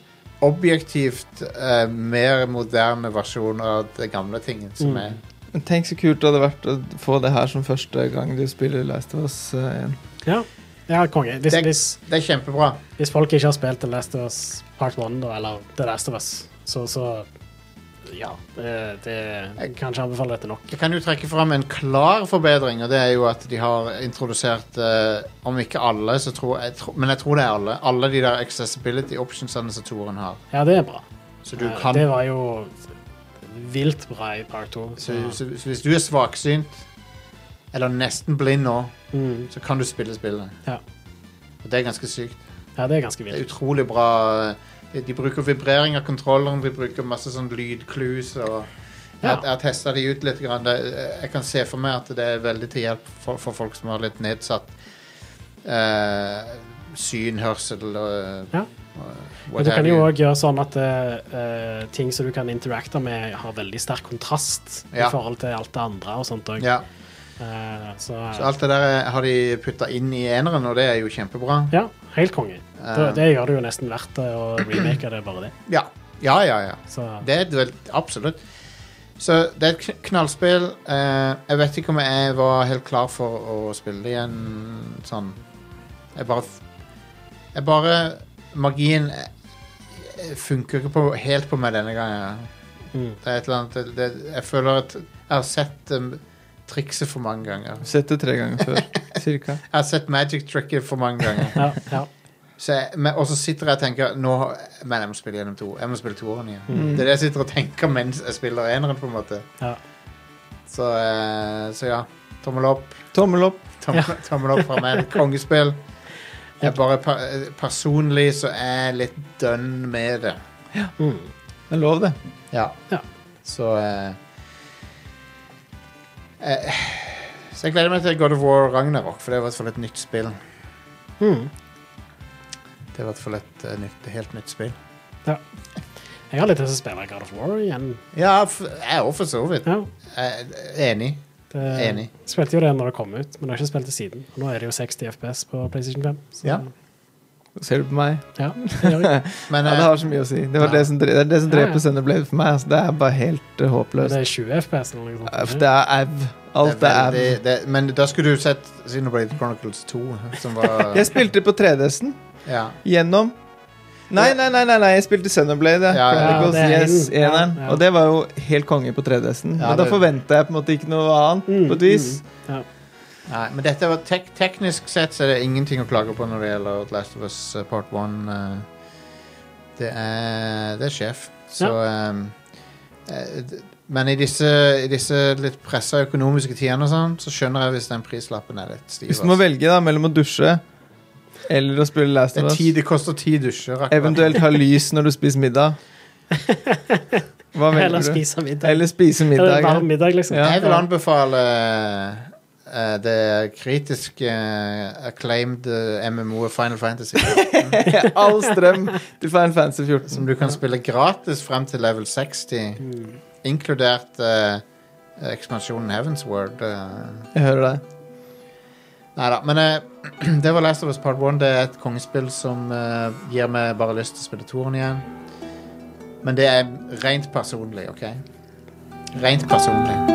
Speaker 11: objektivt eh, mer moderne versjon av det gamle tingen, som
Speaker 10: Mm.
Speaker 11: er
Speaker 12: Men tenk så kult det hadde vært å få det her som første gang du spiller Last of Us eh, igjen.
Speaker 10: Ja, ja konge. Hvis,
Speaker 11: Det-
Speaker 10: hvis,
Speaker 11: Det er kjempebra.
Speaker 10: hvis folk ikke har spilt The Last of Us Part 1, da, eller The Last of Us, så, så ja, eh, det jeg kan ikke anbefale dette nok.
Speaker 11: Jeg kan jo trekke fram en klar forbedring, og det er jo at de har introdusert eh, Om ikke alle, så tror jeg, tro, men jeg tror det er alle. Alle de der accessibility optionsene som Toren har.
Speaker 10: Ja, det er bra.
Speaker 11: Så du
Speaker 10: Eh,
Speaker 11: kan
Speaker 10: Det var jo vilt bra i Part 2.
Speaker 11: så, så, så hvis du er svaksynt, eller nesten blind nå,
Speaker 10: Mm,
Speaker 11: så kan du spille spillet.
Speaker 10: Ja.
Speaker 11: Og det er ganske sykt.
Speaker 10: ja, det er ganske
Speaker 11: Det er
Speaker 10: vilt.
Speaker 11: utrolig bra. De de bruker vibrering av kontrolleren, de bruker masse sånn lydklus og Jeg,
Speaker 10: Ja.
Speaker 11: jeg har testa de ut litt. Grann. Det, jeg kan se for meg at det er veldig til hjelp for, for folk som har litt nedsatt eh, syn, hørsel og,
Speaker 10: Ja.
Speaker 11: og
Speaker 10: Men
Speaker 11: what
Speaker 10: du kan
Speaker 11: have
Speaker 10: jo
Speaker 11: you.
Speaker 10: òg gjøre sånn at eh, eh, ting som du kan interacte med, har veldig sterk kontrast
Speaker 11: Ja.
Speaker 10: i forhold til alt det andre og sånt òg.
Speaker 11: Ja.
Speaker 10: så,
Speaker 11: Så alt det der eh, har de putta inn i eneren, og det er jo kjempebra.
Speaker 10: ja, helt konge. Det,
Speaker 11: Eh.
Speaker 10: det gjør det jo nesten verdt det å remake det, bare det.
Speaker 11: Ja, ja, ja. ja.
Speaker 10: Så
Speaker 11: Det er et veld- absolutt. Så det er et kn- knallspill. Eh, jeg vet ikke om jeg var helt klar for å spille det igjen sånn. Jeg bare f- Jeg bare Magien eh, eh, funker ikke på, helt på meg denne gangen.
Speaker 10: Mm.
Speaker 11: Det er et eller annet det, det, Jeg føler at jeg har sett um, trikset for mange ganger.
Speaker 12: Sett det tre ganger før, cirka.
Speaker 11: Jeg har sett magic tricket for mange ganger.
Speaker 10: ja, ja.
Speaker 11: Så jeg, men, og så sitter jeg og tenker nå, har- Men jeg må spille gjennom to. Jeg må spille toeren igjen. Det er det jeg sitter og tenker mens jeg spiller eneren, på en måte.
Speaker 10: Ja.
Speaker 11: Så, eh, så ja. Tommel opp.
Speaker 12: Tommel opp.
Speaker 11: Tommel, tommel opp fra meg. Kongespill. Jeg bare per, eh, personlig så er jeg litt dønn med det.
Speaker 10: Mm.
Speaker 12: Det er lov, det.
Speaker 11: Ja.
Speaker 10: Ja.
Speaker 11: Så eh, eh, Så jeg gleder meg til God of War Ragnarok, for det er i hvert fall et nytt spill.
Speaker 10: Mm.
Speaker 11: Det er i hvert fall et eh, nytt, helt nytt spill.
Speaker 10: Jeg har litt lyst til å spille God of War igjen.
Speaker 11: Ja, f- jeg er òg for så vidt.
Speaker 10: Ja,
Speaker 11: Jeg er Eh, Enig.
Speaker 10: det,
Speaker 11: Enig.
Speaker 10: Spilte jo det når det kom ut, men jeg har ikke spilt det siden. Og nå er det jo 60 FPS på PlayStation 5. Så,
Speaker 11: Ja.
Speaker 12: Ser du på meg?
Speaker 10: ja, det gjør jeg.
Speaker 11: Men
Speaker 12: Ja, det
Speaker 11: eh,
Speaker 12: har så mye å si. Det, var det, som, dre- det er det som
Speaker 10: Ja, ja.
Speaker 12: dreper Senderblade for meg. Altså. Det er bare helt eh,
Speaker 10: Men
Speaker 12: håpløst.
Speaker 10: det er 20 FPS eller noe
Speaker 12: Eh, for
Speaker 10: sånt.
Speaker 12: Det er av. Alt
Speaker 11: det
Speaker 12: er
Speaker 11: er
Speaker 12: av.
Speaker 11: veldig- det, men da skulle du sett Xenoblade Chronicles 2, som var
Speaker 12: Jeg spilte på 3DS-en
Speaker 11: ja.
Speaker 12: gjennom Nei, nei, nei, nei, nei. jeg spilte Xenoblade.
Speaker 11: Ja, ja, ja.
Speaker 12: Chronicles,
Speaker 10: Ja, det er
Speaker 12: yes,
Speaker 10: en- ja,
Speaker 12: eneren.
Speaker 10: ja.
Speaker 12: Og det var jo helt konge på 3DS-en.
Speaker 11: Ja,
Speaker 12: Men da
Speaker 11: det-
Speaker 12: forventa jeg på en måte ikke noe annet,
Speaker 10: Mm,
Speaker 12: på et vis.
Speaker 11: Nei, men dette var tek teknisk sett så er det ingenting å klage på når det gjelder The Last of Us eh, Part 1. eh. Det er, det er sjef. Så ehm, eh, d- Men i disse, i disse litt pressa økonomiske tidene og sånn, så skjønner jeg hvis den prislappen er litt stiv.
Speaker 12: Hvis du må
Speaker 11: altså.
Speaker 12: velge da mellom å dusje eller å spille Last
Speaker 11: Det,
Speaker 12: of
Speaker 11: er
Speaker 12: Us,
Speaker 11: ti, det koster ti dusjer. akkurat.
Speaker 12: eventuelt ha lys når du spiser middag Hva
Speaker 10: Eller
Speaker 12: velger du?
Speaker 10: spise middag.
Speaker 12: Eller spise
Speaker 10: Eller
Speaker 12: middag.
Speaker 10: varm
Speaker 12: ja.
Speaker 10: middag, liksom.
Speaker 12: Ja.
Speaker 11: Jeg vil anbefale eh, det kritiske eh, acclaimed eh, MMO Final Fantasy.
Speaker 12: All strøm til Final Fantasy 14.
Speaker 11: Som du kan spille gratis frem til level 60.
Speaker 10: Mm.
Speaker 11: Inkludert eh, ekspansjonen Heavens Word. eh.
Speaker 12: Jeg hører deg.
Speaker 11: Neida, men eh, det var Last of Us Part 1. Det er et kongespill som eh, gir meg bare lyst til å spille toren igjen. Men det er rent personlig, OK? Rent personlig.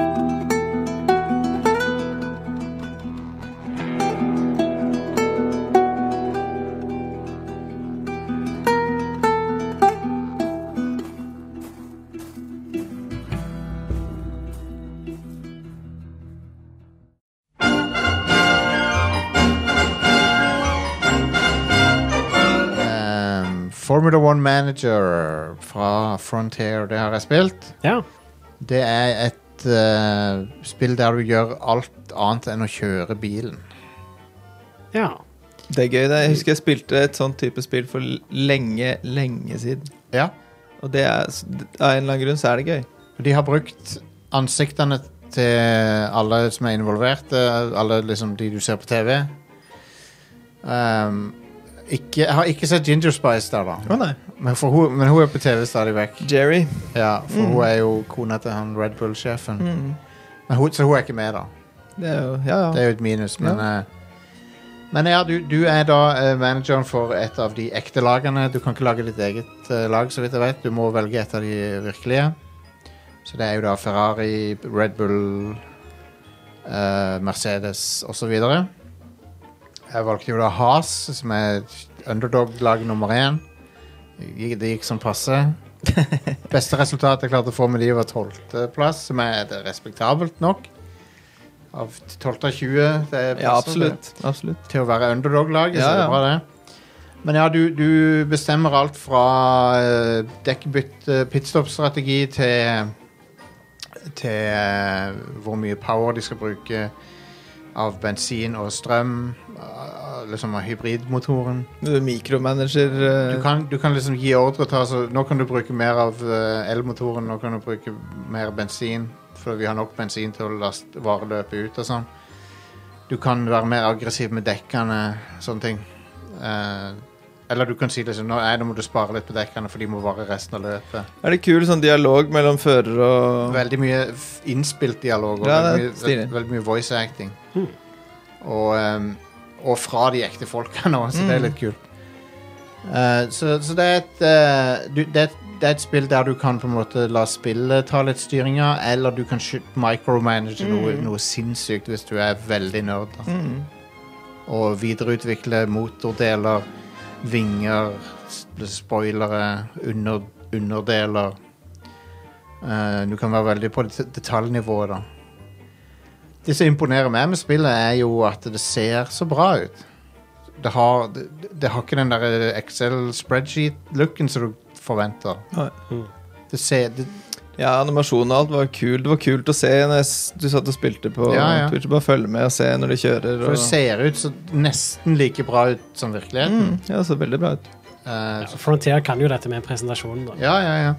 Speaker 11: Um, Formula One Manager fra Frontier, det har jeg spilt.
Speaker 10: Ja.
Speaker 11: Det er et eh, spill der du gjør alt annet enn å kjøre bilen.
Speaker 10: ja.
Speaker 12: Det er gøy. det Jeg husker jeg spilte et sånt type spill for l- lenge, lenge siden.
Speaker 11: Ja.
Speaker 12: Og det er, s- av en eller annen grunn så er det gøy.
Speaker 11: De har brukt ansiktene til alle som er involverte, alle liksom de du ser på TV. Um, ikke, jeg har ikke sett Ginger Spice der, da.
Speaker 12: nei.
Speaker 11: Men, for hun, men hun er på TV stadig vekk.
Speaker 12: Jerry.
Speaker 11: Ja, for hun er jo kona til han Red Bull-sjefen.
Speaker 12: Mm.
Speaker 11: Men hun- Så hun er ikke med, da.
Speaker 12: Det er jo Ja,
Speaker 11: Det
Speaker 12: ja.
Speaker 11: er jo et minus, men eh, Men ja, du, du er da eh, manageren for et av de ekte lagene. Du kan ikke lage ditt eget eh, lag, så vidt jeg vet. Du må velge et av de virkelige. Så det er jo da Ferrari, Red Bull, eh, Mercedes osv. Jeg valgte jo da Haas, som er underdog-lag nummer én. Gikk- Det gikk som passe. Beste resultat jeg klarte å få med de, var tolvteplass, som er det respektabelt nok. Av tolvte av 20. Det er
Speaker 12: Ja,
Speaker 11: plasser, det
Speaker 12: absolutt. absolutt.
Speaker 11: til å være underdog-laget, så
Speaker 12: Ja,
Speaker 11: er det
Speaker 12: ja.
Speaker 11: bra, det. Men ja, du, du bestemmer alt fra eh, dekkbytte, pitstop-strategi til til eh, hvor mye power de skal bruke av bensin og strøm, eh, liksom av hybridmotoren.
Speaker 12: Du er Mikromanager eh,
Speaker 11: Du kan, du kan liksom gi ordre til altså, Nå kan du bruke mer av eh, elmotoren, nå kan du bruke mer bensin, for vi har nok bensin til å laste vareløpet ut og sånn. Du kan være mer aggressiv med dekkene, sånne ting. Eh, eller du kan si liksom Nå, nei, nå må du spare litt på dekkene, for de må vare resten av løpet.
Speaker 12: Er det kul sånn dialog mellom fører og
Speaker 11: Veldig mye f- innspilt dialog og
Speaker 12: Ja, det er
Speaker 11: veldig, mye,
Speaker 12: stilig.
Speaker 11: veldig mye voice acting. Og, ehm, og fra de ekte folka nå, så det
Speaker 12: Hmm.
Speaker 11: er litt kult. Eh, så, så det er et eh, du, det, er et- det er et spill der du kan på en måte la spillet ta litt styringa, eller du kan skyt- micromanage noe,
Speaker 12: Hmm.
Speaker 11: noe sinnssykt hvis du er veldig nerd. Da.
Speaker 12: Mm.
Speaker 11: Og videreutvikle motordeler, vinger, s- spoilere, under, underdeler. Eh, du kan være veldig på det- detaljnivået, da. Det som imponerer meg med spillet, er jo at det ser så bra ut. Det har, det, det har ikke den der Excel-spreadsheet-looken som du forventer.
Speaker 12: Nei.
Speaker 11: Det ser det,
Speaker 12: Ja, animasjon og alt var kul. Det var kult å se når jeg, s- du satt og spilte på
Speaker 11: Ja, ja.
Speaker 12: Twitch. Bare følge med og se når de kjører.
Speaker 11: for
Speaker 12: Og...
Speaker 11: det ser ut så nesten like bra ut som virkeligheten.
Speaker 12: Mm, ja, det så veldig bra ut.
Speaker 11: Eh,
Speaker 10: Ja, Frontier kan jo dette med en presentasjon, da.
Speaker 11: ja, ja, ja.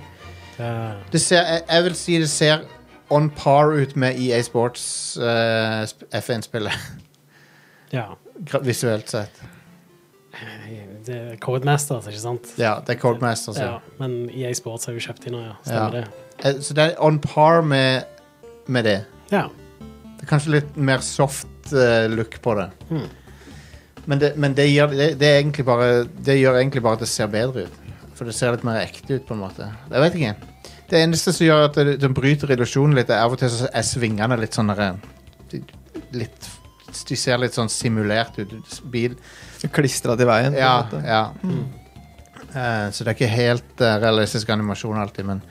Speaker 10: Det-
Speaker 11: Det ser, jeg, jeg vil si det ser on par ut med EA Sports eh, sp- F1-spillet,
Speaker 10: ja.
Speaker 11: gra- visuelt sett.
Speaker 10: Det er Codemasters, ikke sant?
Speaker 11: Ja, det er Codemaster. så.
Speaker 10: Ja, men EA Sports har jo kjøpt inn nå, ja. Stemmer
Speaker 11: Ja.
Speaker 10: det.
Speaker 11: Eh, Så det er on par med, med det.
Speaker 10: Ja.
Speaker 11: Det er kanskje litt mer soft eh, look på det.
Speaker 10: Hmm.
Speaker 11: Men, det, men det, gjør, det, det, er egentlig bare, det gjør egentlig bare at det ser bedre ut. For det ser litt mer ekte ut, på en måte. Jeg vet ikke. Det eneste som gjør at det, det bryter illusjonen litt, er av og til så er svingene litt sånn der, de, litt, de ser litt sånn simulert ut. Bil,
Speaker 12: Klistra til veien. på en
Speaker 11: ja,
Speaker 12: måte.
Speaker 11: ja.
Speaker 10: Mm.
Speaker 11: Eh, så det er ikke helt eh, realistisk animasjon alltid, men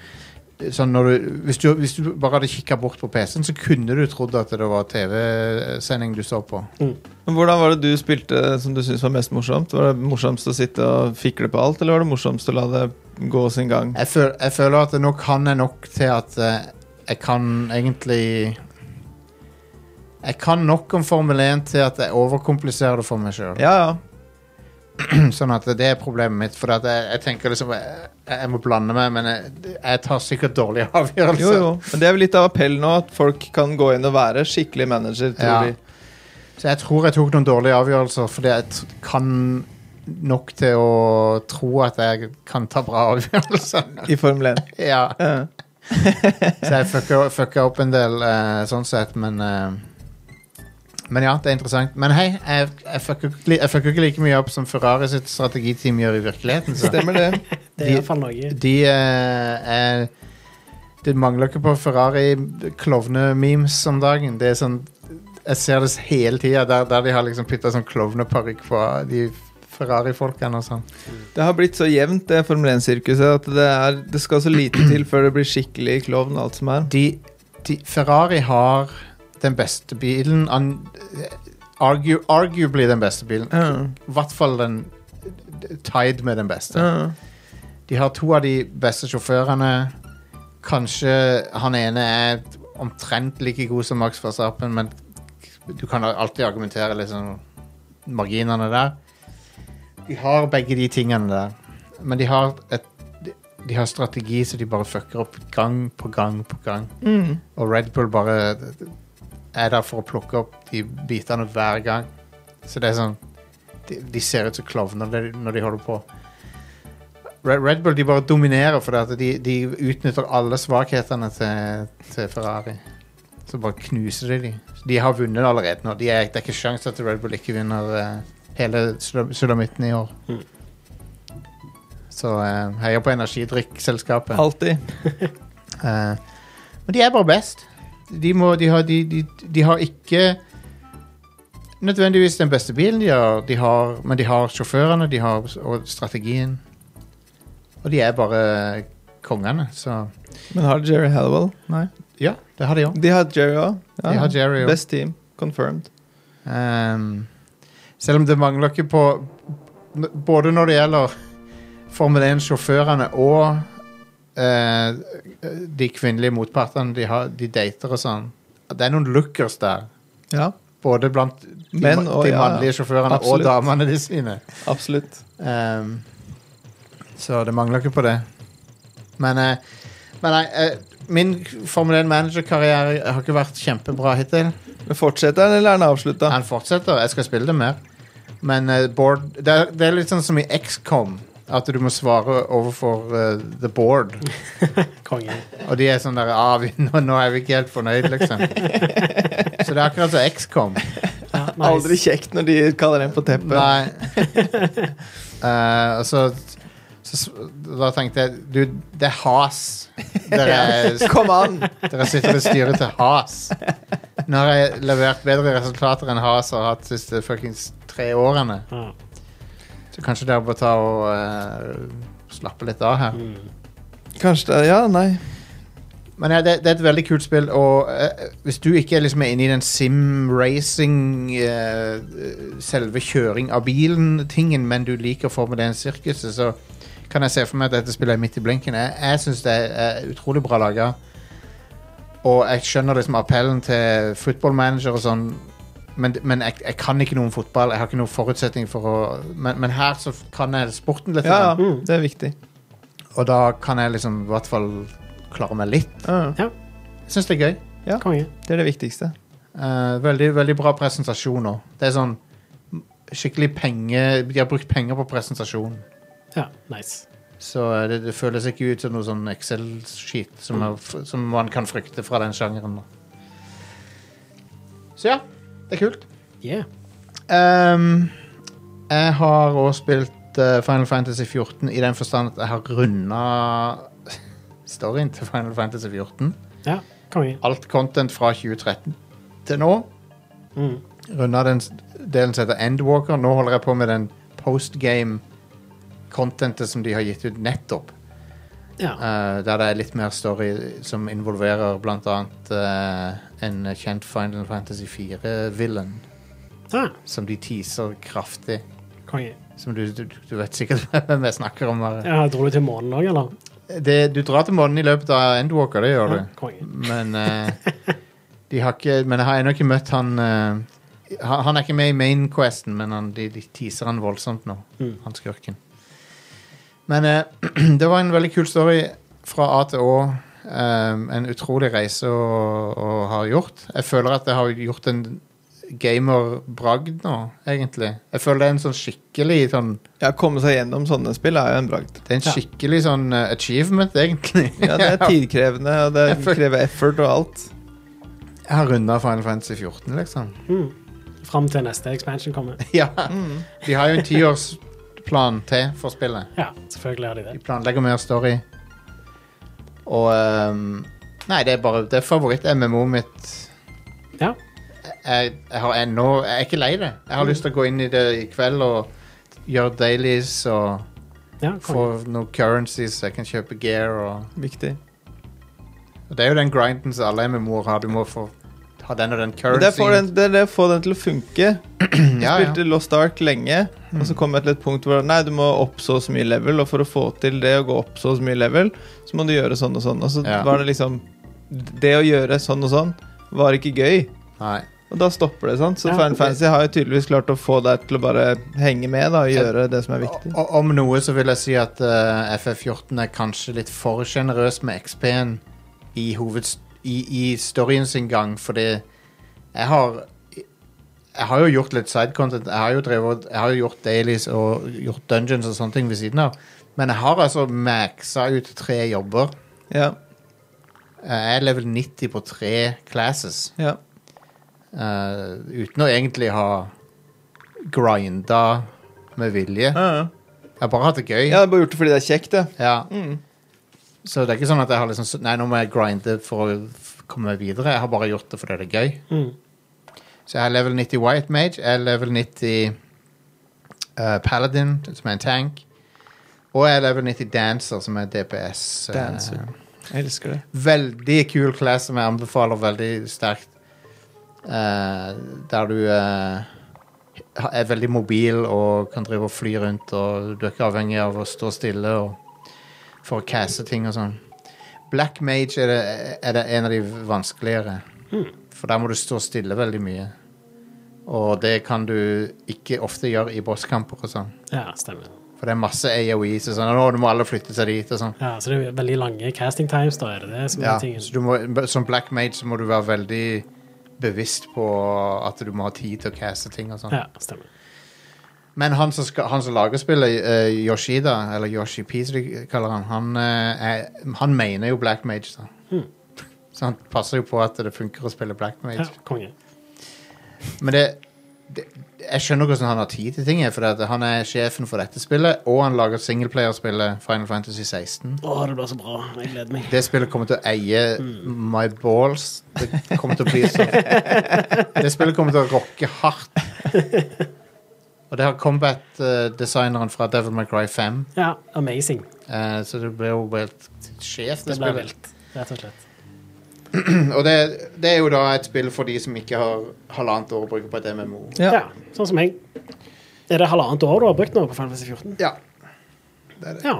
Speaker 11: sånn når du, hvis, du, hvis du bare hadde kikka bort på PC-en, så kunne du trodd at det var TV-sending du så på.
Speaker 12: Men Hvordan var det du spilte som du syntes var mest morsomt? Var det morsomst å sitte og fikle på alt, eller var det morsomst å la det gå sin gang?
Speaker 11: Jeg, føl, jeg føler at nå kan jeg nok til at eh, jeg kan egentlig Jeg kan nok om Formel 1 til at jeg overkompliserer det for meg sjøl.
Speaker 12: Ja, ja.
Speaker 11: Sånn at det er problemet mitt. For at jeg, jeg tenker liksom jeg, jeg må blande meg, men jeg, jeg tar sikkert dårlige avgjørelser.
Speaker 12: Jo, jo. Men det er vel litt av appell nå, at folk kan gå inn og være skikkelig manager. Tror
Speaker 11: Ja.
Speaker 12: de.
Speaker 11: Så jeg tror jeg tok noen dårlige avgjørelser, fordi jeg t kan nok til å tro at jeg kan ta bra avgjørelser.
Speaker 12: I Formel 1.
Speaker 11: ja.
Speaker 12: Ja.
Speaker 11: Så jeg fucka, fucka opp en del eh, sånn sett, men eh, Men ja, det er interessant. Men hei, jeg, jeg fucker ikke li- jeg fucker ikke like mye opp som Ferrari sitt strategiteam gjør i virkeligheten. Så.
Speaker 12: Stemmer det.
Speaker 10: Det er
Speaker 11: De-
Speaker 10: iallfall noe.
Speaker 11: De eh, er Det mangler ikke på Ferrari-klovne-memes om dagen. Det er sånn Jeg ser det hele tida, der, der de har liksom putta sånn klovneparykk på de Ferrari-folkene og sånn.
Speaker 12: Det har blitt så jevnt, det Formel 1-sirkuset, at det, er, det skal så lite til før det blir skikkelig klovn, alt som er.
Speaker 11: De, de Ferrari har den beste bilen an, argu, Arguably den beste bilen.
Speaker 12: Ja.
Speaker 11: I hvert fall den tied med den beste.
Speaker 12: Ja.
Speaker 11: De har to av de beste sjåførene. Kanskje han ene er omtrent like god som Max Verstappen, men du kan alltid argumentere liksom marginene der. De har begge de tingene der, men de har et de- de har strategi så de bare fucker opp gang på gang på gang.
Speaker 12: Mm.
Speaker 11: Og Red Bull bare er der for å plukke opp de bitene hver gang. Så det er sånn De, de ser ut som klovner når de- når de holder på. Red, Red Bull de bare dominerer fordi at de, de utnytter alle svakhetene til, til Ferrari. Så bare knuser de de. De har vunnet allerede nå. De er, det er ikke sjans at Red Bull ikke vinner eh, hele sulam- sulamitten i år. Så uh, heier på energidrikkselskapet.
Speaker 12: Alltid.
Speaker 11: Eh, Men de er bare best. De, må, de, har, de, de, de har ikke nødvendigvis den beste bilen, de har, de har, men de har sjåførene de har, og strategien. Og de er bare kongene, så
Speaker 12: Men har Jerry Hallowell?
Speaker 11: Nei. Ja, det har de òg.
Speaker 12: De har Jerry òg.
Speaker 11: De har Jerry òg.
Speaker 12: Best team. Confirmed.
Speaker 11: Ehm, selv om det mangler ikke på n- Både når det gjelder Formel 1-sjåførene og eh, de kvinnelige motpartene de, har, de dater og sånn. Det er noen lookers der.
Speaker 12: Ja,
Speaker 11: Både blant de,
Speaker 12: Men,
Speaker 11: ma-
Speaker 12: og
Speaker 11: de
Speaker 12: ja, ja.
Speaker 11: mannlige sjåførene
Speaker 12: Absolutt.
Speaker 11: og damene de sine.
Speaker 12: absolutt.
Speaker 11: Ehm, så det mangler ikke på det. Men, eh, men nei, eh, min Formel 1-managerkarriere har ikke vært kjempebra hittil.
Speaker 12: Men Fortsetter han, eller er han avslutta?
Speaker 11: Han fortsetter. Jeg skal spille det mer. Men eh, board det er, det er litt sånn som i XCOM, at du må svare overfor eh, the board.
Speaker 10: Konge.
Speaker 11: Og de er sånn der ah, vi, nå, nå er vi ikke helt fornøyd, liksom. Så det er akkurat som XCOM.
Speaker 10: Ja, nice.
Speaker 12: Aldri kjekt når de kaller en på teppet.
Speaker 11: Nei. Eh, og så, så s- Da tenkte jeg Du, det er has. Dere,
Speaker 12: Kom an!
Speaker 11: dere sitter og styrer til has. Nå har jeg levert bedre resultater enn has har hatt de siste fuckings tre årene.
Speaker 10: Ja.
Speaker 11: Så kanskje dere bør ta og eh, slappe litt av her.
Speaker 10: Mm.
Speaker 12: Kanskje det Ja, nei.
Speaker 11: Men ja, det, det er et veldig kult spill, og eh, hvis du ikke liksom er inne i den sim-racing, eh, selve kjøring av bilen-tingen, men du liker Formel 1-sirkuset, så kan jeg se for meg at dette spillet er midt i blinken. Jeg, jeg syns det er utrolig bra laga. Og jeg skjønner liksom appellen til footballmanager og sånn, men, men jeg, jeg kan ikke noe om fotball. Jeg har ikke noen forutsetning for å Men, men her så kan jeg sporten litt.
Speaker 12: Ja, ja.
Speaker 11: grann.
Speaker 12: Det er viktig.
Speaker 11: Og da kan jeg liksom i hvert fall klare meg litt.
Speaker 12: Ja,
Speaker 11: Jeg syns det er gøy.
Speaker 10: Konge.
Speaker 12: det er det viktigste.
Speaker 11: Eh, veldig, veldig bra presentasjon nå. Det er sånn skikkelig penge De har brukt penger på presentasjon.
Speaker 10: Ja, nice.
Speaker 11: Så eh, det, det føles ikke ut som noe sånn Excel-skit som, er f- som man kan frykte fra den sjangeren. da. Så ja, det er kult.
Speaker 10: Yeah.
Speaker 11: Ehm, jeg har òg spilt eh, Final Fantasy 14 i den forstand at jeg har runda storyen til Final Fantasy 14.
Speaker 10: Ja, konge.
Speaker 11: alt content fra 2013 til nå.
Speaker 10: Mm.
Speaker 11: Runda den s- delen som heter Endwalker. Nå holder jeg på med den postgame-contentet som de har gitt ut nettopp.
Speaker 10: Ja.
Speaker 11: eh, der det er litt mer story som involverer blant annet eh, en kjent Final Fantasy 4-villain.
Speaker 10: Ah,
Speaker 11: Som de teaser kraftig.
Speaker 10: konge.
Speaker 11: Som du, du, du vet sikkert hvem jeg snakker om. her.
Speaker 10: Ja, dro du til månen òg, eller?
Speaker 11: Det, du drar til månen i løpet av Endwalker, det gjør du.
Speaker 10: Ja, konge.
Speaker 11: Men eh, de har ikke Men jeg har ennå ikke møtt han eh, han, han er ikke med i mainquesten, men han, de, de teaser han voldsomt nå.
Speaker 12: Mm.
Speaker 11: Han skurken. Men eh, det var en veldig kul story fra A til Å. eh, en utrolig reise å, å ha gjort. Jeg føler at jeg har gjort en gamer-bragd nå, egentlig. Jeg føler det er en sånn skikkelig sånn
Speaker 12: Ja, komme seg gjennom sånne spill er jo en bragd.
Speaker 11: Det er en
Speaker 10: Ja.
Speaker 11: skikkelig sånn eh, achievement, egentlig.
Speaker 12: Ja, det er tidkrevende, og det
Speaker 11: Jeg føl-
Speaker 12: krever effort og alt.
Speaker 11: Jeg har runda Final Fantasy 14, liksom.
Speaker 10: Mm. Fram til neste expansion kommer.
Speaker 11: Ja. De har jo en tiårsplan til for spillet.
Speaker 10: Ja, selvfølgelig har de
Speaker 11: De
Speaker 10: det.
Speaker 11: planlegger mer story. Og ehm, Nei, det er bare Det er favoritt-MMO-et mitt.
Speaker 10: Ja.
Speaker 11: Jeg, jeg har ennå Jeg er ikke lei det. Jeg har lyst til å gå inn i det i kveld og gjøre dailies og
Speaker 10: Ja,
Speaker 11: få
Speaker 10: konge.
Speaker 11: noe currency så jeg kan kjøpe gear og
Speaker 12: Viktig.
Speaker 11: og Det er jo den grinden som alle MMO-er har. Du må få ha den og den
Speaker 12: Men det er å få den,
Speaker 11: currencyen.
Speaker 12: det er det å få den til å funke. Mm,
Speaker 11: Ja, ja.
Speaker 12: Spilte Lost Ark lenge, og så kom jeg til et punkt hvor nei, du må opp så og så mye level, og for å få til det å gå opp så og så mye level, så må du gjøre sånn og sånn. Og så
Speaker 11: Ja.
Speaker 12: var det liksom Det å gjøre sånn og sånn var ikke gøy.
Speaker 11: Nei.
Speaker 12: Og da stopper det, sant? Så
Speaker 10: Ja.
Speaker 12: Final Fantasy har jo tydeligvis klart å få deg til å bare henge med da, og
Speaker 11: Jeg-
Speaker 12: gjøre det som er viktig.
Speaker 11: O- Om noe så vil jeg si at eh, FF14 er kanskje litt for sjenerøs med XP-en i, hoveds- i, i storyen sin gang, fordi jeg har jeg har jo gjort litt sidecontent. Jeg har jo, drevet, jeg har jo gjort dailies og gjort dungeons og sånne ting ved siden av. Men jeg har altså maxa ut tre jobber. Eh,
Speaker 12: Ja,
Speaker 11: Jeg er level 90 på tre classes.
Speaker 12: ja.
Speaker 11: eh, uten å egentlig ha grinda med vilje.
Speaker 12: Ja, ja.
Speaker 11: Jeg har bare hatt det gøy.
Speaker 12: Jeg har bare gjort det fordi det er kjekt, det.
Speaker 11: Ja. Så det er ikke sånn at jeg har liksom s- Nei, nå må jeg grinde for å f- komme meg videre. Jeg har bare gjort det fordi det er gøy.
Speaker 10: Mm.
Speaker 11: Så jeg er level 90 White Mage. Jeg er level 90 eh, Paladin, som er en tank. Og jeg er level 90 Dancer, som er DPS. eh,
Speaker 12: Dancer. Jeg elsker det.
Speaker 11: Veldig kul class som jeg anbefaler veldig sterkt. Eh, der du eh, ha- er veldig mobil og kan drive og fly rundt, og du er ikke avhengig av å stå stille og for å caste ting og sånn. Black Mage er det, er det en av de vanskeligere, for der må du stå stille veldig mye. Og det kan du ikke ofte gjøre i bosskamper og sånn.
Speaker 10: Ja, stemmer.
Speaker 11: For det er masse AOE som sånn, nå må alle flytte seg dit og sånn.
Speaker 10: Ja, så det er veldig lange casting times, da, er det det som er
Speaker 11: Ja,
Speaker 10: tingen?
Speaker 11: så du må, som black mage så må du være veldig bevisst på at du må ha tid til å caste ting og sånn.
Speaker 10: Ja, stemmer.
Speaker 11: Men han som, skal, han som lager spillet, eh, Yoshida, eller Yoshi P, som de kaller han, han, eh, er, han mener jo black mage, da.
Speaker 10: Hmm.
Speaker 11: Så han passer jo på at det funker å spille black mage.
Speaker 10: Ja, konge.
Speaker 11: Men det, det Jeg skjønner hvordan han har tid til ting, for at han er sjefen for dette spillet, og han lager singleplayerspillet Final Fantasy 16.
Speaker 10: Å, det blir så bra. Jeg gleder meg.
Speaker 11: Det spillet kommer til å eie my balls. Det kommer til å bli så Det spillet kommer til å rocke hardt. Og det har combat-designeren fra Devil May Cry 5,
Speaker 10: Ja, amazing.
Speaker 11: eh, så det blir jo helt sjef, det,
Speaker 10: Det blir
Speaker 11: spillet.
Speaker 10: vilt, rett og slett.
Speaker 11: Og det, det er jo da et spill for de som ikke har halvannet år å bruke på et MMO.
Speaker 10: Ja.
Speaker 12: Ja.
Speaker 10: sånn som jeg. Er det halvannet år du har brukt nå på Final Fantasy 14?
Speaker 11: Ja.
Speaker 10: Ja.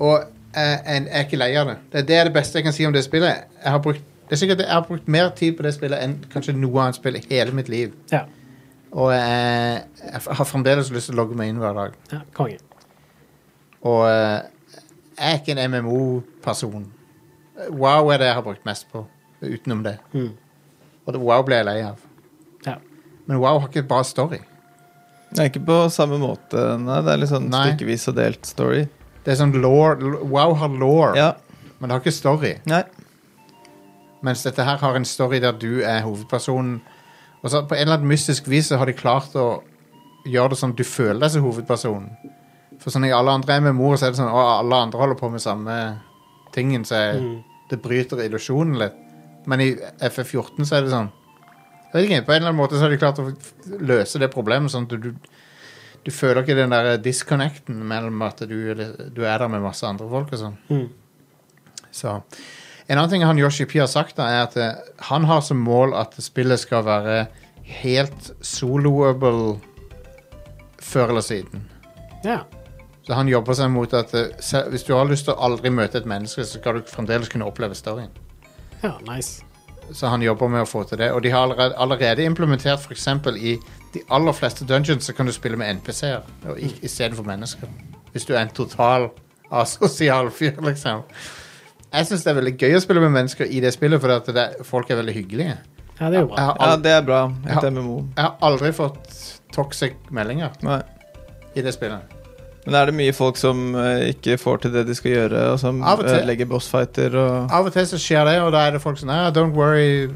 Speaker 11: Og eh, en- jeg er ikke lei av det. det. Det er det beste jeg kan si om det spillet. Jeg har brukt, det er sikkert jeg har brukt mer tid på det spillet enn kanskje noe annet spill i hele mitt liv.
Speaker 10: Ja,
Speaker 11: Og jeg, jeg har fremdeles lyst til å logge meg inn hver dag.
Speaker 10: ja konge.
Speaker 11: Og eh, jeg er ikke en MMO-person. Wow er det jeg har brukt mest på, utenom det.
Speaker 10: Mm.
Speaker 11: Og det, wow ble jeg lei av.
Speaker 10: Ja.
Speaker 11: Men wow har ikke bra story.
Speaker 12: Nei, ikke på samme måte, nei. Det er litt sånn
Speaker 11: Nei.
Speaker 12: stykkevis og delt story.
Speaker 11: Det er sånn lore, l- Wow har law,
Speaker 12: Ja.
Speaker 11: men det har ikke story.
Speaker 12: Nei.
Speaker 11: Mens dette her har en story der du er hovedpersonen. Og så på en eller annen mystisk vis så har de klart å gjøre det som du føler deg som hovedpersonen. For sånn i alle andre MMO-er så er det sånn at alle andre holder på med samme tingen, så jeg, det bryter illusjonen litt. Men i FF14 så er det sånn jeg vet ikke, På en eller annen måte så har de klart å f- løse det problemet. sånn at du, du, du føler ikke den der disconnecten mellom at du, du er der med masse andre folk og sånn.
Speaker 10: Mm.
Speaker 11: Så En annen ting han Yoshi P har sagt, da, er at eh, han har som mål at spillet skal være helt soloable før eller siden.
Speaker 10: Ja.
Speaker 11: Så han jobber seg mot at eh, se- hvis du har lyst til å aldri møte et menneske, så skal du fremdeles kunne oppleve storyen.
Speaker 10: ja, nice.
Speaker 11: Så han jobber med å få til det. Og de har allerede, allerede implementert f.eks. i de aller fleste dungeons så kan du spille med NPC-er og i- istedenfor mennesker. Hvis du er en total asosial fyr, liksom. Jeg syns det er veldig gøy å spille med mennesker i det spillet, for at det, folk er veldig hyggelige.
Speaker 10: Ja, det er jo
Speaker 11: Jeg
Speaker 10: bra.
Speaker 11: har,
Speaker 12: Ja,
Speaker 11: aldri,
Speaker 12: det er bra. Et
Speaker 11: Ja.
Speaker 12: MMO.
Speaker 11: jeg har aldri fått toxic meldinger
Speaker 12: Nei.
Speaker 11: i det spillet.
Speaker 12: Men er det mye folk som eh, ikke får til det de skal gjøre, og som
Speaker 11: Av og til.
Speaker 12: ødelegger bossfighter og
Speaker 11: Av og til så skjer det, og da er det folk som ah, Don't worry.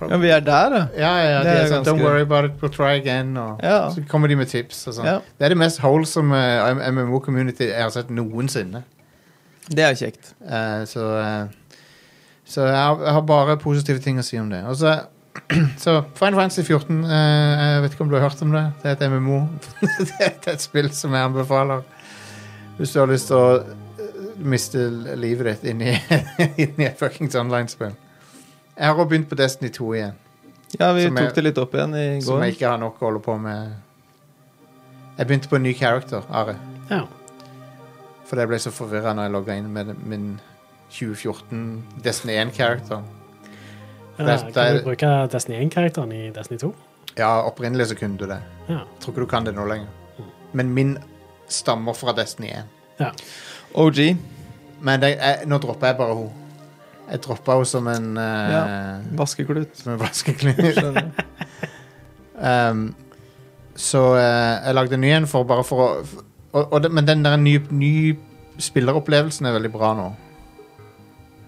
Speaker 12: Ja, vi er der, ja.
Speaker 11: Ja, ja, ja,
Speaker 12: Det
Speaker 11: de
Speaker 12: er
Speaker 11: er
Speaker 12: jo
Speaker 11: sånn, Don't
Speaker 12: ganske-
Speaker 11: worry about it, we'll try again. Og
Speaker 12: Ja.
Speaker 11: Så kommer de med tips. Og sånn.
Speaker 12: Ja.
Speaker 11: Det er det mest wholesome eh, MMO-community jeg har sett noensinne.
Speaker 12: Det er kjekt.
Speaker 11: Eh, så eh, så jeg, har, jeg har bare positive ting å si om det. Og så, så Final Fantasy 14 eh, Jeg vet ikke om du har hørt om det? Det er et MMO. det er et- et spill som jeg anbefaler. Hvis du har lyst til å eh, miste livet ditt inn i, inn i et fuckings online-spill. Jeg har også begynt på Destiny 2 igjen,
Speaker 12: Ja, vi
Speaker 11: Som er-
Speaker 12: tok det litt opp igjen i
Speaker 11: som
Speaker 12: går.
Speaker 11: jeg ikke har nok å holde på med. Jeg begynte på en ny character, Are.
Speaker 10: Ja.
Speaker 11: For jeg ble så forvirra når jeg logga inn med min 2014 Destiny 1-character.
Speaker 10: ja
Speaker 11: Det er-
Speaker 10: kan
Speaker 11: det
Speaker 10: du
Speaker 11: er-
Speaker 10: bruke Destiny 1-karakteren i Destiny 2?
Speaker 11: Ja, opprinnelig så kunne du det.
Speaker 10: Ja.
Speaker 11: Jeg tror ikke du kan det nå lenger. Men min stammer fra Destiny 1.
Speaker 10: ja.
Speaker 12: OG.
Speaker 11: Men det, jeg, nå dropper jeg bare henne. Jeg droppa henne som en eh,
Speaker 12: Ja. Vaskeklut.
Speaker 11: Som en vaskeklype.
Speaker 12: Skjønner.
Speaker 11: Um, så eh, jeg lagde en ny en for bare for å f- og, og det, Men den der nye, nye spilleropplevelsen er veldig bra nå.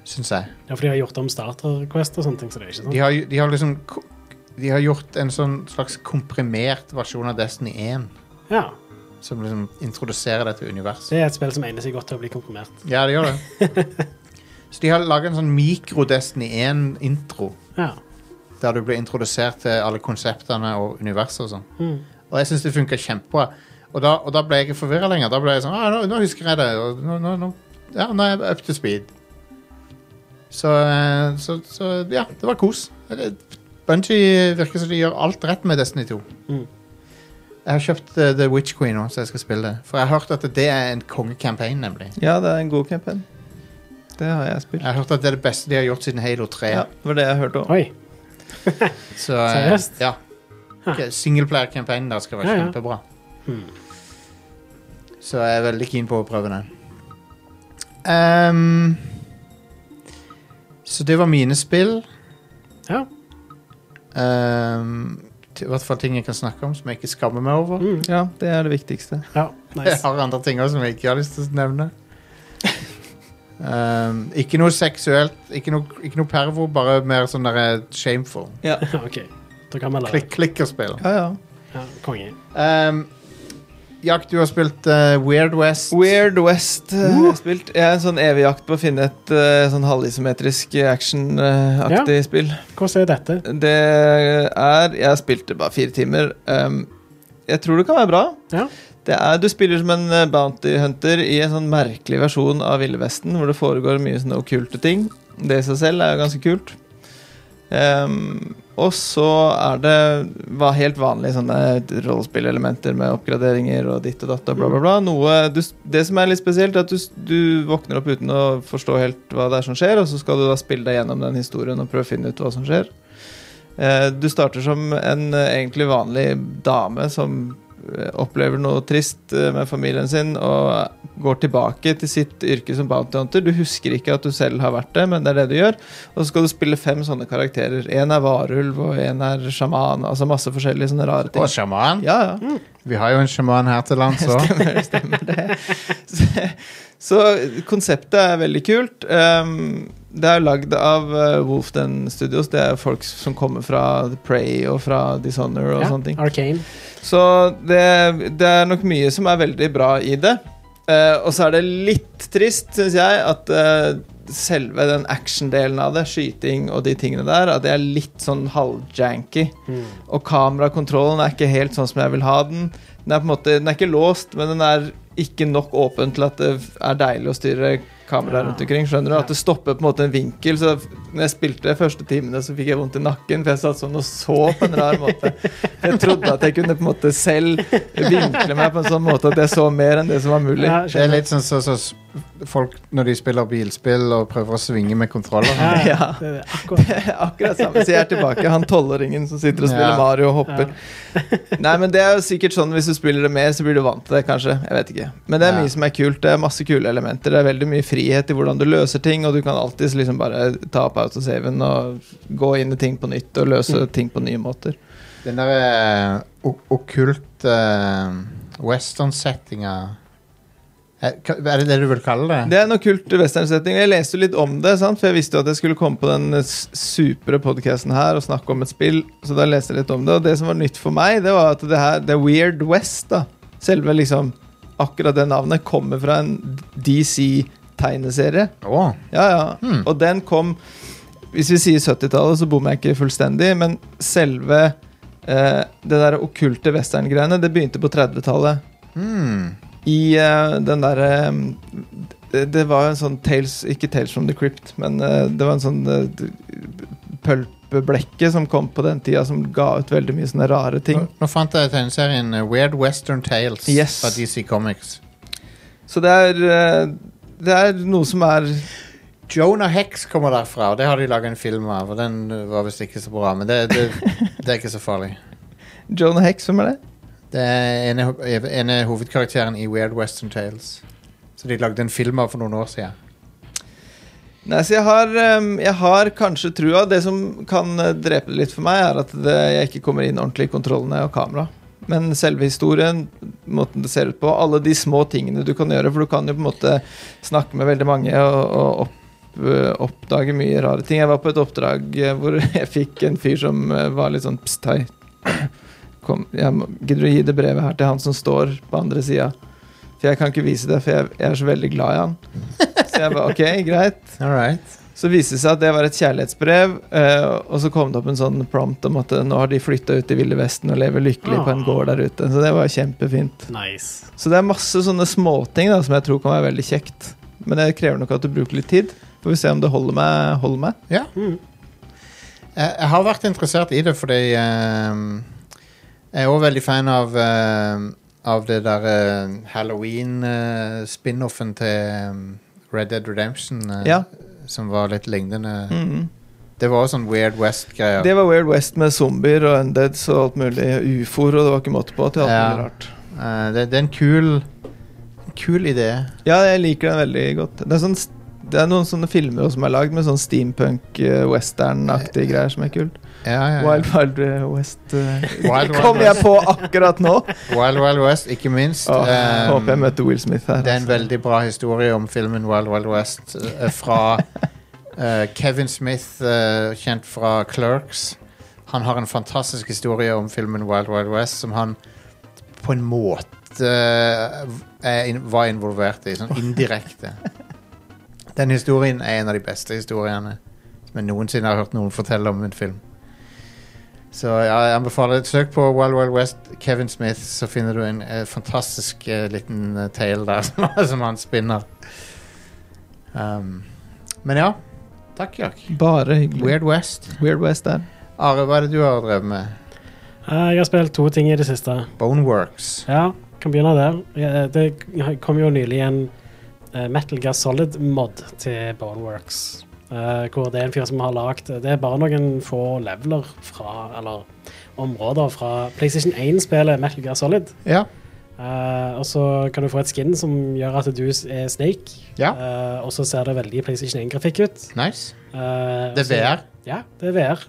Speaker 11: Syns jeg.
Speaker 10: ja, for de har gjort om Starter Quest og sånne ting, så det er
Speaker 11: De
Speaker 10: ikke sånn.
Speaker 11: har, de har liksom ko- De har gjort en sånn slags komprimert versjon av Destiny 1.
Speaker 10: Ja.
Speaker 11: Som liksom introduserer dette universet.
Speaker 10: Det er et spill som egner seg godt til å bli konfirmert.
Speaker 11: Ja, det gjør det. Så de har laga en sånn mikro-Destiny 1-intro.
Speaker 10: Ja.
Speaker 11: Der du blir introdusert til alle konseptene og universet og sånn.
Speaker 10: Mm.
Speaker 11: Og jeg syns det funka kjempebra. Og da, og da ble jeg ikke forvirra lenger. Da ble jeg sånn ah, nå, nå husker jeg det. Og nå, nå, nå, ja, nå er jeg up to speed. Så, eh, så, så ja, det var kos. Bunji virker som de gjør alt rett med Destiny 2.
Speaker 10: Mm.
Speaker 11: Jeg har kjøpt eh, The Witch Queen nå, så jeg skal spille det. For jeg har hørt at det er en kongecampaign, nemlig.
Speaker 12: Ja, det er en god campaign. Det har jeg spilt.
Speaker 11: Jeg har hørt at det er det beste de har gjort siden Halo 3.
Speaker 12: Ja, det var det jeg hørte om.
Speaker 10: Oi.
Speaker 11: Så, eh,
Speaker 10: Seriøst?
Speaker 11: Ja. Ok, Singleplayer-campaignen der skal være
Speaker 10: Ja, ja.
Speaker 11: kjempebra.
Speaker 10: Hmm.
Speaker 11: Så jeg er veldig keen på å prøve den. Ehm, så det var mine spill.
Speaker 10: Ja.
Speaker 11: Ehm, t- I hvert fall ting jeg kan snakke om som jeg ikke skammer meg over.
Speaker 10: Mm.
Speaker 12: Ja, det er det viktigste.
Speaker 10: ja.
Speaker 11: Jeg
Speaker 10: Nice.
Speaker 11: har andre ting også som jeg ikke har lyst til å nevne. Ehm, ikke noe seksuelt, ikke noe, ikke noe pervo, bare mer sånn der, eh, shameful.
Speaker 10: OK. Da kan vi la
Speaker 11: Klikk, klikkerspill.
Speaker 12: Ja, ja.
Speaker 10: Ja, konge.
Speaker 11: Um, Jack, du har spilt eh, Weird West.
Speaker 12: Weird West eh, har jeg spilt. Jeg er en sånn evig jakt på å finne et eh, sånn halvisometrisk action-aktig eh, spill.
Speaker 10: Hvordan er dette?
Speaker 12: Det er Jeg spilte bare fire timer. Um, jeg tror det kan være bra.
Speaker 10: Ja.
Speaker 12: Det er, du spiller som en eh, bounty hunter i en sånn merkelig versjon av Ville Vesten, hvor det foregår mye sånne okkulte ting. Det i seg selv er jo ganske kult. Um, og så er det va- helt vanlige sånne rollespillelementer med oppgraderinger og ditt og datt og bla, bla, bla. Noe, du, s- det som er litt spesielt, er at du, s- du våkner opp uten å forstå helt hva det er som skjer, og så skal du da spille deg gjennom den historien og prøve å finne ut hva som skjer. Eh, Du starter som en eh, egentlig vanlig dame som eh, opplever noe trist eh, med familien sin og går tilbake til sitt yrke som bounty hunter. Du husker ikke at du selv har vært det, men det er det du gjør. Og så skal du spille fem sånne karakterer. Én er varulv, og én er sjaman. Altså masse forskjellige sånne rare
Speaker 11: Og
Speaker 12: ting.
Speaker 11: sjaman.
Speaker 12: Ja, ja.
Speaker 11: Vi har jo en sjaman her til lands òg.
Speaker 12: Så, så konseptet er veldig kult. Um, det er lagd av uh, Wolf Den Studios. Det er folk som kommer fra The Prey og fra Dishonor og
Speaker 10: Ja.
Speaker 12: sånne ting.
Speaker 10: Arcane.
Speaker 12: Så det, det er nok mye som er veldig bra i det. Eh, og så er det litt trist, syns jeg, at eh, selve den action-delen av det, skyting og de tingene der, at det er litt sånn halvjanky. Og kamerakontrollen er ikke helt sånn som jeg vil ha den. Den er på en måte, den er ikke låst, men den er ikke nok åpen til at det er deilig å styre kameraet rundt omkring. Skjønner du? At det stopper på en måte en vinkel. Så når jeg spilte de første timene, så fikk jeg vondt i nakken, for jeg satt sånn og så på en rar måte. Jeg trodde at jeg kunne på en måte selv vinkle meg på en sånn måte at jeg så mer enn det som var mulig.
Speaker 10: Ja,
Speaker 11: Det er
Speaker 10: skjønner.
Speaker 11: litt sånn som så, folk når de spiller bilspill og prøver å svinge med kontroller.
Speaker 10: Ja,
Speaker 12: Ja.
Speaker 10: det er akkurat.
Speaker 12: Akkurat samme, så jeg er tilbake. Han tolvåringen som sitter og spiller
Speaker 11: Ja.
Speaker 12: Mario og hopper. Nei, men det er jo sikkert sånn Hvis du spiller det mer, så blir du vant til det, kanskje. Jeg vet ikke. Men det er
Speaker 11: Ja.
Speaker 12: mye som er kult. Det er masse kule elementer. Det er veldig mye frihet i hvordan du løser ting, og du kan alltids liksom bare ta opp autosaven og gå inn i ting på nytt og løse ting på nye måter.
Speaker 11: Den der eh, o- okkult uh, western-settinga er, hva- er det det du vil kalle det?
Speaker 12: Det er noe kult westernsetting. og Jeg leste jo litt om det, sant? for jeg visste jo at jeg skulle komme på den eh, s- supre podcasten her og snakke om et spill. Så da leste jeg litt om det, og det som var nytt for meg, det var at det her, det er Weird West, da. Selve liksom Akkurat det navnet kommer fra en DC-tegneserie.
Speaker 11: Åh,
Speaker 12: Ja, ja.
Speaker 11: Hmm.
Speaker 12: Og den kom Hvis vi sier 70-tallet, så bommer jeg ikke fullstendig, men selve eh, det der okkulte western-greiene, det begynte på 30-tallet.
Speaker 11: hmm.
Speaker 12: I eh, den derre det, det var en sånn Tales Ikke Tales from the Crypt, men eh, det var en sånn eh, d- pølpeblekke som kom på den tida, som ga ut veldig mye sånne rare
Speaker 11: Nå,
Speaker 12: ting.
Speaker 11: nå fant jeg tegneserien eh, Weird Western Tales
Speaker 12: Yes.
Speaker 11: fra DC Comics.
Speaker 12: Så det er eh, Det er noe som er
Speaker 11: Jonah Hex kommer derfra, og det har de laga en film av. Og den eh, var visst ikke så bra, men det, det, det er ikke så farlig.
Speaker 12: Jonah Hex, hvem er det?
Speaker 11: Det er ene, ene hovedkarakteren i Weird Western Tales. Så de lagde en film av for noen år siden.
Speaker 12: Nei, så jeg har, ehm, jeg har kanskje trua. Det som kan eh, drepe det litt for meg, er at det, jeg ikke kommer inn ordentlig i kontrollene og kamera. Men selve historien, måten det ser ut på, alle de små tingene du kan gjøre. For du kan jo på en måte snakke med veldig mange og, og opp, eh, oppdage mye rare ting. Jeg var på et oppdrag eh, hvor jeg fikk en fyr som eh, var litt sånn pst, hei. kom, jeg må, Gidder du å gi det brevet her til han som står på andre sida? For jeg kan ikke vise det, for jeg, jeg er så veldig glad i han. Så jeg bare, ok, greit.
Speaker 11: All right.
Speaker 12: Så viste det seg at det var et kjærlighetsbrev, eh, og så kom det opp en sånn prompt om at eh, nå har de flytta ut i Ville Vesten og lever lykkelig på
Speaker 11: Ah.
Speaker 12: en gård der ute. Så det var kjempefint.
Speaker 10: Nice.
Speaker 12: Så det er masse sånne småting da, som jeg tror kan være veldig kjekt. Men det krever nok at du bruker litt tid. Får vi se om det holder meg. Holder meg.
Speaker 11: Ja. Jeg, jeg har vært interessert i det fordi ehm, Jeg er òg veldig fan av ehm, Av det der ehm, Halloween-spin-offen til ehm, Red Dead Redemption, eh,
Speaker 12: Ja.
Speaker 11: som var litt lignende.
Speaker 12: Mhm.
Speaker 11: Det var også sånn Weird West-greier.
Speaker 12: Det var Weird West med zombier og undeads og alt mulig. Ufoer og det var ikke måte på. Til alt
Speaker 11: Ja.
Speaker 12: mulig rart.
Speaker 11: Eh, det, det er en kul Kul idé.
Speaker 12: Ja, jeg liker den veldig godt. Det er, sånn, s- det er noen sånne filmer også som er lagd med sånn steampunk, eh, western-aktige greier som er kult.
Speaker 11: Ja, ja, ja.
Speaker 12: Wild Wild eh, West eh,
Speaker 11: Wild, Wild
Speaker 12: Kom jeg
Speaker 11: West.
Speaker 12: på akkurat nå?
Speaker 11: Wild Wild West, ikke minst.
Speaker 12: Åh,
Speaker 11: Ehm,
Speaker 12: håper jeg møter Will Smith her.
Speaker 11: Det er en
Speaker 12: altså.
Speaker 11: veldig bra historie om filmen Wild Wild West eh, fra eh, Kevin Smith, eh, kjent fra Clerks. Han har en fantastisk historie om filmen Wild Wild West som han på en måte eh, er in var involvert i, sånn indirekte. Den historien er en av de beste historiene som jeg noensinne har hørt noen fortelle om en film. Så ja, jeg anbefaler et søk på Wild Wild West, Kevin Smith, så finner du en eh, fantastisk eh, liten eh, tale der som, som han spinner. Um, men ja. Takk, Jack.
Speaker 12: Bare hyggelig. Weird,
Speaker 11: Weird West.
Speaker 12: West der.
Speaker 11: Are, hva er det du har drevet med?
Speaker 10: Eh, Jeg har spilt to ting i det siste.
Speaker 11: Boneworks.
Speaker 10: Ja, kan begynne der. Ja, Det kom jo nylig en eh, Metal Gear Solid-mod til Boneworks. eh, Hvor det er en fyr som har lagd Det er bare noen få leveler fra Eller områder fra PlayStation 1-spelet Metal Gear Solid.
Speaker 11: Ja.
Speaker 10: Eh, og så kan du få et skin som gjør at du s- er Snake.
Speaker 11: Ja.
Speaker 10: Eh, og så ser det veldig PlayStation 1-grafikk ut.
Speaker 11: Nice.
Speaker 10: Eh,
Speaker 11: Det er
Speaker 10: og så-
Speaker 11: VR.
Speaker 10: ja, det er VR.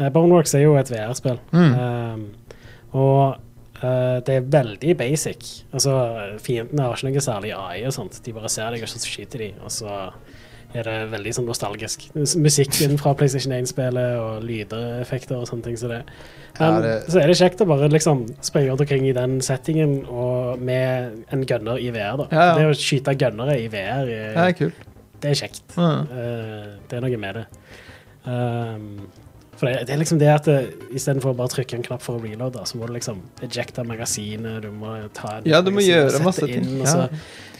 Speaker 10: Eh, Boneworks er jo et VR-spill.
Speaker 11: Mm.
Speaker 10: Um, og eh, det er veldig basic. Altså, Fiendene har ikke noe særlig AI. og sånt. De bare ser deg, og så skyter de. Og så er det veldig sånn nostalgisk. S- Musikken fra PlayStation 1-spillet og lydeffekter og sånne ting. Så det. Men
Speaker 11: Ja, det-
Speaker 10: så er det kjekt å bare liksom springe rundt omkring i den settingen og med en gunner i VR. da.
Speaker 12: Ja, ja.
Speaker 10: Det å skyte gunnere i VR, er-
Speaker 12: Det er kult.
Speaker 10: det er kjekt.
Speaker 12: Ja.
Speaker 10: Eh, det er noe med det. Ehm, for det, det er liksom det at det- istedenfor å bare trykke en knapp for å reloade, da, så må du liksom ejecte magasinet, du må ta en
Speaker 12: Ja, du må
Speaker 10: magasin og
Speaker 12: gjøre
Speaker 10: sette
Speaker 12: masse ting,
Speaker 10: inn, og
Speaker 11: altså.
Speaker 12: ja.
Speaker 10: så,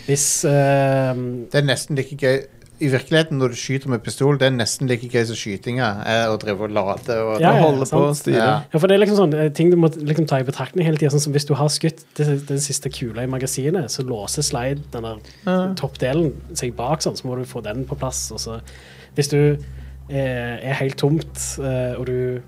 Speaker 10: hvis ehm,
Speaker 11: Det er nesten like gøy I virkeligheten, når du skyter med pistol, det er nesten like gøy som skytinga. er Å drive og lade og
Speaker 10: Ja,
Speaker 12: Å
Speaker 10: ja,
Speaker 12: holde på
Speaker 10: sant.
Speaker 12: og styre.
Speaker 11: Ja.
Speaker 10: Ja, for det er liksom sånn eh, ting du må liksom ta i betraktning hele tida. Sånn som hvis du har skutt det- den siste kula i magasinet, så låser slide den der toppdelen seg bak, sånn, så må du få den på plass. Og så hvis du eh, er helt tomt, eh, og du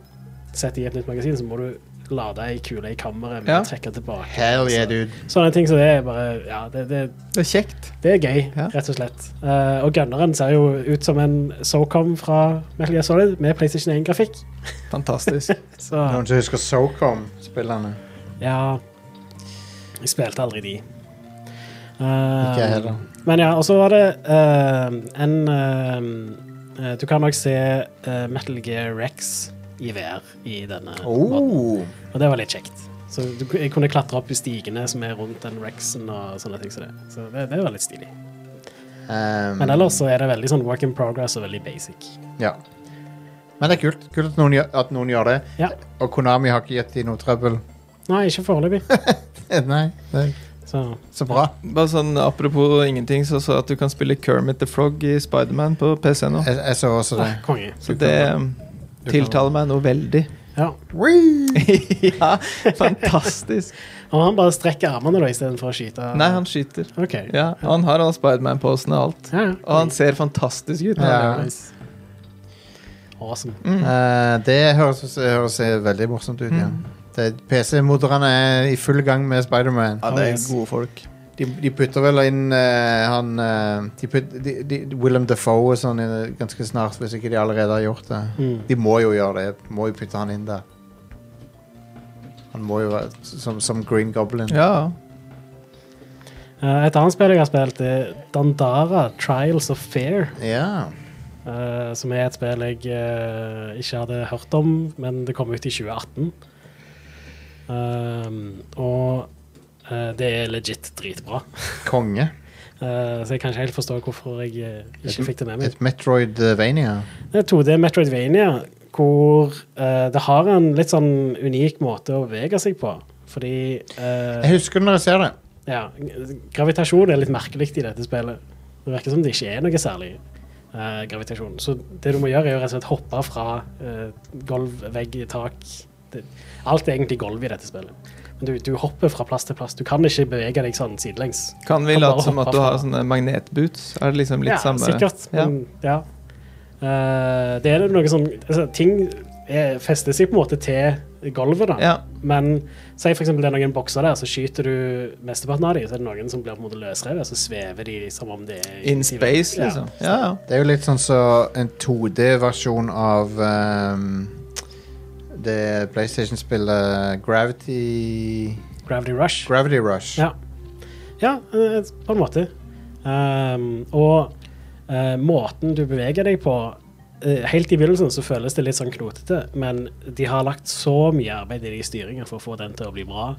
Speaker 10: setter i et nytt magasin, så må du lade ei kule i kammeret med
Speaker 12: Ja.
Speaker 10: å trekke tilbake.
Speaker 11: Hell yeah,
Speaker 10: Så-
Speaker 11: dude.
Speaker 10: Sånne ting som det er bare Ja, det, det,
Speaker 12: Det er kjekt.
Speaker 10: det er gøy,
Speaker 12: Ja.
Speaker 10: rett og slett. Eh, og gunneren ser jo ut som en SoCom fra Metal Gear Solid med PlayStation 1-grafikk.
Speaker 12: Fantastisk.
Speaker 10: Så
Speaker 11: Noen som husker SoCom-spillerne?
Speaker 10: Ja Jeg spilte aldri de.
Speaker 11: Ikke jeg
Speaker 10: Eh,
Speaker 11: heller.
Speaker 10: men ja, og så var det eh, en eh, eh, Du kan nok se eh, Metal Gear Rex i VR i denne. måten.
Speaker 11: Oh.
Speaker 10: Og det var litt kjekt. Så du, jeg kunne klatre opp i stigene som er rundt den Rexen og sånne ting. Så det, så det, det var litt stilig.
Speaker 11: Um,
Speaker 10: Men ellers så er det veldig sånn work in progress og veldig basic.
Speaker 11: Ja. Men det er kult. Kult at noen gjør, at noen gjør det.
Speaker 10: Ja.
Speaker 11: Og Konami har ikke gitt dem noe trøbbel.
Speaker 10: Nei, ikke foreløpig.
Speaker 11: Eh, Nei, det er
Speaker 10: Så
Speaker 11: så bra.
Speaker 12: Bare sånn Apropos ingenting, så så jeg at du kan spille Kermit the Frog i Spiderman på PC nå.
Speaker 11: Jeg, jeg så også det.
Speaker 10: konge.
Speaker 12: Så det um, tiltaler meg noe veldig.
Speaker 10: Ja.
Speaker 12: ja, fantastisk.
Speaker 10: Og han bare strekker armene da istedenfor å skyte.
Speaker 12: Nei, han skyter.
Speaker 10: OK.
Speaker 12: Ja, og han har all Spiderman-posen og alt.
Speaker 10: Ja, ja.
Speaker 12: Og han ser fantastisk ut.
Speaker 11: Ja.
Speaker 10: Nice. Awesome.
Speaker 11: Eh, det høres, høres veldig morsomt ut, ja. Det- PC-moderne er i full gang med Spiderman.
Speaker 12: Ja, det er gode folk.
Speaker 11: De, de putter vel inn eh, han eh, de put, de, de, Willem Defoe og sånn inn, eh, ganske snart, hvis ikke de allerede har gjort det.
Speaker 10: Mm.
Speaker 11: De må jo gjøre det. Må jo putte han inn der. Han må jo være som, som Green Goblin.
Speaker 12: Ja.
Speaker 10: Eh, Et annet spill jeg har spilt, er Dandara Trials of Fair.
Speaker 11: Ja.
Speaker 10: eh, Som er et spill jeg eh, ikke hadde hørt om, men det kom ut i 2018. Eh, Um, og eh, det er legit dritbra.
Speaker 11: Konge.
Speaker 10: Eh, så jeg kan ikke helt forstå hvorfor jeg eh, ikke fikk det med meg.
Speaker 11: Et Metroidvania.
Speaker 10: Det er 2D Metroidvania, hvor eh, det har en litt sånn unik måte å bevege seg på. Fordi eh,
Speaker 11: Jeg husker når jeg ser det.
Speaker 10: ja, gravitasjon er litt merkelig i dette spillet. Det virker som det ikke er noe særlig eh, gravitasjon. Så det du må gjøre, er jo rett og slett hoppe fra eh, gulv, vegg, tak det, Alt er egentlig gulv i dette spillet. Men du, du hopper fra plass til plass. Du kan ikke bevege deg sånn sidelengs.
Speaker 12: Kan vi
Speaker 10: Kan bare
Speaker 12: late som at
Speaker 10: hoppe
Speaker 12: du har sånn
Speaker 10: fra-
Speaker 12: sånne magnetboots? Er det liksom litt
Speaker 10: ja,
Speaker 12: samme
Speaker 10: sikkert.
Speaker 12: Ja.
Speaker 10: Men, ja. Eh, det er noe sånn altså, Ting er, fester seg på en måte til gulvet, da.
Speaker 12: Ja.
Speaker 10: Men si for eksempel det er noen bokser der, så skyter du mesteparten av dem, så er det noen som blir på en måte løsrevet, så svever de som om det er
Speaker 12: In space, liksom. Ja, ja.
Speaker 11: Det er jo litt sånn som en 2D-versjon av ehm, det PlayStation-spillet Gravity
Speaker 10: Ja. Gravity Rush.
Speaker 11: Gravity Rush.
Speaker 10: Ja. Ja, eh, på en måte. Ehm, og eh, måten du beveger deg på eh, Helt i begynnelsen så føles det litt sånn knotete, men de har lagt så mye arbeid i de styringene for å få den til å bli bra.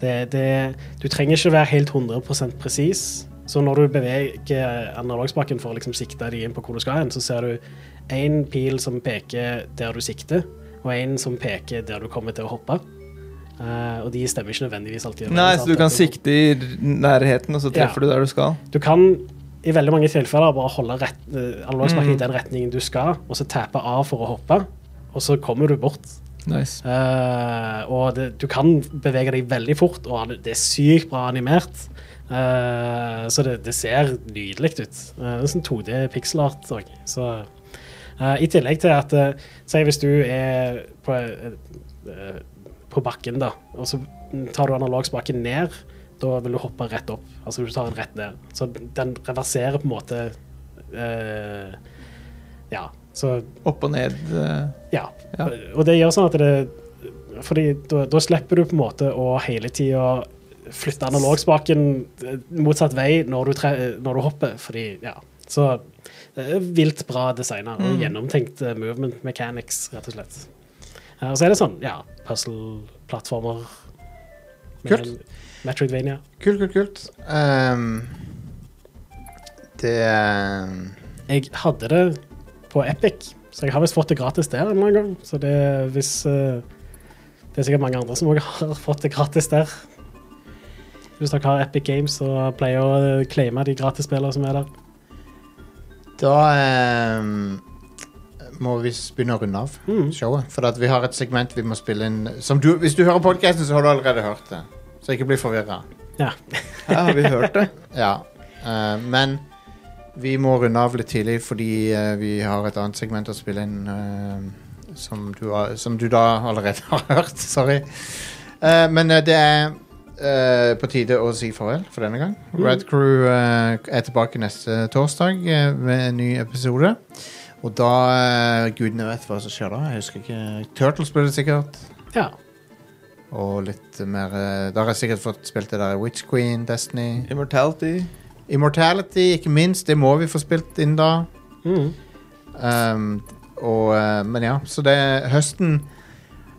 Speaker 10: Det, det, du trenger ikke være helt 100 presis. Så når du beveger analogspaken for å liksom sikte de inn på hvor du skal hen, så ser du én pil som peker der du sikter, og én som peker der du kommer til å hoppe. Eh, og de stemmer ikke nødvendigvis alltid.
Speaker 12: Nei, så du kan
Speaker 10: At-
Speaker 12: sikte i r- nærheten, og så treffer du der du skal?
Speaker 10: du kan i veldig mange tilfeller bare holde rett, eh, analogspaken i den retningen du skal, og så tappe av for å hoppe, og så kommer du bort.
Speaker 12: Nice.
Speaker 10: Eh, og det, du kan bevege deg veldig fort, og han- det er sykt bra animert. Eh, så det, det ser nydelig ut. Eh, det er sånn 2D pixelart òg. Så eh, I tillegg til at eh, Si hvis du er på, eh, eh, på bakken, da, og så tar du analogspaken ned, da vil du hoppe rett opp. Altså du tar den rett ned. Så den reverserer på en måte eh, Ja. Så
Speaker 12: Opp og ned. eh,
Speaker 10: ja.
Speaker 12: Ja.
Speaker 10: Og det gjør sånn at det Fordi da, da slipper du på en måte å hele tida flytte analogspaken eh, motsatt vei når du, tre, når du hopper, fordi Ja. Så eh, vilt bra designa og gjennomtenkt eh, movement mechanics, rett og slett. Eh, Og så er det sånn, ja, puzzle-plattformer. med
Speaker 11: Kult.
Speaker 10: Metroidvania.
Speaker 11: Kult, kult, kult. Ehm, det ehm,
Speaker 10: Jeg hadde det på Epic, så jeg har visst fått det gratis der en eller annen gang. Så det, er hvis, eh, det er sikkert mange andre som også har fått det gratis der. Hvis dere har Epic Games og pleier å eh, claime de gratisspillene som er der.
Speaker 11: Da ehm, må vi s- begynne å runde av
Speaker 10: Mm.
Speaker 11: showet. For at vi har et segment vi må spille inn som du, Hvis du hører podkasten, så har du allerede hørt det. Så ikke bli forvirra.
Speaker 10: Ja.
Speaker 12: Her har vi hørt det.
Speaker 11: Ja. eh, men vi må runde av litt tidlig fordi eh, vi har et annet segment å spille inn eh, som, du, har- som du da allerede har hørt. Sorry. Eh, men eh, det er eh, på tide å si farvel for denne gang. Red Crew eh, er tilbake neste torsdag eh, med en ny episode. Og da eh, Gudene vet hva som skjer da. Jeg husker ikke. Turtles blir det sikkert.
Speaker 10: ja.
Speaker 11: Og litt mer eh, Da har jeg sikkert fått spilt det der Witch Queen, Destiny.
Speaker 12: Immortality.
Speaker 11: Immortality, ikke minst. Det må vi få spilt inn da.
Speaker 10: Mm.
Speaker 11: Um, og, eh, men ja, så det er høsten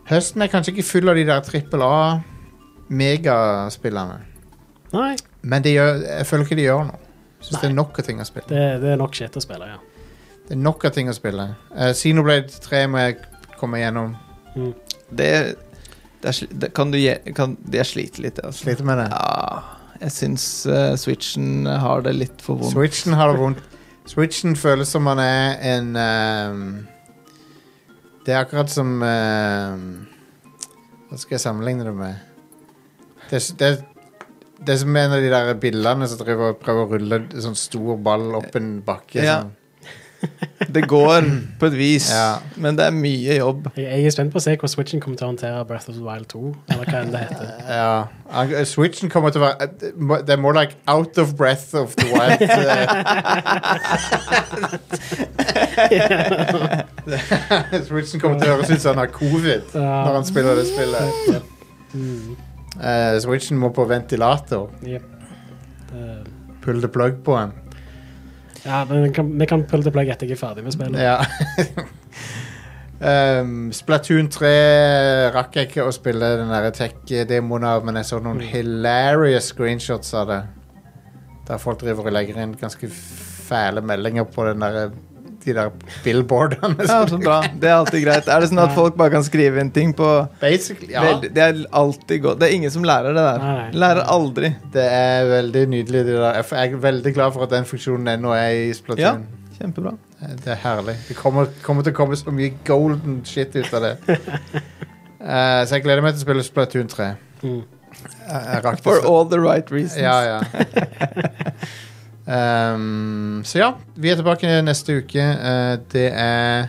Speaker 11: Høsten er kanskje ikke full av de der trippel A-megaspillene.
Speaker 10: Nei,
Speaker 11: Men de gjør, jeg føler ikke de gjør noe. Jeg Syns det er nok av ting å spille.
Speaker 10: det, det er nok shit å spille, ja.
Speaker 11: Det er nok av ting å spille. Eh, Xenoblade 3 må jeg komme gjennom.
Speaker 12: Det, det, er, sli- det kan du gi kan, Jeg sliter litt, jeg. Altså.
Speaker 11: Sliter med det.
Speaker 12: Ja, jeg syns eh, Switchen har det litt for vondt.
Speaker 11: Switchen har det vondt. Switchen føles som han er en ehm, Det er akkurat som ehm, Hva skal jeg sammenligne det med? Det, er s- det, er- det er som en av de der billene som driver og prøver å rulle en sånn stor ball opp en bakke.
Speaker 12: Ja.
Speaker 11: Sånn.
Speaker 12: Det går på et vis,
Speaker 11: Ja.
Speaker 12: men det er mye jobb.
Speaker 10: Jeg, jeg er spent på å se hvordan Switchen kommer til å håndtere Breath of the Wild 2, eller hva enn det heter.
Speaker 11: Ja. Ang- Switchen kommer til å være eh, det må- Det er more like out of breath of the wild. eh. Switchen kommer til å høres ut som han har covid
Speaker 10: Ja.
Speaker 11: når han spiller det spillet. Eh, Switchen må på ventilator.
Speaker 10: Jep. Det-
Speaker 11: Pull the plug på han.
Speaker 10: Ja, men vi kan, vi kan pulle det plagg etter jeg er ferdig med spillet.
Speaker 11: Ja. Ehm, Splatoon 3 rakk jeg ikke å spille den der tech-demoen av, men jeg så
Speaker 12: Mm.
Speaker 11: noen hilarious screenshots av det. Der folk driver og legger inn ganske fæle meldinger på den der, de der billboardene.
Speaker 12: Ja, så bra. Det er alltid greit. Er det sånn at folk bare kan skrive inn ting på
Speaker 11: Basically, ja.
Speaker 12: Veldig- Det er alltid godt. Det er ingen som lærer det der.
Speaker 10: Nei, nei.
Speaker 12: Lærer aldri.
Speaker 11: Det er veldig nydelig. Det der. Jeg er veldig glad for at den funksjonen ennå er i
Speaker 12: Ja,
Speaker 11: Splatoon.
Speaker 12: kjempebra.
Speaker 11: Eh, Det er herlig. Det kommer, kommer til å komme så mye golden shit ut av det. Eh, så jeg gleder meg til å spille Splatoon 3.
Speaker 10: Mm.
Speaker 11: Jeg, jeg rakk
Speaker 12: For
Speaker 11: det
Speaker 12: all the right reasons.
Speaker 11: Ja, ja. Ehm, så ja, vi er tilbake neste uke. Eh, det er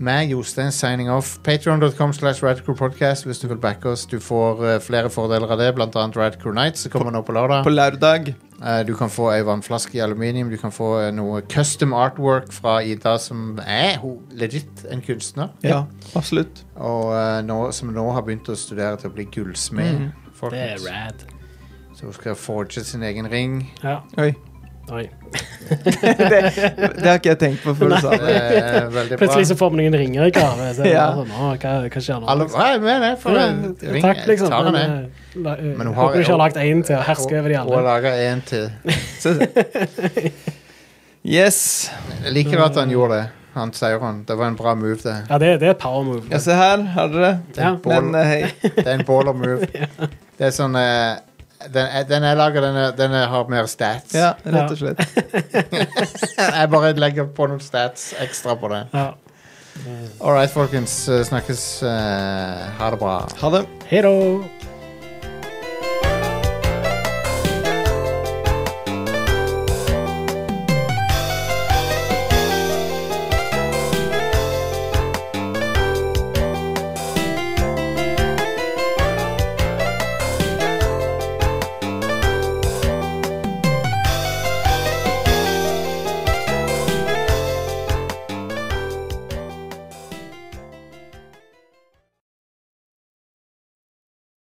Speaker 11: meg, Jostein, signing off. Patreon.com slash Radcrew Podcast hvis du vil backe oss. Du får eh, flere fordeler av det, blant annet Radcrew Nights, som kommer nå på lørdag.
Speaker 12: På lørdag.
Speaker 11: Eh, Du kan få ei vannflaske i aluminium. Du kan få eh, noe custom artwork fra Ida, som er ho- legit en kunstner.
Speaker 12: Ja, absolutt.
Speaker 11: Og eh, nå, som nå har begynt å studere til å bli gullsmed.
Speaker 12: Mm. Mhm.
Speaker 10: Det er
Speaker 11: folkens.
Speaker 10: rad.
Speaker 11: Så hun skal forge sin egen ring.
Speaker 10: Ja.
Speaker 12: Oi.
Speaker 10: Oi.
Speaker 12: Det har ikke jeg tenkt på før du sa
Speaker 11: Det
Speaker 12: det.
Speaker 11: er veldig bra.
Speaker 10: Plutselig så får man noen ringer i gave. Så ja.
Speaker 12: Ja.
Speaker 10: hva, hva skjer nå?
Speaker 11: Alle, Hva er det med det? For en
Speaker 10: Ja,
Speaker 11: ring,
Speaker 10: Takk, liksom.
Speaker 11: tar han det.
Speaker 10: Men, eh, la, eh,
Speaker 11: Men hun har-
Speaker 10: håper hun ikke har lagd én til å herske over de
Speaker 11: Og, og
Speaker 10: andre.
Speaker 11: lager en til.
Speaker 12: Så- Yes.
Speaker 11: Jeg liker at han gjorde det. Han sier han. Det var en bra move, det.
Speaker 10: Ja, det, det er et power move.
Speaker 12: Ja, se her har dere det.
Speaker 10: Ja.
Speaker 12: Men eh, hei.
Speaker 11: Det er en baller move. Det er sånn eh, Den, den jeg lager, den, er- den er- har mer stats.
Speaker 12: Ja, rett og slett.
Speaker 11: Jeg bare legger på noen stats ekstra på det.
Speaker 10: Ja.
Speaker 11: All right, folkens. eh, Snakkes. eh, Ha det bra.
Speaker 12: Ha det.
Speaker 10: Hei da!